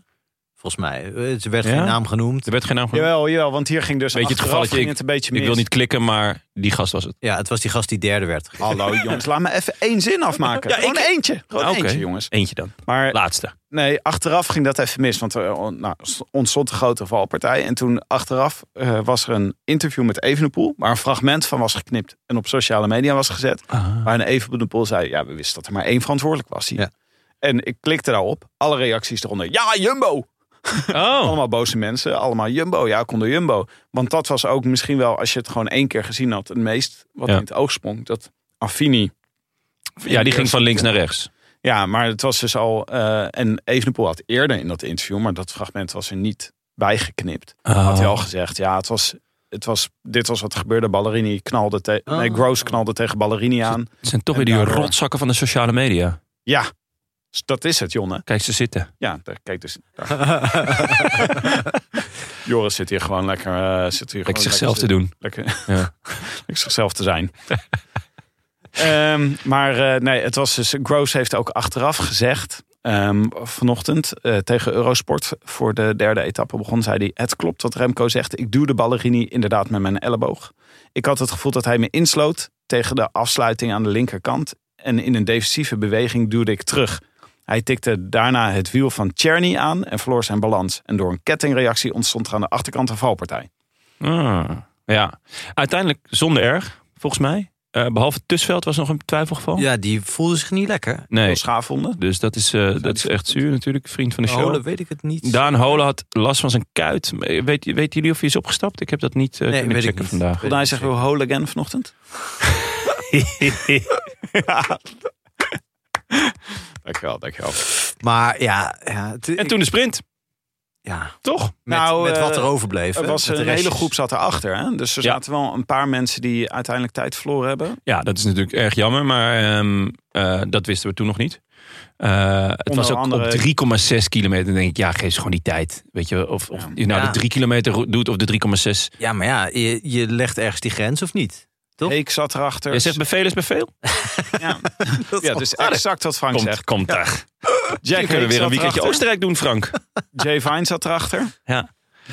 Speaker 2: Volgens mij. Eh, Er werd
Speaker 3: Ja?
Speaker 2: geen naam genoemd.
Speaker 3: Er werd geen naam genoemd.
Speaker 1: Jawel, jawel, want hier ging dus
Speaker 3: Weet je, het
Speaker 1: achteraf
Speaker 3: gevalletje,
Speaker 1: ging het een beetje mis.
Speaker 3: Ik wil niet klikken, maar die gast was het.
Speaker 2: Ja, het was die gast die derde werd.
Speaker 1: Hallo jongens, laat me even één zin afmaken.
Speaker 3: Ja,
Speaker 1: Gewoon
Speaker 3: ik-
Speaker 1: eentje. Gewoon
Speaker 3: Ah, oké.
Speaker 1: Oh, eentje jongens.
Speaker 3: Eentje dan.
Speaker 1: Maar
Speaker 3: Laatste.
Speaker 1: Nee, achteraf ging dat even mis. Want er eh, nou, ontstond een grote valpartij. En toen achteraf eh, was er een interview met Evenepoel. Waar een fragment van was geknipt. En op sociale media was gezet.
Speaker 3: Ah.
Speaker 1: Waarin Evenepoel zei, ja, we wisten dat er maar één verantwoordelijk was hier.
Speaker 2: Ja.
Speaker 1: En ik klikte daarop. Alle reacties eronder. Ja, Jumbo!
Speaker 3: Oh,
Speaker 1: Allemaal boze mensen. Allemaal Jumbo. Ja, kom door Jumbo. Want dat was ook misschien wel, als je het gewoon één keer gezien had. Het meest wat
Speaker 3: Ja.
Speaker 1: in het oog sprong. Dat Affini.
Speaker 3: ja, die ging van links naar rechts.
Speaker 1: Ja, maar het was dus al. eh, en Evenepoel had eerder in dat interview, maar dat fragment was er niet bijgeknipt. Had
Speaker 3: Oh,
Speaker 1: hij al gezegd, ja, het was, het was, dit was wat er gebeurde. Ballerini knalde tegen. Nee,
Speaker 2: Oh.
Speaker 1: Gross knalde tegen Ballerini aan.
Speaker 3: Het zijn toch
Speaker 1: En
Speaker 3: weer die
Speaker 1: daardoor-
Speaker 3: rotzakken van de sociale media.
Speaker 1: Ja, dus dat is het, Jonne.
Speaker 3: Kijk, ze zitten.
Speaker 1: Ja, daar, kijk dus. daar. Joris zit hier gewoon lekker. eh, zit hier
Speaker 3: Kijk,
Speaker 1: gewoon
Speaker 3: zichzelf te
Speaker 1: lekker,
Speaker 3: doen.
Speaker 1: Lekker,
Speaker 3: Ja.
Speaker 1: lekker zichzelf te zijn. Ehm, maar eh, nee, het was dus. Gross heeft ook achteraf gezegd. ehm, vanochtend eh, tegen Eurosport voor de derde etappe begon, zei hij: Het klopt wat Remco zegt. Ik duwde Ballerini inderdaad met mijn elleboog. Ik had het gevoel dat hij me insloot tegen de afsluiting aan de linkerkant. En in een defensieve beweging duwde ik terug. Hij tikte daarna het wiel van Czerny aan en verloor zijn balans. En door een kettingreactie ontstond er aan de achterkant een valpartij.
Speaker 3: Ah, ja. Uiteindelijk zonder erg, volgens mij. Eh, behalve het Tussveld was nog een twijfelgeval.
Speaker 2: Ja, die voelde zich niet lekker.
Speaker 3: Nee,
Speaker 1: Veel schaafwonden.
Speaker 3: dus dat is, eh, dat is
Speaker 1: die-
Speaker 3: echt zuur natuurlijk. Vriend
Speaker 1: Oh,
Speaker 3: van de show.
Speaker 2: Holen weet ik het niet.
Speaker 3: Daan Holen had last van zijn kuit. Weet, weten jullie of hij is opgestapt? Ik heb dat niet eh
Speaker 2: Nee,
Speaker 3: kunnen
Speaker 2: weet ik
Speaker 3: checken
Speaker 2: niet.
Speaker 3: vandaag.
Speaker 1: Volgens mij zegt wel hole again vanochtend. Dankjewel, dankjewel.
Speaker 2: Maar ja, ja, het-
Speaker 3: En toen de sprint,
Speaker 2: ja
Speaker 3: toch?
Speaker 2: met,
Speaker 1: Nou,
Speaker 2: met
Speaker 1: eh,
Speaker 2: wat er overbleef.
Speaker 1: Er
Speaker 2: hè,
Speaker 1: was
Speaker 2: met de
Speaker 1: een hele
Speaker 2: restjes.
Speaker 1: groep zat erachter. Hè? Dus er
Speaker 3: Ja.
Speaker 1: zaten wel een paar mensen die uiteindelijk tijd verloren hebben.
Speaker 3: Ja, dat is natuurlijk erg jammer, maar ehm, eh, dat wisten we toen nog niet. Eh, het
Speaker 1: Onder
Speaker 3: was ook
Speaker 1: andere-
Speaker 3: op 3,6 kilometer. Dan denk ik, ja, geef ze gewoon die tijd. Weet je, of, of je nou
Speaker 2: Ja.
Speaker 3: de 3 kilometer ro- doet of de 3,6.
Speaker 2: Ja, maar ja, je, je legt ergens die grens of niet? Toch?
Speaker 1: Ik zat erachter.
Speaker 3: Je zegt bevel is bevel.
Speaker 1: ja. ja, dus exact wat Frank
Speaker 3: Komt,
Speaker 1: zegt.
Speaker 3: komt daar.
Speaker 1: Jack
Speaker 3: Dan kunnen we
Speaker 1: Hake
Speaker 3: weer een
Speaker 1: zat
Speaker 3: weekendje
Speaker 1: erachter.
Speaker 3: Oostenrijk doen, Frank.
Speaker 1: Jay Vine zat erachter.
Speaker 3: Ja.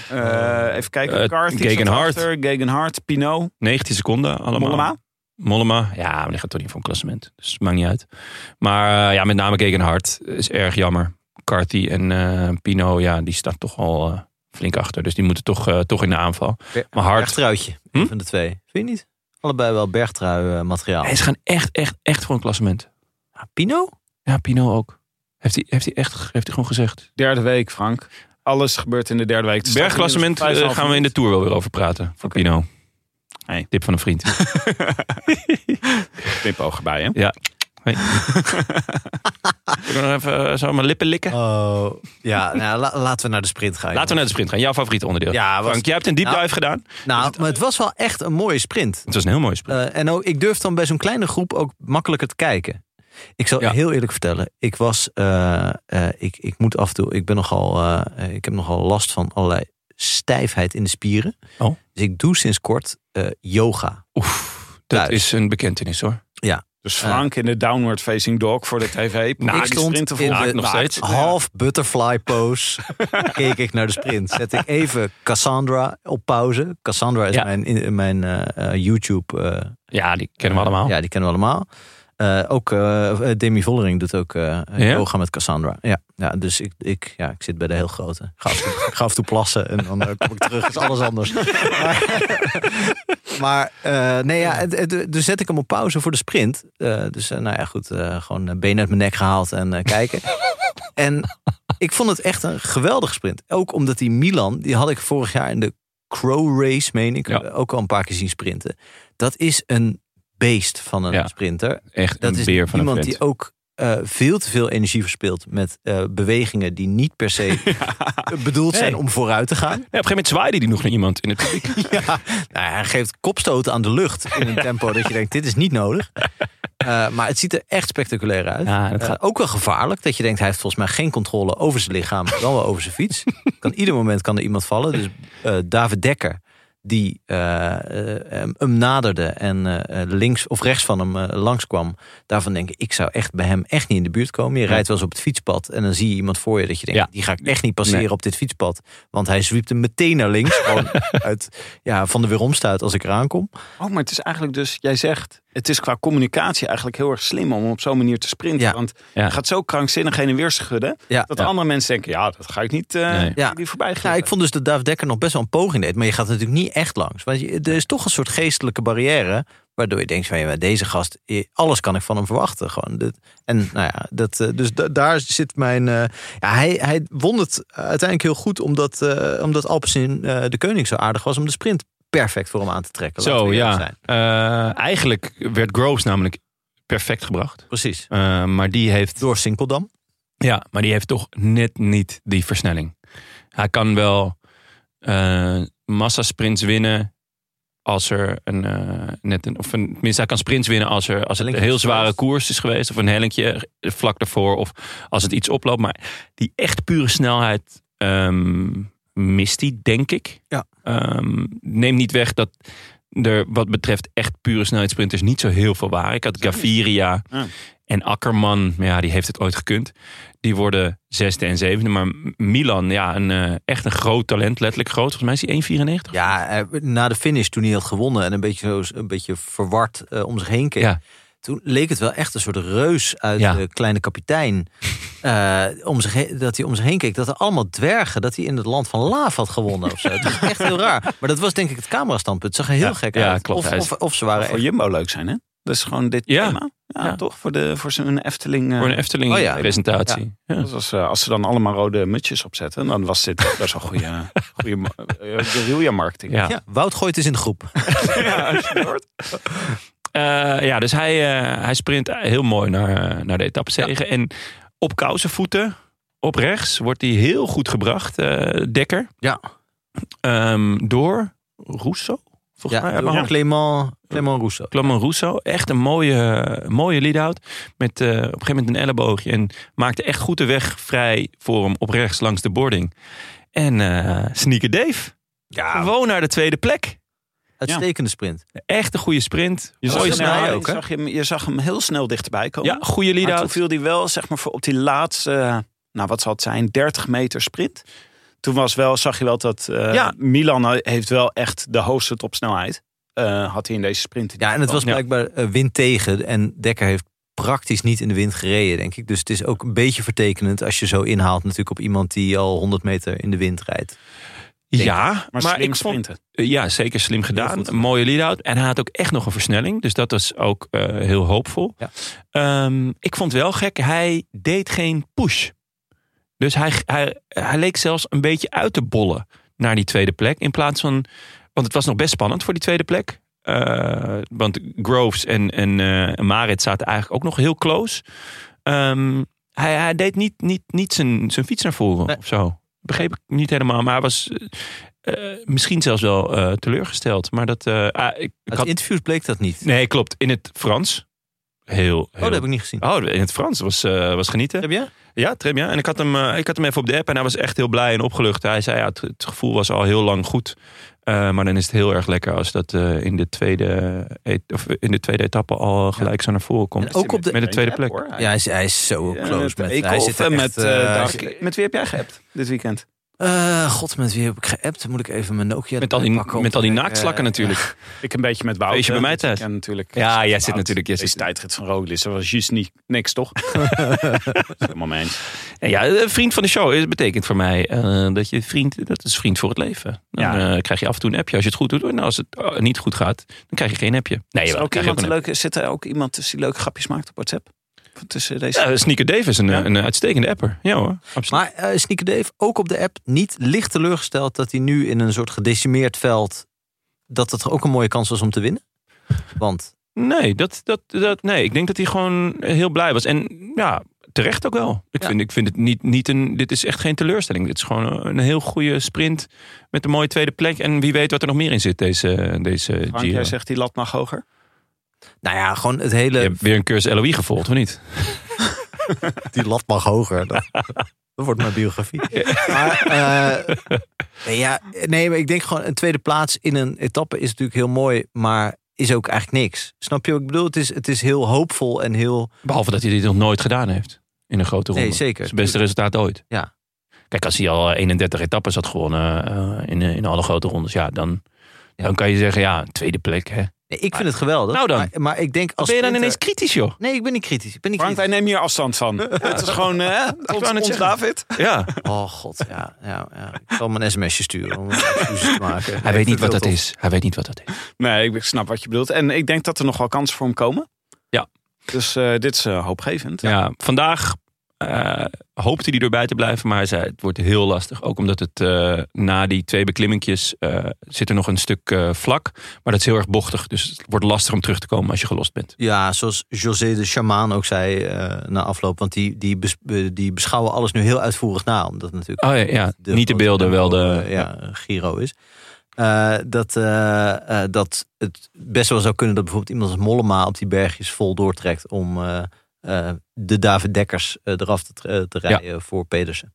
Speaker 1: Eh, even kijken.
Speaker 3: Eh,
Speaker 1: Carthy
Speaker 3: Gegenhardt.
Speaker 1: zat erachter. Gegenhardt, Pinot,
Speaker 3: 19 seconden allemaal.
Speaker 1: Mollema.
Speaker 3: Mollema, ja, maar die gaat toch niet voor een klassement. Dus het maakt niet uit. Maar eh, ja, met name Gegenhard is erg jammer. Carthy en eh, Pino, ja, die staan toch al eh, flink achter. Dus die moeten toch, eh, toch in de aanval. Maar Hart,
Speaker 2: Bergtruitje,
Speaker 3: Hm?
Speaker 2: een van de twee. Vind je niet? Allebei wel bergtrui eh, materiaal.
Speaker 3: Hey, ze gaan echt, echt, echt voor een klassement.
Speaker 2: Ja, Ah, Pino?
Speaker 3: Ja, Pino ook. Heeft hij, heeft hij echt heeft hij gewoon gezegd.
Speaker 1: Derde week, Frank. Alles gebeurt in de derde week. Het staat
Speaker 3: Bergklassement
Speaker 1: inmiddels
Speaker 3: eh,
Speaker 1: vijf en
Speaker 3: gaan we
Speaker 1: een
Speaker 3: in de
Speaker 1: half
Speaker 3: Tour wel weer over praten. Voor Pino.
Speaker 1: Hey.
Speaker 3: Tip van een vriend.
Speaker 1: minuut. Knipoog erbij, hè?
Speaker 3: Ik wil nog even eh, zo mijn lippen likken.
Speaker 2: Oh. Ja, nou, la- laten we naar de sprint gaan.
Speaker 3: Laten we naar de sprint gaan. Jouw favoriete onderdeel.
Speaker 2: Ja, was-
Speaker 3: Frank, jij hebt een deep dive
Speaker 2: Nou-
Speaker 3: gedaan.
Speaker 2: Nou, maar het was wel echt een mooie sprint.
Speaker 3: Het was een heel mooi sprint.
Speaker 2: Eh, en ook, ik durf dan bij zo'n kleine groep ook makkelijker te kijken. Ik zal
Speaker 3: Ja.
Speaker 2: heel eerlijk vertellen, ik was, eh, eh, ik, ik moet af en toe, ik ben nogal, eh, eh, ik heb nogal last van allerlei stijfheid in de spieren.
Speaker 3: Oh.
Speaker 2: Dus ik doe sinds kort eh, yoga.
Speaker 3: Oef, dat
Speaker 2: Thuis.
Speaker 3: is een bekentenis hoor.
Speaker 1: Dus Frank in de downward facing dog voor de tv.
Speaker 3: Nou,
Speaker 2: ik
Speaker 1: Probeer die
Speaker 2: stond in
Speaker 1: sprint te volgen.
Speaker 2: de
Speaker 3: nog steeds.
Speaker 2: half butterfly pose. keek ik naar de sprint. Zet ik even Cassandra op pauze. Cassandra is
Speaker 3: Ja.
Speaker 2: mijn, in- mijn eh, eh, YouTube. eh,
Speaker 3: Ja, die kennen we allemaal.
Speaker 2: Ja, die kennen we allemaal. Eh, ook eh, Demi Vollering doet ook eh
Speaker 3: Ja?
Speaker 2: yoga met Cassandra. Ja, ja dus ik, ik, ja, ik zit bij de heel grote. Ik Ga af en toe, ik ga af en toe plassen en dan eh, kom ik terug. is alles anders. maar maar, eh, nee, ja, het- het- dus zet ik hem op pauze voor de sprint. Eh, dus eh, nou ja, goed. eh, gewoon eh, benen uit mijn nek gehaald en eh, kijken. en ik vond het echt een geweldige sprint. Ook omdat die Milan, die had ik vorig jaar in de Crow Race, meen ik,
Speaker 3: Ja.
Speaker 2: eh, ook al een paar keer zien sprinten. Dat is een beest van een
Speaker 3: Ja.
Speaker 2: sprinter.
Speaker 3: Echt
Speaker 2: Dat
Speaker 3: een
Speaker 2: is
Speaker 3: beer van
Speaker 2: iemand
Speaker 3: een vent.
Speaker 2: die ook eh, veel te veel energie verspilt met eh, bewegingen die niet per se bedoeld zijn
Speaker 3: Nee.
Speaker 2: om vooruit te gaan.
Speaker 3: Ja, op een gegeven moment zwaaide die nog naar iemand in het publiek.
Speaker 2: Ja, nou, hij geeft kopstoten aan de lucht in een tempo dat je denkt, dit is niet nodig. Eh, maar het ziet er echt spectaculair uit.
Speaker 3: Ja, dat
Speaker 2: Eh,
Speaker 3: gaat-
Speaker 2: ook wel gevaarlijk dat je denkt, hij heeft volgens mij geen controle over zijn lichaam, dan wel over zijn fiets. Kan ieder moment kan er iemand vallen. Dus eh, David Dekker, die eh, eh, hem- hem naderde en eh, eh, links of rechts van hem eh, langskwam. Daarvan denk ik, ik zou echt bij hem echt niet in de buurt komen. Je rijdt wel eens op het fietspad en dan zie je iemand voor je dat je denkt,
Speaker 3: Ja.
Speaker 2: die ga ik echt niet passeren op dit fietspad. Want hij zwiept hem meteen naar links. Gewoon uit, ja, van de weeromstuit als ik eraan kom.
Speaker 1: Oh, maar het is eigenlijk dus, jij zegt, het is qua communicatie eigenlijk heel erg slim om op zo'n manier te sprinten.
Speaker 2: Ja.
Speaker 1: Want
Speaker 3: Ja.
Speaker 1: je gaat zo krankzinnig heen en weer schudden,
Speaker 2: Ja.
Speaker 1: dat
Speaker 3: Ja.
Speaker 1: andere mensen denken, ja, dat ga ik niet eh,
Speaker 3: Nee.
Speaker 2: Ja.
Speaker 1: die voorbij gaan.
Speaker 2: Ja, ik vond dus dat David Dekker nog best wel een poging deed. Maar je gaat natuurlijk niet echt langs. Want je- er is toch een soort geestelijke barrière. Waardoor je denkt van ja, maar deze gast, eh, alles kan ik van hem verwachten. Gewoon. Dit- En nou ja, dat, eh, dus da- daar zit mijn. eh, ja, hij, hij won het uiteindelijk heel goed omdat, eh omdat Alpecin eh, de koning zo aardig was om de sprint perfect voor hem aan te trekken. Laten
Speaker 3: Zo,
Speaker 2: we eerlijk
Speaker 3: ja.
Speaker 2: zijn.
Speaker 3: Eh, eigenlijk werd Groves namelijk perfect gebracht.
Speaker 2: Precies.
Speaker 3: Eh, maar die heeft
Speaker 2: Door Sinkeldam.
Speaker 3: Ja, maar die heeft toch net niet die versnelling. Hij kan wel eh massasprints winnen als er een, eh, net een of een, tenminste hij kan sprints winnen als er als het een
Speaker 2: Hellinkje
Speaker 3: heel
Speaker 2: is geweest.
Speaker 3: zware koers is geweest of een hellinkje vlak daarvoor of als het iets oploopt. Maar die echt pure snelheid ehm, mist hij, denk ik.
Speaker 2: Ja.
Speaker 3: Ehm, neem niet weg dat er wat betreft echt pure snelheidsprinters niet zo heel veel waren. Ik had Gaviria
Speaker 1: Ja.
Speaker 3: en Akkerman, maar ja, die heeft het ooit gekund. Die worden zesde en zevende. Maar M- Milan, ja, een, eh, echt een groot talent. Letterlijk groot. Volgens mij is hij 1,94.
Speaker 2: Ja, eh, na de finish toen hij had gewonnen en een beetje, zo, een beetje verward eh, om zich heen keek.
Speaker 3: Ja.
Speaker 2: Toen leek het wel echt een soort reus uit
Speaker 3: Ja.
Speaker 2: de kleine kapitein. eh, om zich heen- dat hij om zich heen keek. Dat er allemaal dwergen, dat hij in het land van Laaf had gewonnen. Of zo. Dat is echt heel raar. Maar dat was denk ik het camerastandpunt. Het zag er heel
Speaker 3: Ja,
Speaker 2: gek
Speaker 3: ja,
Speaker 2: uit.
Speaker 3: klopt.
Speaker 2: of,
Speaker 3: Hij is-
Speaker 2: of, of ze waren
Speaker 1: voor
Speaker 2: echt-
Speaker 1: Jumbo leuk zijn, hè? Dat is gewoon dit
Speaker 3: Ja.
Speaker 1: thema. Ja,
Speaker 3: Ja.
Speaker 1: toch? Voor, de, voor zo'n Efteling. eh,
Speaker 3: Voor een Efteling
Speaker 2: Oh ja.
Speaker 3: presentatie. Ja.
Speaker 1: dat was, eh, als ze dan allemaal rode mutsjes opzetten, dan was dit best wel goede, goede eh, guerrilla marketing.
Speaker 3: Ja.
Speaker 2: Ja, Wout gooit is in de groep.
Speaker 3: Eh, ja, dus hij, eh, hij sprint heel mooi naar, eh, naar de etappezege. En op kousenvoeten, op rechts, wordt hij heel goed gebracht. eh, Dekker.
Speaker 2: Ja.
Speaker 3: Ehm, door Rousseau, volgens mij.
Speaker 2: Ja,
Speaker 3: uit mijn hoofd.
Speaker 2: Clément, Clément Rousseau.
Speaker 3: Clement Rousseau. Echt een mooie, mooie lead-out. Met eh, op een gegeven moment een elleboogje. En maakte echt goed de weg vrij voor hem op rechts langs de boarding. En eh Sneaker Dave.
Speaker 2: Ja,
Speaker 3: Gewoon naar de tweede plek.
Speaker 2: uitstekende sprint.
Speaker 3: Echt een goede sprint.
Speaker 1: Je zag,
Speaker 3: Mooie
Speaker 1: hem,
Speaker 3: snelheid.
Speaker 2: snelheid
Speaker 1: je
Speaker 2: ook, hè?
Speaker 1: zag hem, je zag hem heel snel dichterbij komen.
Speaker 3: Ja, goede
Speaker 1: Maar toen
Speaker 3: lead-out.
Speaker 1: viel hij wel, zeg maar, voor op die laatste, eh, nou wat zal het zijn, 30 meter sprint. Toen was wel, zag je wel dat eh,
Speaker 3: Ja.
Speaker 1: Milan heeft wel echt de hoogste topsnelheid. eh had hij in deze sprint.
Speaker 2: Ja, en het was
Speaker 3: Ja.
Speaker 2: blijkbaar eh, wind tegen. En Dekker heeft praktisch niet in de wind gereden, denk ik. Dus het is ook een beetje vertekenend als je zo inhaalt natuurlijk op iemand die al 100 meter in de wind rijdt.
Speaker 3: Ja,
Speaker 1: maar,
Speaker 3: maar,
Speaker 1: slim
Speaker 3: ik vond
Speaker 1: sprinten.
Speaker 3: Eh, Ja, zeker slim gedaan.
Speaker 2: goed.
Speaker 3: Een mooie lead-out. En hij had ook echt nog een versnelling. Dus dat was ook eh, heel hoopvol.
Speaker 2: Ja.
Speaker 3: Ehm, ik vond het wel gek. Hij deed geen push. Dus hij, hij, hij leek zelfs een beetje uit te bollen naar die tweede plek. In plaats van. Want het was nog best spannend voor die tweede plek. Eh, want Groves en, en eh, Marit zaten eigenlijk ook nog heel close. Ehm, hij, hij deed niet, niet, niet zijn, zijn fiets naar voren
Speaker 2: Nee.
Speaker 3: of zo. Begreep ik niet helemaal. Maar hij was eh, misschien zelfs wel eh, teleurgesteld. Maar dat. eh, ah, ik, ik
Speaker 2: Uit
Speaker 3: had-
Speaker 2: interviews bleek dat niet.
Speaker 3: nee, klopt. In het Frans. Heel. heel
Speaker 2: Oh, dat heb ik niet gezien.
Speaker 3: Oh, in het Frans was, eh, was genieten.
Speaker 2: Heb je?
Speaker 3: Ja, Trim, ja. En ik had, hem, eh, ik had hem even op de app en hij was echt heel blij en opgelucht. Hij zei, ja, het, het gevoel was al heel lang goed. Eh, maar dan is het heel erg lekker als dat eh, in, de tweede, et- of in de tweede etappe al gelijk zo naar voren komt.
Speaker 2: En ook op de-
Speaker 3: met de tweede plek.
Speaker 2: Ja, hij is, hij is zo
Speaker 1: Ja,
Speaker 2: close
Speaker 1: met
Speaker 2: met,
Speaker 1: Eekhoff
Speaker 2: hij zit er
Speaker 1: en
Speaker 2: echt,
Speaker 1: met,
Speaker 2: eh,
Speaker 1: eh,
Speaker 2: hij
Speaker 1: Dag.
Speaker 2: zit-
Speaker 1: met wie heb jij geappt dit weekend?
Speaker 2: Eh, god, met wie heb ik geappt? Moet ik even mijn Nokia
Speaker 3: Met al die,
Speaker 2: erbij pakken om
Speaker 3: met al die
Speaker 2: te-
Speaker 3: naaktslakken
Speaker 2: eh,
Speaker 3: natuurlijk.
Speaker 1: Ik een beetje met Wout.
Speaker 3: Weet je bij
Speaker 1: hè,
Speaker 3: mij
Speaker 1: dit
Speaker 3: thuis?
Speaker 1: weekend natuurlijk.
Speaker 3: Ja, jij
Speaker 1: Wout.
Speaker 3: zit natuurlijk- jij
Speaker 1: Deze
Speaker 3: zit-
Speaker 1: tijdrit van Roglic, dat was juist niet niks, toch? Helemaal mee eens.
Speaker 3: En ja, eh, vriend van de show is- betekent voor mij eh, dat je vriend, dat is vriend voor het leven. Dan
Speaker 1: Ja.
Speaker 3: eh, krijg je af en toe een appje als je het goed doet. En als het eh, niet goed gaat, dan krijg je geen appje. Dus Nee,
Speaker 1: Is er
Speaker 3: jawel,
Speaker 1: ook
Speaker 3: krijg je
Speaker 1: iemand
Speaker 3: een
Speaker 1: leuke, zit er ook iemand tussen die leuke grapjes maakt op WhatsApp? Van Tussen deze...
Speaker 3: app. Ja, Sneaker Dave is een,
Speaker 1: Ja?
Speaker 3: een uitstekende apper. Ja hoor, absoluut.
Speaker 2: Maar eh Sneaker Dave, ook op de app, niet licht teleurgesteld dat hij nu in een soort gedecimeerd veld, dat het ook een mooie kans was om te winnen? Want
Speaker 3: Nee, dat, dat, dat, nee, ik denk dat hij gewoon heel blij was. En ja, terecht ook wel. Ik,
Speaker 2: Ja.
Speaker 3: vind, ik vind het niet, niet een. Dit is echt geen teleurstelling. Dit is gewoon een heel goede sprint. Met een mooie tweede plek. En wie weet wat er nog meer in zit, deze, deze
Speaker 1: Frank,
Speaker 3: Giro.
Speaker 1: jij zegt die lat mag hoger.
Speaker 2: nou ja, gewoon het
Speaker 3: Je
Speaker 2: hele,
Speaker 3: hebt weer een cursus LOE gevolgd, of niet?
Speaker 2: die lat mag hoger. Dat, dat wordt mijn biografie. Maar, eh, nee, ja, nee, maar ik denk gewoon een tweede plaats in een etappe is natuurlijk heel mooi, maar is ook eigenlijk niks. Snap je wat ik bedoel? Het is, het is heel hoopvol en heel...
Speaker 3: Behalve dat hij dit nog nooit gedaan heeft. In een grote
Speaker 2: Nee,
Speaker 3: ronde.
Speaker 2: zeker.
Speaker 3: Het beste resultaat ooit.
Speaker 2: Ja.
Speaker 3: Kijk, als hij al 31 etappes had gewonnen eh, in, in alle grote rondes, ja, dan, dan kan je zeggen, ja, tweede plek. Hè.
Speaker 2: Nee, ik vind het geweldig.
Speaker 3: Nou dan.
Speaker 2: Maar, maar ik denk als
Speaker 3: Ben je dan ineens
Speaker 2: sprinter-
Speaker 3: kritisch, joh?
Speaker 2: Nee, ik ben niet kritisch. Ik ben niet
Speaker 1: Frank, wij
Speaker 2: kritisch.
Speaker 1: nemen hier afstand van. het is gewoon, hè? ons,
Speaker 3: wou net
Speaker 1: ons
Speaker 3: zeggen.
Speaker 1: David.
Speaker 3: Ja.
Speaker 2: Oh god, ja, ja, ja. Ik zal hem een sms'je sturen om excuses te maken.
Speaker 3: Hij weet niet wat dat is. Hij weet niet wat dat is.
Speaker 1: Nee, ik snap wat je bedoelt. En ik denk dat er nog wel kansen voor hem komen.
Speaker 3: Ja.
Speaker 1: Dus eh, dit is eh, hoopgevend.
Speaker 3: Ja, vandaag eh, hoopte hij erbij te blijven, maar hij zei het wordt heel lastig. Ook omdat het eh, na die twee beklimmingjes eh, zit er nog een stuk eh, vlak. Maar dat is heel erg bochtig, dus het wordt lastig om terug te komen als je gelost bent.
Speaker 2: Ja, zoals José de Chamaan ook zei eh, na afloop. Want die, die, bes- eh, die beschouwen alles nu heel uitvoerig na. Omdat natuurlijk
Speaker 3: Oh ja, ja.
Speaker 2: de
Speaker 3: niet de
Speaker 2: grote
Speaker 3: beelden, wel de...
Speaker 2: eh, ja, Giro is. Eh, dat, eh, eh, dat het best wel zou kunnen dat bijvoorbeeld iemand als Mollema op die bergjes vol doortrekt om eh, eh, de David Dekkers eh, eraf te, eh, te
Speaker 3: Ja.
Speaker 2: rijden voor Pedersen.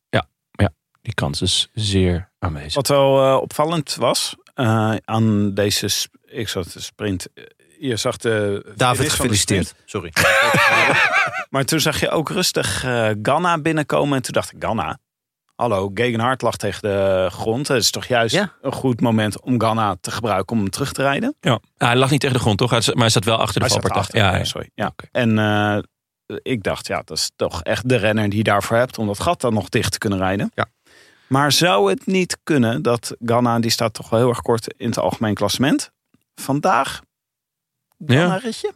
Speaker 3: Die kans is zeer aanwezig.
Speaker 1: Wat wel eh, opvallend was eh, aan deze sp- ik zat te sprint. eh, Je zag de. finish van de
Speaker 2: David,
Speaker 1: sprint.
Speaker 2: gefeliciteerd. Sorry.
Speaker 1: Maar toen zag je ook rustig eh, Ganna binnenkomen. En toen dacht ik, Ganna? Hallo, Gegenhard lag tegen de grond. Het is toch juist
Speaker 2: Ja.
Speaker 1: een goed moment om Ganna te gebruiken om hem terug te rijden?
Speaker 3: Ja. Hij lag niet tegen de grond, toch? Hij zat- Maar hij zat wel achter de
Speaker 1: Hij zat
Speaker 3: valpartij.
Speaker 1: erachter,
Speaker 3: Ja, ja.
Speaker 1: sorry. Ja.
Speaker 3: Oké.
Speaker 1: En eh, ik dacht, ja, dat is toch echt de renner die je daarvoor hebt om dat gat dan nog dicht te kunnen rijden.
Speaker 2: Ja.
Speaker 1: Maar zou het niet kunnen dat Ganna, die staat toch wel heel erg kort in het algemeen klassement, vandaag Ganna
Speaker 3: Ja.
Speaker 1: ritje?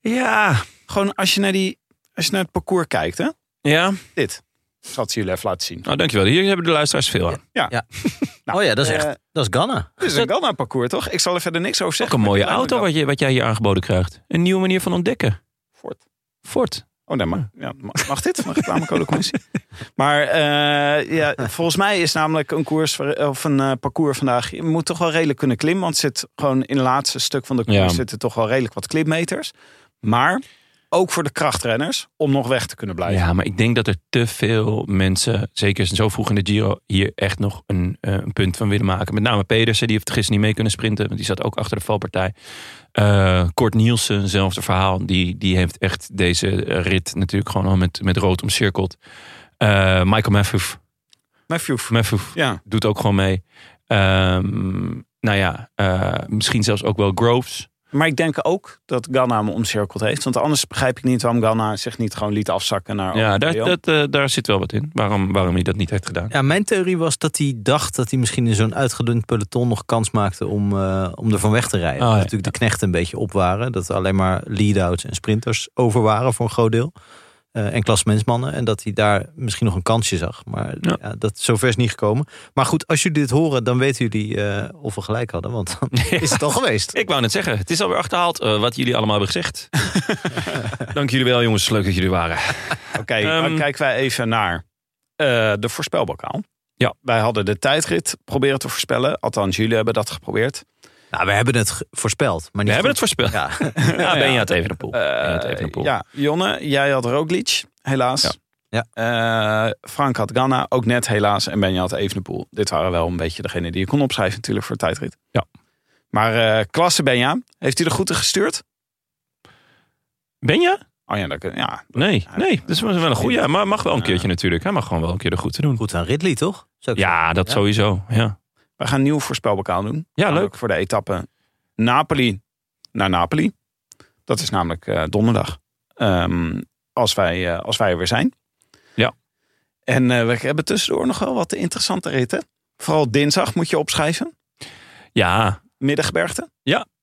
Speaker 3: Ja.
Speaker 1: Gewoon als je naar, die, als je naar het parcours kijkt, hè?
Speaker 3: ja,
Speaker 1: Dit. Ik zal het jullie even laten zien.
Speaker 3: nou dankjewel. Hier hebben de luisteraars veel aan.
Speaker 1: Nou,
Speaker 2: oh ja, dat is
Speaker 1: eh,
Speaker 2: echt. Dat is Ghana.
Speaker 1: Het is een Ganna-parcours, toch? Ik zal er verder niks over
Speaker 3: Ook
Speaker 1: zeggen.
Speaker 3: een mooie
Speaker 1: Maar ik
Speaker 3: auto
Speaker 1: ben
Speaker 3: wat, je, wat jij hier aangeboden krijgt. Een nieuwe manier van ontdekken.
Speaker 1: Ford.
Speaker 3: Ford.
Speaker 1: Oh, nee, maar, ja, mag mag dit? Mag reclamecodecommissie? Maar eh, ja, volgens mij is namelijk een, koers, ver- of een eh, parcours vandaag... Je moet toch wel redelijk kunnen klimmen. Want het zit gewoon in het laatste stuk van de koers
Speaker 3: Ja.
Speaker 1: zitten toch wel redelijk wat klimmeters. Maar ook voor de krachtrenners om nog weg te kunnen blijven.
Speaker 3: Ja, maar ik denk dat er te veel mensen, zeker zo vroeg in de Giro, hier echt nog een, eh, een punt van willen maken. Met name Pedersen, die heeft gisteren niet mee kunnen sprinten, want die zat ook achter de valpartij. Eh Kort Nielsen, hetzelfde verhaal. Die, die heeft echt deze rit natuurlijk gewoon al met, met rood omcirkeld. Eh, Michael Matthews,
Speaker 1: Maar Fjoef.
Speaker 3: Matthews
Speaker 1: Ja,
Speaker 3: doet ook gewoon mee. Ehm, nou ja, eh, misschien zelfs ook wel Groves.
Speaker 1: maar ik denk ook dat Ganna hem omcirkeld heeft. Want anders begrijp ik niet waarom Ganna zich niet gewoon liet afzakken naar...
Speaker 3: ja, daar,
Speaker 1: Oriol.
Speaker 3: dat, eh, daar zit wel wat in. Waarom, waarom hij dat niet heeft gedaan.
Speaker 2: Ja, mijn theorie was dat hij dacht dat hij misschien in zo'n uitgedund peloton nog kans maakte om, eh, om er van weg te rijden.
Speaker 3: Oh, ja.
Speaker 2: Dat natuurlijk de knechten een beetje op waren. Dat er alleen maar lead-outs en sprinters over waren voor een groot deel. Eh, en klasmensmannen. En dat hij daar misschien nog een kansje zag. Maar ja.
Speaker 3: Ja.
Speaker 2: dat, zover is niet gekomen. Maar goed, als jullie dit horen, dan weten jullie eh, of we gelijk hadden. Want dan is het al geweest.
Speaker 3: Ik wou net zeggen, het is alweer achterhaald eh, wat jullie allemaal hebben gezegd. Dank jullie wel, jongens. Leuk dat jullie er waren.
Speaker 1: Oké, dan
Speaker 3: Ehm,
Speaker 1: kijken wij even naar eh, de voorspelbokaal.
Speaker 3: Ja.
Speaker 1: Wij hadden de tijdrit proberen te voorspellen. Althans, jullie hebben dat geprobeerd.
Speaker 2: Nou, we hebben het ge- voorspeld. Maar
Speaker 3: We
Speaker 2: niet
Speaker 3: hebben het voorspeld.
Speaker 2: Ja.
Speaker 3: Ja, ben je het even de poel.
Speaker 1: Eh, ja, Jonne, jij had Roglic, helaas.
Speaker 3: Ja.
Speaker 1: Eh, Frank had Ganna, ook net helaas. En Benja had Evenepoel. Dit waren wel een beetje degene die je kon opschrijven natuurlijk voor de tijdrit.
Speaker 3: Ja.
Speaker 1: Maar eh klasse Benja. Heeft hij de groeten gestuurd?
Speaker 3: Ben je?
Speaker 1: Oh ja, dat, kun- ja.
Speaker 3: Nee, nee. Dat is wel een goede. Hij ma- mag wel een keertje natuurlijk. Hij mag gewoon wel een keer de goed te doen.
Speaker 2: Goed aan Ridley, toch? Zou ik
Speaker 3: Ja, dat sowieso. Ja,
Speaker 1: We gaan een nieuw voorspelbokaal doen.
Speaker 3: ja leuk.
Speaker 1: Ook voor de etappe Napoli naar Napoli. Dat is namelijk eh, donderdag. Ehm, als, wij, eh, als wij er weer zijn.
Speaker 3: Ja.
Speaker 1: En eh, we hebben tussendoor nog wel wat interessante ritten. Vooral dinsdag moet je opschrijven.
Speaker 3: Ja,
Speaker 1: Middagbergte.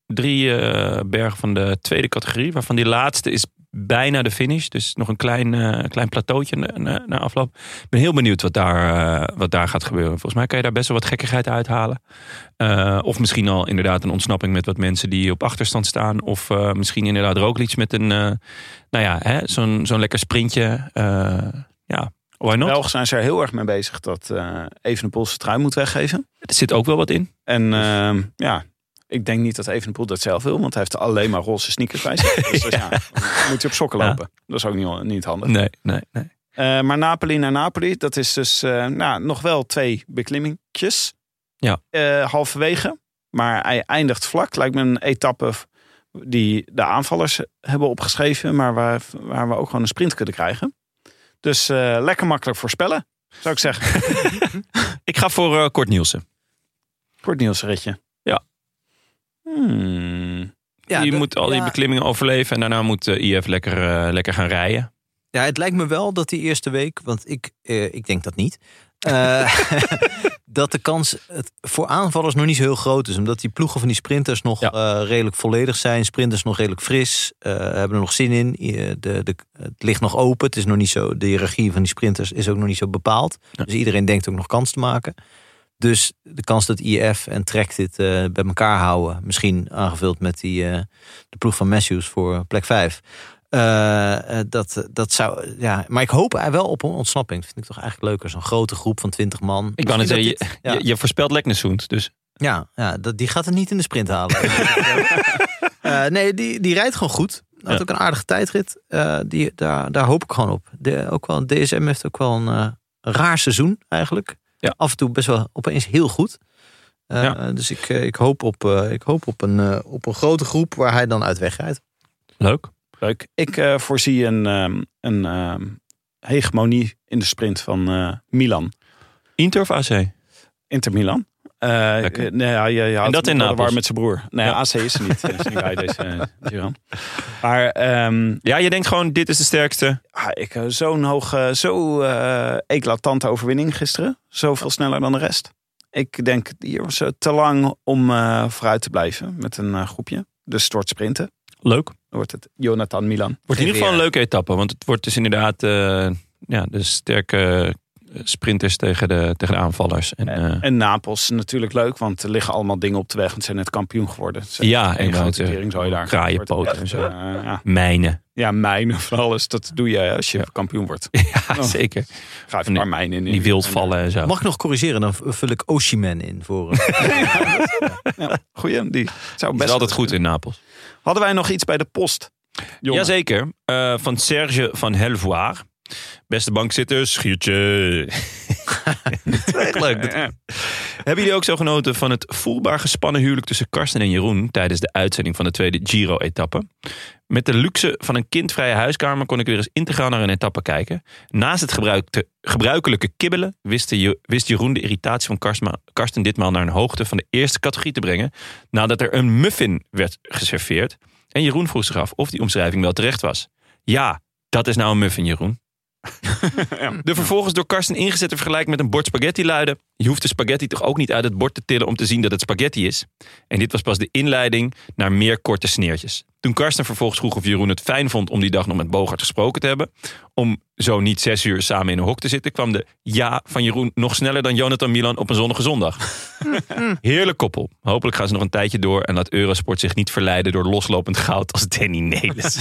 Speaker 3: drie eh, bergen van de tweede categorie. Waarvan die laatste is bijna de finish. Dus nog een klein, eh, klein plateautje na, na- na afloop. Ik ben heel benieuwd wat daar, eh, wat daar gaat gebeuren. Volgens mij kan je daar best wel wat gekkigheid uithalen. Eh, of misschien al inderdaad een ontsnapping met wat mensen die op achterstand staan. Of eh, misschien inderdaad Roglic met een, eh, nou ja, hè, zo'n, zo'n lekker sprintje. Eh, ja, why not?
Speaker 1: Belgen zijn ze er heel erg mee bezig dat eh Evenepoel zijn trui moet weggeven.
Speaker 3: Er zit ook wel wat in.
Speaker 1: En ehm, ja, ik denk niet dat Evenepoel dat zelf wil. Want hij heeft alleen maar roze sneakers bij zich. Dus ja. dan moet hij op sokken
Speaker 3: Ja.
Speaker 1: lopen. Dat is ook niet, niet handig.
Speaker 3: Nee, nee, nee.
Speaker 1: Eh, maar Napoli naar Napoli, dat is dus eh, nou, nog wel twee beklimmingjes.
Speaker 3: Ja.
Speaker 1: Eh, halverwege. Maar hij eindigt vlak. Lijkt me een etappe v- die de aanvallers hebben opgeschreven. Maar waar, waar we ook gewoon een sprint kunnen krijgen. Dus eh, lekker makkelijk voorspellen, zou ik zeggen.
Speaker 3: Ik ga voor eh, Kort Nielsen.
Speaker 1: Kort nieuwsritje.
Speaker 3: Ja.
Speaker 1: Hmm.
Speaker 2: Ja,
Speaker 3: die
Speaker 2: dat-
Speaker 3: moet al die
Speaker 2: ja.
Speaker 3: beklimmingen overleven. En daarna moet eh, IF lekker, eh, lekker gaan rijden.
Speaker 2: Ja, het lijkt me wel dat die eerste week, want ik, eh, ik denk dat niet. eh, dat de kans eh, het voor aanvallers nog niet zo heel groot is. Omdat die ploegen van die sprinters nog
Speaker 3: Ja.
Speaker 2: eh, redelijk volledig zijn. Sprinters nog redelijk fris. eh, hebben er nog zin in. Eh, De, de, het ligt nog open. Het is nog niet zo, de hiërarchie van die sprinters is ook nog niet zo bepaald. Dus iedereen denkt ook nog kans te maken. Dus de kans dat IF en Trek dit eh, bij elkaar houden. Misschien aangevuld met die, eh, de ploeg van Matthews voor plek 5. Eh, eh, dat, dat zou, ja. Maar ik hoop er wel op een ontsnapping. Dat vind ik toch eigenlijk leuker. Zo'n grote groep van 20 man.
Speaker 3: Ik wou net zeggen,
Speaker 2: Misschien
Speaker 3: je,
Speaker 2: dat dit-
Speaker 3: je, je voorspelt Leknesund. Dus
Speaker 2: ja, ja dat, die gaat het niet in de sprint halen. Eh, nee, die, die rijdt gewoon goed. Had
Speaker 3: Ja.
Speaker 2: ook een aardige tijdrit. Eh, die, daar, daar hoop ik gewoon op. De, ook wel, DSM heeft ook wel een eh, een raar seizoen eigenlijk.
Speaker 3: Ja.
Speaker 2: Af en toe best wel opeens heel goed. Eh,
Speaker 3: Ja.
Speaker 2: Dus ik, eh, ik hoop, op, eh, ik hoop op, een, eh, op een grote groep waar hij dan uit wegrijdt.
Speaker 3: leuk.
Speaker 1: Leuk. Ik eh, voorzie een, ehm, een ehm, hegemonie in de sprint van eh, Milan.
Speaker 3: Inter of AC?
Speaker 1: Inter Milan. Eh,
Speaker 3: Lekker.
Speaker 1: eh, nee, ja, je, je houdt
Speaker 3: dat
Speaker 1: hem
Speaker 3: in
Speaker 1: door de war
Speaker 3: Napels.
Speaker 1: met zijn broer. Nou Nee,
Speaker 3: Ja.
Speaker 1: AC is er niet. is niet bij deze eh, Giron. Maar ehm,
Speaker 3: Ja, je denkt gewoon, dit is de sterkste.
Speaker 1: ah, ik eh, zo'n hoge, zo eh, eclatante overwinning gisteren. Zoveel sneller dan de rest. Ik denk, hier was het te lang om eh, vooruit te blijven met een eh, groepje. Dus stort sprinten.
Speaker 3: Leuk. Wordt
Speaker 1: Dan wordt het Jonathan Milan.
Speaker 3: in ieder geval een
Speaker 2: weer.
Speaker 3: leuke etappe. Want het wordt dus inderdaad eh, ja, de sterke eh, sprinters tegen de, tegen de aanvallers. En, eh,
Speaker 1: En Napels natuurlijk leuk, want er liggen allemaal dingen op de weg. Want ze zijn net kampioen geworden. Ze-
Speaker 3: ja,
Speaker 1: Een
Speaker 3: en
Speaker 1: grote
Speaker 3: grote
Speaker 1: kering zou je daar
Speaker 3: kraaienpoten en zo.
Speaker 1: Eh, ja.
Speaker 3: mijnen.
Speaker 1: Ja, mijnen van alles. Dat doe je als je kampioen wordt.
Speaker 3: Ja,
Speaker 1: Oh.
Speaker 3: zeker.
Speaker 1: Ga even
Speaker 3: Nee,
Speaker 1: een paar mijnen in.
Speaker 3: Die wildvallen en zo.
Speaker 2: Mag ik nog corrigeren? Dan vul ik Oshiman in voor... eh,
Speaker 1: eh, Goeie, die
Speaker 3: Dat
Speaker 1: zou best...
Speaker 3: is altijd goed in Napels.
Speaker 1: Hadden wij nog iets bij de post? Jongen.
Speaker 3: Jazeker. Eh, van Serge van Helvoir. Beste bankzitter, schietje. Echt leuk. Dat- Hebben jullie ook zo genoten van het voelbaar gespannen huwelijk tussen Karsten en Jeroen tijdens de uitzending van de tweede Giro-etappe? Met de luxe van een kindvrije huiskamer kon ik weer eens integraal naar een etappe kijken. Naast het gebruikte, gebruikelijke kibbelen wist, de Je- wist Jeroen de irritatie van Karstma- Karsten ditmaal naar een hoogte van de eerste categorie te brengen nadat er een muffin werd geserveerd. En Jeroen vroeg zich af of die omschrijving wel terecht was. Ja, dat is nou een muffin, Jeroen. De vervolgens door Karsten ingezette vergelijking met een bord spaghetti luidde... je hoeft de spaghetti toch ook niet uit het bord te tillen om te zien dat het spaghetti is? En dit was pas de inleiding naar meer korte sneertjes. Toen Karsten vervolgens vroeg of Jeroen het fijn vond om die dag nog met Bogart gesproken te hebben... om zo niet zes uur samen in een hok te zitten... kwam de ja van Jeroen nog sneller dan Jonathan Milan op een zonnige zondag. Heerlijk koppel. Hopelijk gaan ze nog een tijdje door en laat Eurosport zich niet verleiden door loslopend goud als Danny Nelis.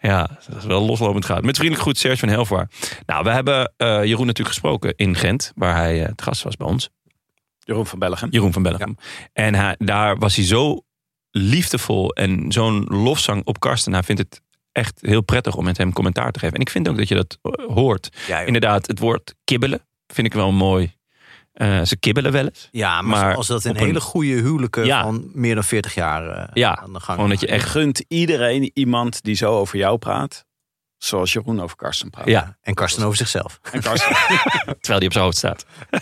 Speaker 3: ja, dat is wel loslopend goud. Met vriendelijk groet Serge van Helvaar. Nou, we hebben eh, Jeroen natuurlijk gesproken in Gent, waar hij eh, het gast was bij ons.
Speaker 1: Jeroen van Bellegem.
Speaker 3: Jeroen van Bellegem. En hij, daar was hij zo liefdevol en zo'n lofzang op Karsten. Hij vindt het echt heel prettig om met hem commentaar te geven. En ik vind ook dat je dat eh, hoort.
Speaker 2: Ja, joh.
Speaker 3: Inderdaad, het woord kibbelen vind ik wel mooi. Eh, ze kibbelen wel eens.
Speaker 2: ja maar,
Speaker 3: maar
Speaker 2: als dat in
Speaker 3: op een-
Speaker 2: hele goede huwelijken
Speaker 3: Ja.
Speaker 2: van meer dan 40 jaar eh,
Speaker 3: Ja,
Speaker 2: aan de gang
Speaker 3: Gewoon dat je
Speaker 1: Je
Speaker 3: echt...
Speaker 1: gunt iedereen iemand die zo over jou praat. Zoals Jeroen over Karsten praat.
Speaker 3: Ja,
Speaker 2: Eh, En Karsten over zichzelf.
Speaker 1: En Karsten.
Speaker 3: terwijl die op zijn hoofd staat.
Speaker 1: We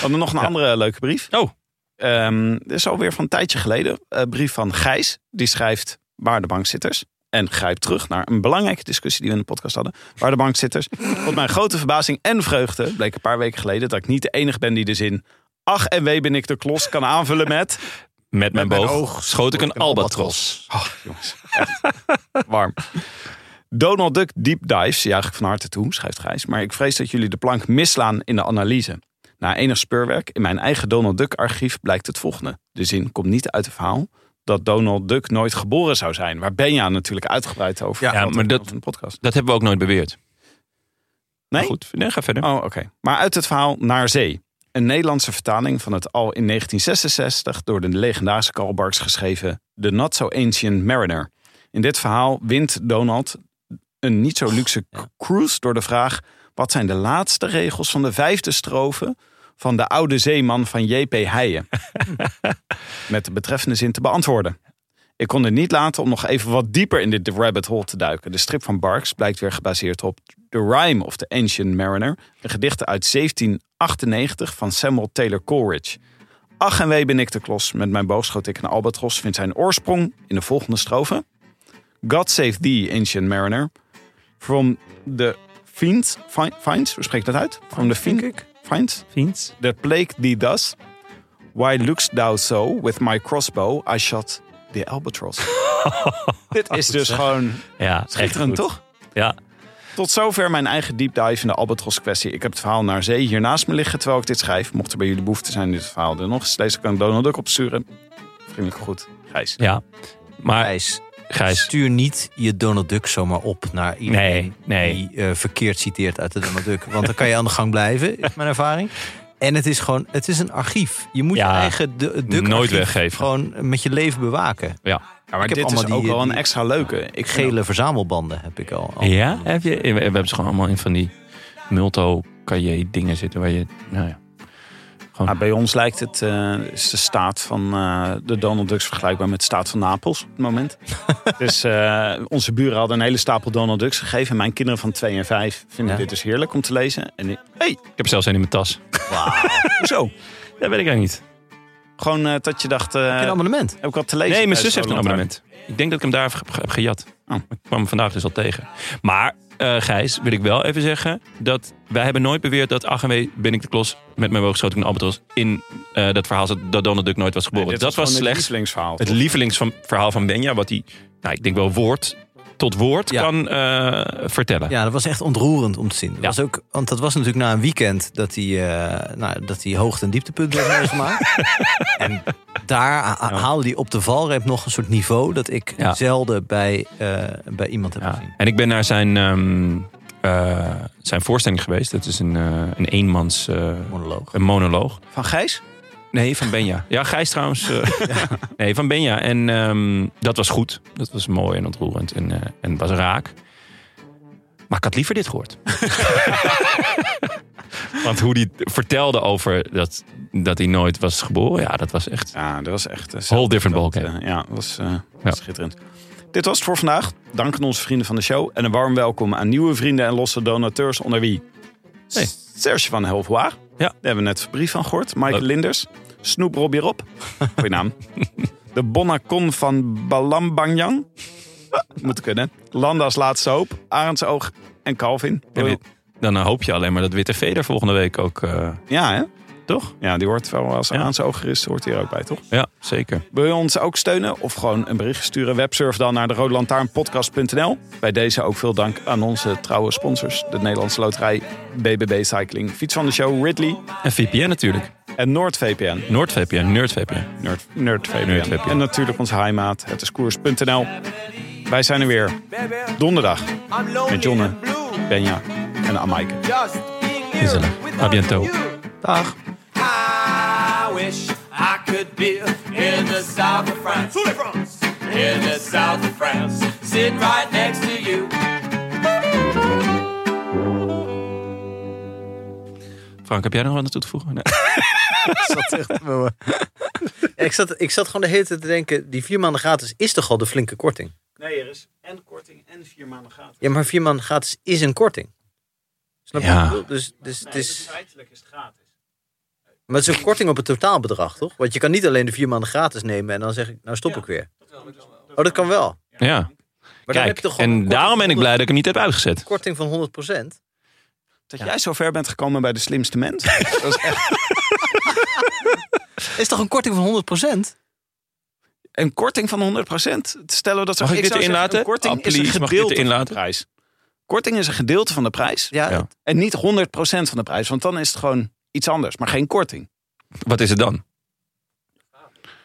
Speaker 1: hadden Oh, nog een andere leuke brief.
Speaker 3: Oh.
Speaker 1: Ehm, dit is alweer van een tijdje geleden. Een brief van Gijs. Die schrijft waar de bankzitters. En grijpt terug naar een belangrijke discussie die we in de podcast hadden. Waar de bankzitters. Tot mijn grote verbazing en vreugde bleek een paar weken geleden dat ik niet de enige ben die de zin. Ach en wee ben ik de klos kan aanvullen met.
Speaker 3: Met mijn,
Speaker 2: mijn
Speaker 3: boog,
Speaker 2: oog
Speaker 3: schoot ik een
Speaker 2: schoot ik een
Speaker 3: albatros.
Speaker 1: Oh, jongens. Echt warm. Donald Duck Deep Dives juich ik van harte toe, schrijft Gijs. Maar ik vrees dat jullie de plank misslaan in de analyse. Na enig speurwerk in mijn eigen Donald Duck archief blijkt het volgende. De zin komt niet uit het verhaal dat Donald Duck nooit geboren zou zijn. Waar Benja natuurlijk uitgebreid over
Speaker 2: Ja,
Speaker 1: verteld
Speaker 3: maar
Speaker 1: in
Speaker 3: dat-
Speaker 1: een podcast.
Speaker 3: Dat hebben we ook nooit beweerd.
Speaker 1: Nee?
Speaker 3: Maar Goed, nee, ga verder.
Speaker 1: Oh, oké. Maar uit het verhaal Naar Zee. Een Nederlandse vertaling van het al in 1966 door de legendarische Karl Barks geschreven The Not So Ancient Mariner. In dit verhaal wint Donald een niet zo luxe cruise door de vraag... wat zijn de laatste regels van de vijfde strofe van de oude zeeman van J.P. Heijen? Met de betreffende zin te beantwoorden. Ik kon het niet laten om nog even wat dieper in dit rabbit hole te duiken. De strip van Barks blijkt weer gebaseerd op The Rhyme of the Ancient Mariner, een gedicht uit 1798 van Samuel Taylor Coleridge. Ach en wee ben ik de klos, met mijn boog schoot ik een albatros, vindt zijn oorsprong in de volgende strofe. God save thee, ancient mariner, from the fiends, fi- finds, hoe spreek ik dat uit? From the fiend, finds,
Speaker 3: Vriend.
Speaker 1: that plague thee does. Why look'st thou so, with my crossbow, I shot the albatross. Dit is dus gewoon
Speaker 3: Ja,
Speaker 1: schitterend,
Speaker 3: echt goed.
Speaker 1: toch?
Speaker 3: Ja.
Speaker 1: Tot zover mijn eigen deep dive in de albatros kwestie. Ik heb het verhaal naar zee hier naast me liggen terwijl ik dit schrijf. Mocht er bij jullie behoefte zijn in dit verhaal, dan nog eens lezen kan ik Donald Duck opsturen. Vriendelijk goed, Gijs.
Speaker 3: ja. Maar
Speaker 2: Gijs,
Speaker 3: Gijs,
Speaker 2: stuur niet je Donald Duck zomaar op naar iedereen
Speaker 3: Nee, nee.
Speaker 2: die eh, verkeerd citeert uit de Donald Duck. Want dan kan je aan de gang blijven, is mijn ervaring. En het is gewoon, het is een archief. Je moet
Speaker 3: Ja,
Speaker 2: je eigen du- duck
Speaker 3: nooit
Speaker 2: archief
Speaker 3: weggeven.
Speaker 2: Gewoon met je leven bewaken.
Speaker 3: ja.
Speaker 1: maar
Speaker 2: heb
Speaker 1: dit is
Speaker 2: allemaal die-
Speaker 1: ook wel een
Speaker 2: die-
Speaker 1: extra leuke. Ik geel.
Speaker 2: Gele verzamelbanden heb ik al. al.
Speaker 3: Ja, heb je, we hebben ze gewoon allemaal in van die multo cahier dingen zitten waar je, nou ja.
Speaker 1: Ah, bij ons lijkt het, eh, is de staat van eh, de Donald Ducks vergelijkbaar met de staat van Napels op het moment. dus eh, onze buren hadden een hele stapel Donald Ducks gegeven. En mijn kinderen van 2 en 5 vinden
Speaker 2: Ja.
Speaker 1: dit dus heerlijk om te lezen. En ik- hey,
Speaker 3: Ik heb zelfs een in mijn tas.
Speaker 2: Wauw.
Speaker 1: hoezo?
Speaker 3: Dat weet ik eigenlijk niet.
Speaker 1: Gewoon eh, dat je dacht, eh,
Speaker 2: Een abonnement.
Speaker 1: heb ik wat te lezen?
Speaker 3: Nee, mijn
Speaker 1: tijdens
Speaker 3: zus heeft een
Speaker 1: Roland Duck?
Speaker 3: abonnement. Ik denk dat ik hem daar heb, ge- heb gejat.
Speaker 1: Oh.
Speaker 3: Ik kwam hem vandaag dus al tegen. Maar eh, Gijs, wil ik wel even zeggen dat wij hebben nooit beweerd dat Ach en Wee ben ik de klos met mijn boogschoting en albatros in eh, dat verhaal zat dat Donald Duck nooit was geboren.
Speaker 1: Nee, dit
Speaker 3: dat was
Speaker 1: gewoon
Speaker 3: slechts
Speaker 1: Het lievelingsverhaal.
Speaker 3: het lievelingsverhaal van Benja, wat hij, nou, ik denk wel woord tot woord
Speaker 2: Ja.
Speaker 3: kan eh, vertellen.
Speaker 2: Ja, dat was echt ontroerend om te zien. Dat
Speaker 3: Ja.
Speaker 2: was ook, want dat was natuurlijk na een weekend dat hij, eh, nou, dat hij hoogte- en dieptepunten heeft meegemaakt. en daar ha- haalde hij op de valreep nog een soort niveau dat ik
Speaker 3: Ja.
Speaker 2: zelden bij, eh, bij iemand heb
Speaker 3: Ja.
Speaker 2: gezien.
Speaker 3: En ik ben naar zijn, ehm, eh, zijn voorstelling geweest. Dat is een, eh, een eenmans eh,
Speaker 2: Monoloog.
Speaker 3: een monoloog.
Speaker 1: Van Gijs?
Speaker 3: Nee, van Benja. Ja, Gijs trouwens. eh. Nee, van Benja. En ehm, dat was goed. Dat was mooi en ontroerend. En, eh, en het was raak. Maar ik had liever dit gehoord. Want hoe die vertelde over dat, dat hij nooit was geboren. Ja, dat was echt...
Speaker 1: Ja, dat was echt... eh, een
Speaker 3: Whole different ballgame.
Speaker 1: ja, dat was eh,
Speaker 3: Ja.
Speaker 1: schitterend. Dit was het voor vandaag. Dank aan onze vrienden van de show. En een warm welkom aan nieuwe vrienden en losse donateurs onder wie...
Speaker 3: Hey.
Speaker 1: Serge van Helvoa. Daar hebben we net een brief van gehoord. Mike
Speaker 3: Leuk.
Speaker 1: Linders. Snoep Robbie Rob. Goeie naam. De Bonnacon van Balambangyang. Ah, Moet kunnen. Landa's Laatste Hoop. Arendsoog en Calvin.
Speaker 3: En dit- dan eh, hoop je alleen maar dat Witte Veder volgende week ook... eh,
Speaker 1: Ja, hè?
Speaker 3: toch?
Speaker 1: Ja, die hoort wel als
Speaker 3: Ja.
Speaker 1: Arendsoog is, hoort hier ook bij, toch?
Speaker 3: Ja, zeker.
Speaker 1: Wil je ons ook steunen of gewoon een bericht sturen? Websurf dan naar de roodlantaarnpodcast.nl. Bij deze ook veel dank aan onze trouwe sponsors. De Nederlandse Loterij, BBB Cycling, Fiets van de Show, Ridley
Speaker 3: En VPN natuurlijk.
Speaker 1: en NoordVPN.
Speaker 3: NoordVPN, NerdVPN.
Speaker 1: Nerd, NerdVPN.
Speaker 3: NerdVPN.
Speaker 1: En natuurlijk onze heimaat, het is koers.nl. Wij zijn er weer donderdag met Jonne, Benja en Amaike.
Speaker 3: Gezellig. A bientôt.
Speaker 2: Dag.
Speaker 4: I wish I could be in the south of France. In the south of France. sit right next to you.
Speaker 3: Frank, heb jij nog wat aan toe te voegen? Nee.
Speaker 2: zat echt, ik, zat, ik zat gewoon de hele tijd te denken, die vier maanden gratis is toch al de flinke korting?
Speaker 1: Nee, er is en korting en vier maanden gratis.
Speaker 2: Ja, maar vier maanden gratis is een korting. Snap je?
Speaker 3: Ja.
Speaker 2: wat ik bedoel? Dus, dus het is,
Speaker 1: feitelijk is het gratis.
Speaker 2: maar het is een korting op het totaalbedrag, toch? Want je kan niet alleen de vier maanden gratis nemen en dan zeg ik, nou stop ik weer. Oh, dat kan wel.
Speaker 3: Ja,
Speaker 2: Maar dan heb
Speaker 3: kijk.
Speaker 2: je toch
Speaker 3: En
Speaker 2: gewoon een korting
Speaker 3: daarom ben ik
Speaker 2: van
Speaker 3: blij dat ik hem niet heb uitgezet.
Speaker 2: 100 korting van 100%.
Speaker 1: Dat jij zo ver bent gekomen bij de slimste mens. dat is echt
Speaker 2: Is toch een korting van 100%?
Speaker 1: een korting van 100%. Stellen we dat zo.
Speaker 3: Mag ik dit
Speaker 1: zou
Speaker 3: erin
Speaker 1: zeggen,
Speaker 3: laten?
Speaker 1: een Korting
Speaker 3: Ah,
Speaker 1: is een
Speaker 3: please, mag ik dit
Speaker 1: gedeelte
Speaker 3: erin
Speaker 1: van de
Speaker 3: laten?
Speaker 1: prijs. Korting is een gedeelte van de prijs.
Speaker 2: Ja,
Speaker 3: Ja.
Speaker 1: En niet 100% van de prijs. Want dan is het gewoon iets anders. Maar geen korting.
Speaker 3: Wat is het dan?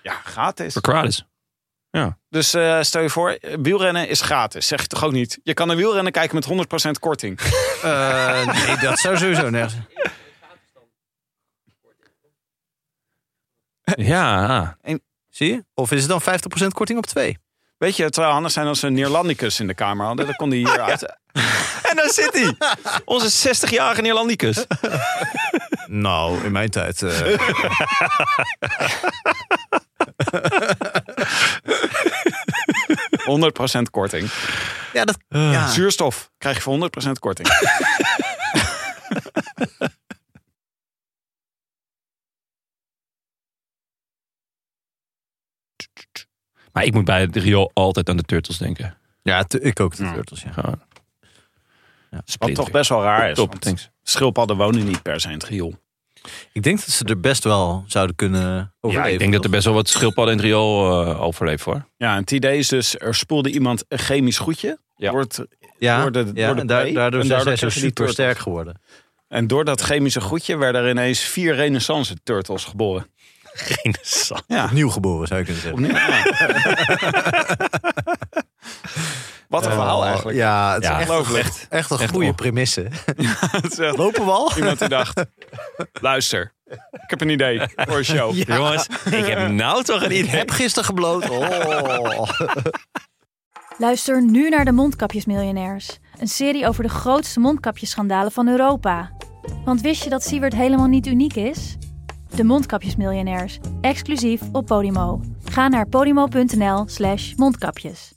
Speaker 1: Ja, gratis.
Speaker 3: Verkralis.
Speaker 1: Dus eh, stel je voor, eh, wielrennen is gratis. Zeg je toch ook niet? Je kan naar wielrennen kijken met 100% korting.
Speaker 2: Eh, nee, dat zou sowieso nergens.
Speaker 3: Ja,
Speaker 2: Zie je? Of is het dan 50% korting op twee?
Speaker 1: Weet je, het zou handig zijn als we een Neerlandicus in de kamer hadden. Dan kon hij hier uit.
Speaker 3: en daar zit hij. Onze 60-jarige Neerlandicus.
Speaker 2: Nou, in mijn tijd. eh.
Speaker 1: Ja. 100% korting.
Speaker 2: ja, dat. Ja.
Speaker 1: Zuurstof krijg je voor 100% korting.
Speaker 3: Maar ik moet bij het riool altijd aan de Turtles denken.
Speaker 2: ja te- ik ook, de turtles. Ja.
Speaker 3: Gewoon.
Speaker 1: Wat
Speaker 3: Splinter.
Speaker 1: toch best wel raar is.
Speaker 3: Top,
Speaker 1: want
Speaker 3: thanks.
Speaker 1: Schildpadden wonen niet per se in het riool.
Speaker 2: Ik denk dat ze er best wel zouden kunnen
Speaker 3: Ja,
Speaker 2: overleven.
Speaker 3: ik denk dat er best wel wat schildpadden in het riool eh, overleeft hoor.
Speaker 1: Ja, en het idee is dus, er spoelde iemand een chemisch goedje.
Speaker 3: Ja.
Speaker 1: Wordt,
Speaker 2: ja,
Speaker 1: door de-
Speaker 2: ja,
Speaker 1: door de
Speaker 2: en daar- daardoor
Speaker 1: play. En
Speaker 2: zijn
Speaker 1: daardoor
Speaker 2: ze zo
Speaker 1: krijg je die
Speaker 2: super sterk
Speaker 1: turtles.
Speaker 2: geworden.
Speaker 1: en door dat chemische goedje werden er ineens vier renaissance turtles geboren.
Speaker 3: Interessant.
Speaker 1: Ja.
Speaker 2: Nieuw geboren zou je kunnen zeggen.
Speaker 1: Opnieuw. Ja. Wat een verhaal eigenlijk.
Speaker 2: Oh. Ja, het is
Speaker 3: Ja,
Speaker 2: echt, een,
Speaker 1: Ongelooflijk.
Speaker 2: echt, een goede
Speaker 3: on-
Speaker 2: premisse.
Speaker 1: Het is echt
Speaker 2: Lopen we al?
Speaker 1: Iemand die dacht, luister, ik heb een idee voor een show.
Speaker 3: Jongens, ik heb nou toch een
Speaker 2: Ik
Speaker 3: idee.
Speaker 2: heb gisteren gebloot. Oh.
Speaker 5: Luister nu naar de Mondkapjesmiljonairs. Een serie over de grootste mondkapjesschandalen van Europa. Want wist je dat Siewert helemaal niet uniek is? De Mondkapjesmiljonairs, exclusief op Podimo. Ga naar podimo.nl slash mondkapjes.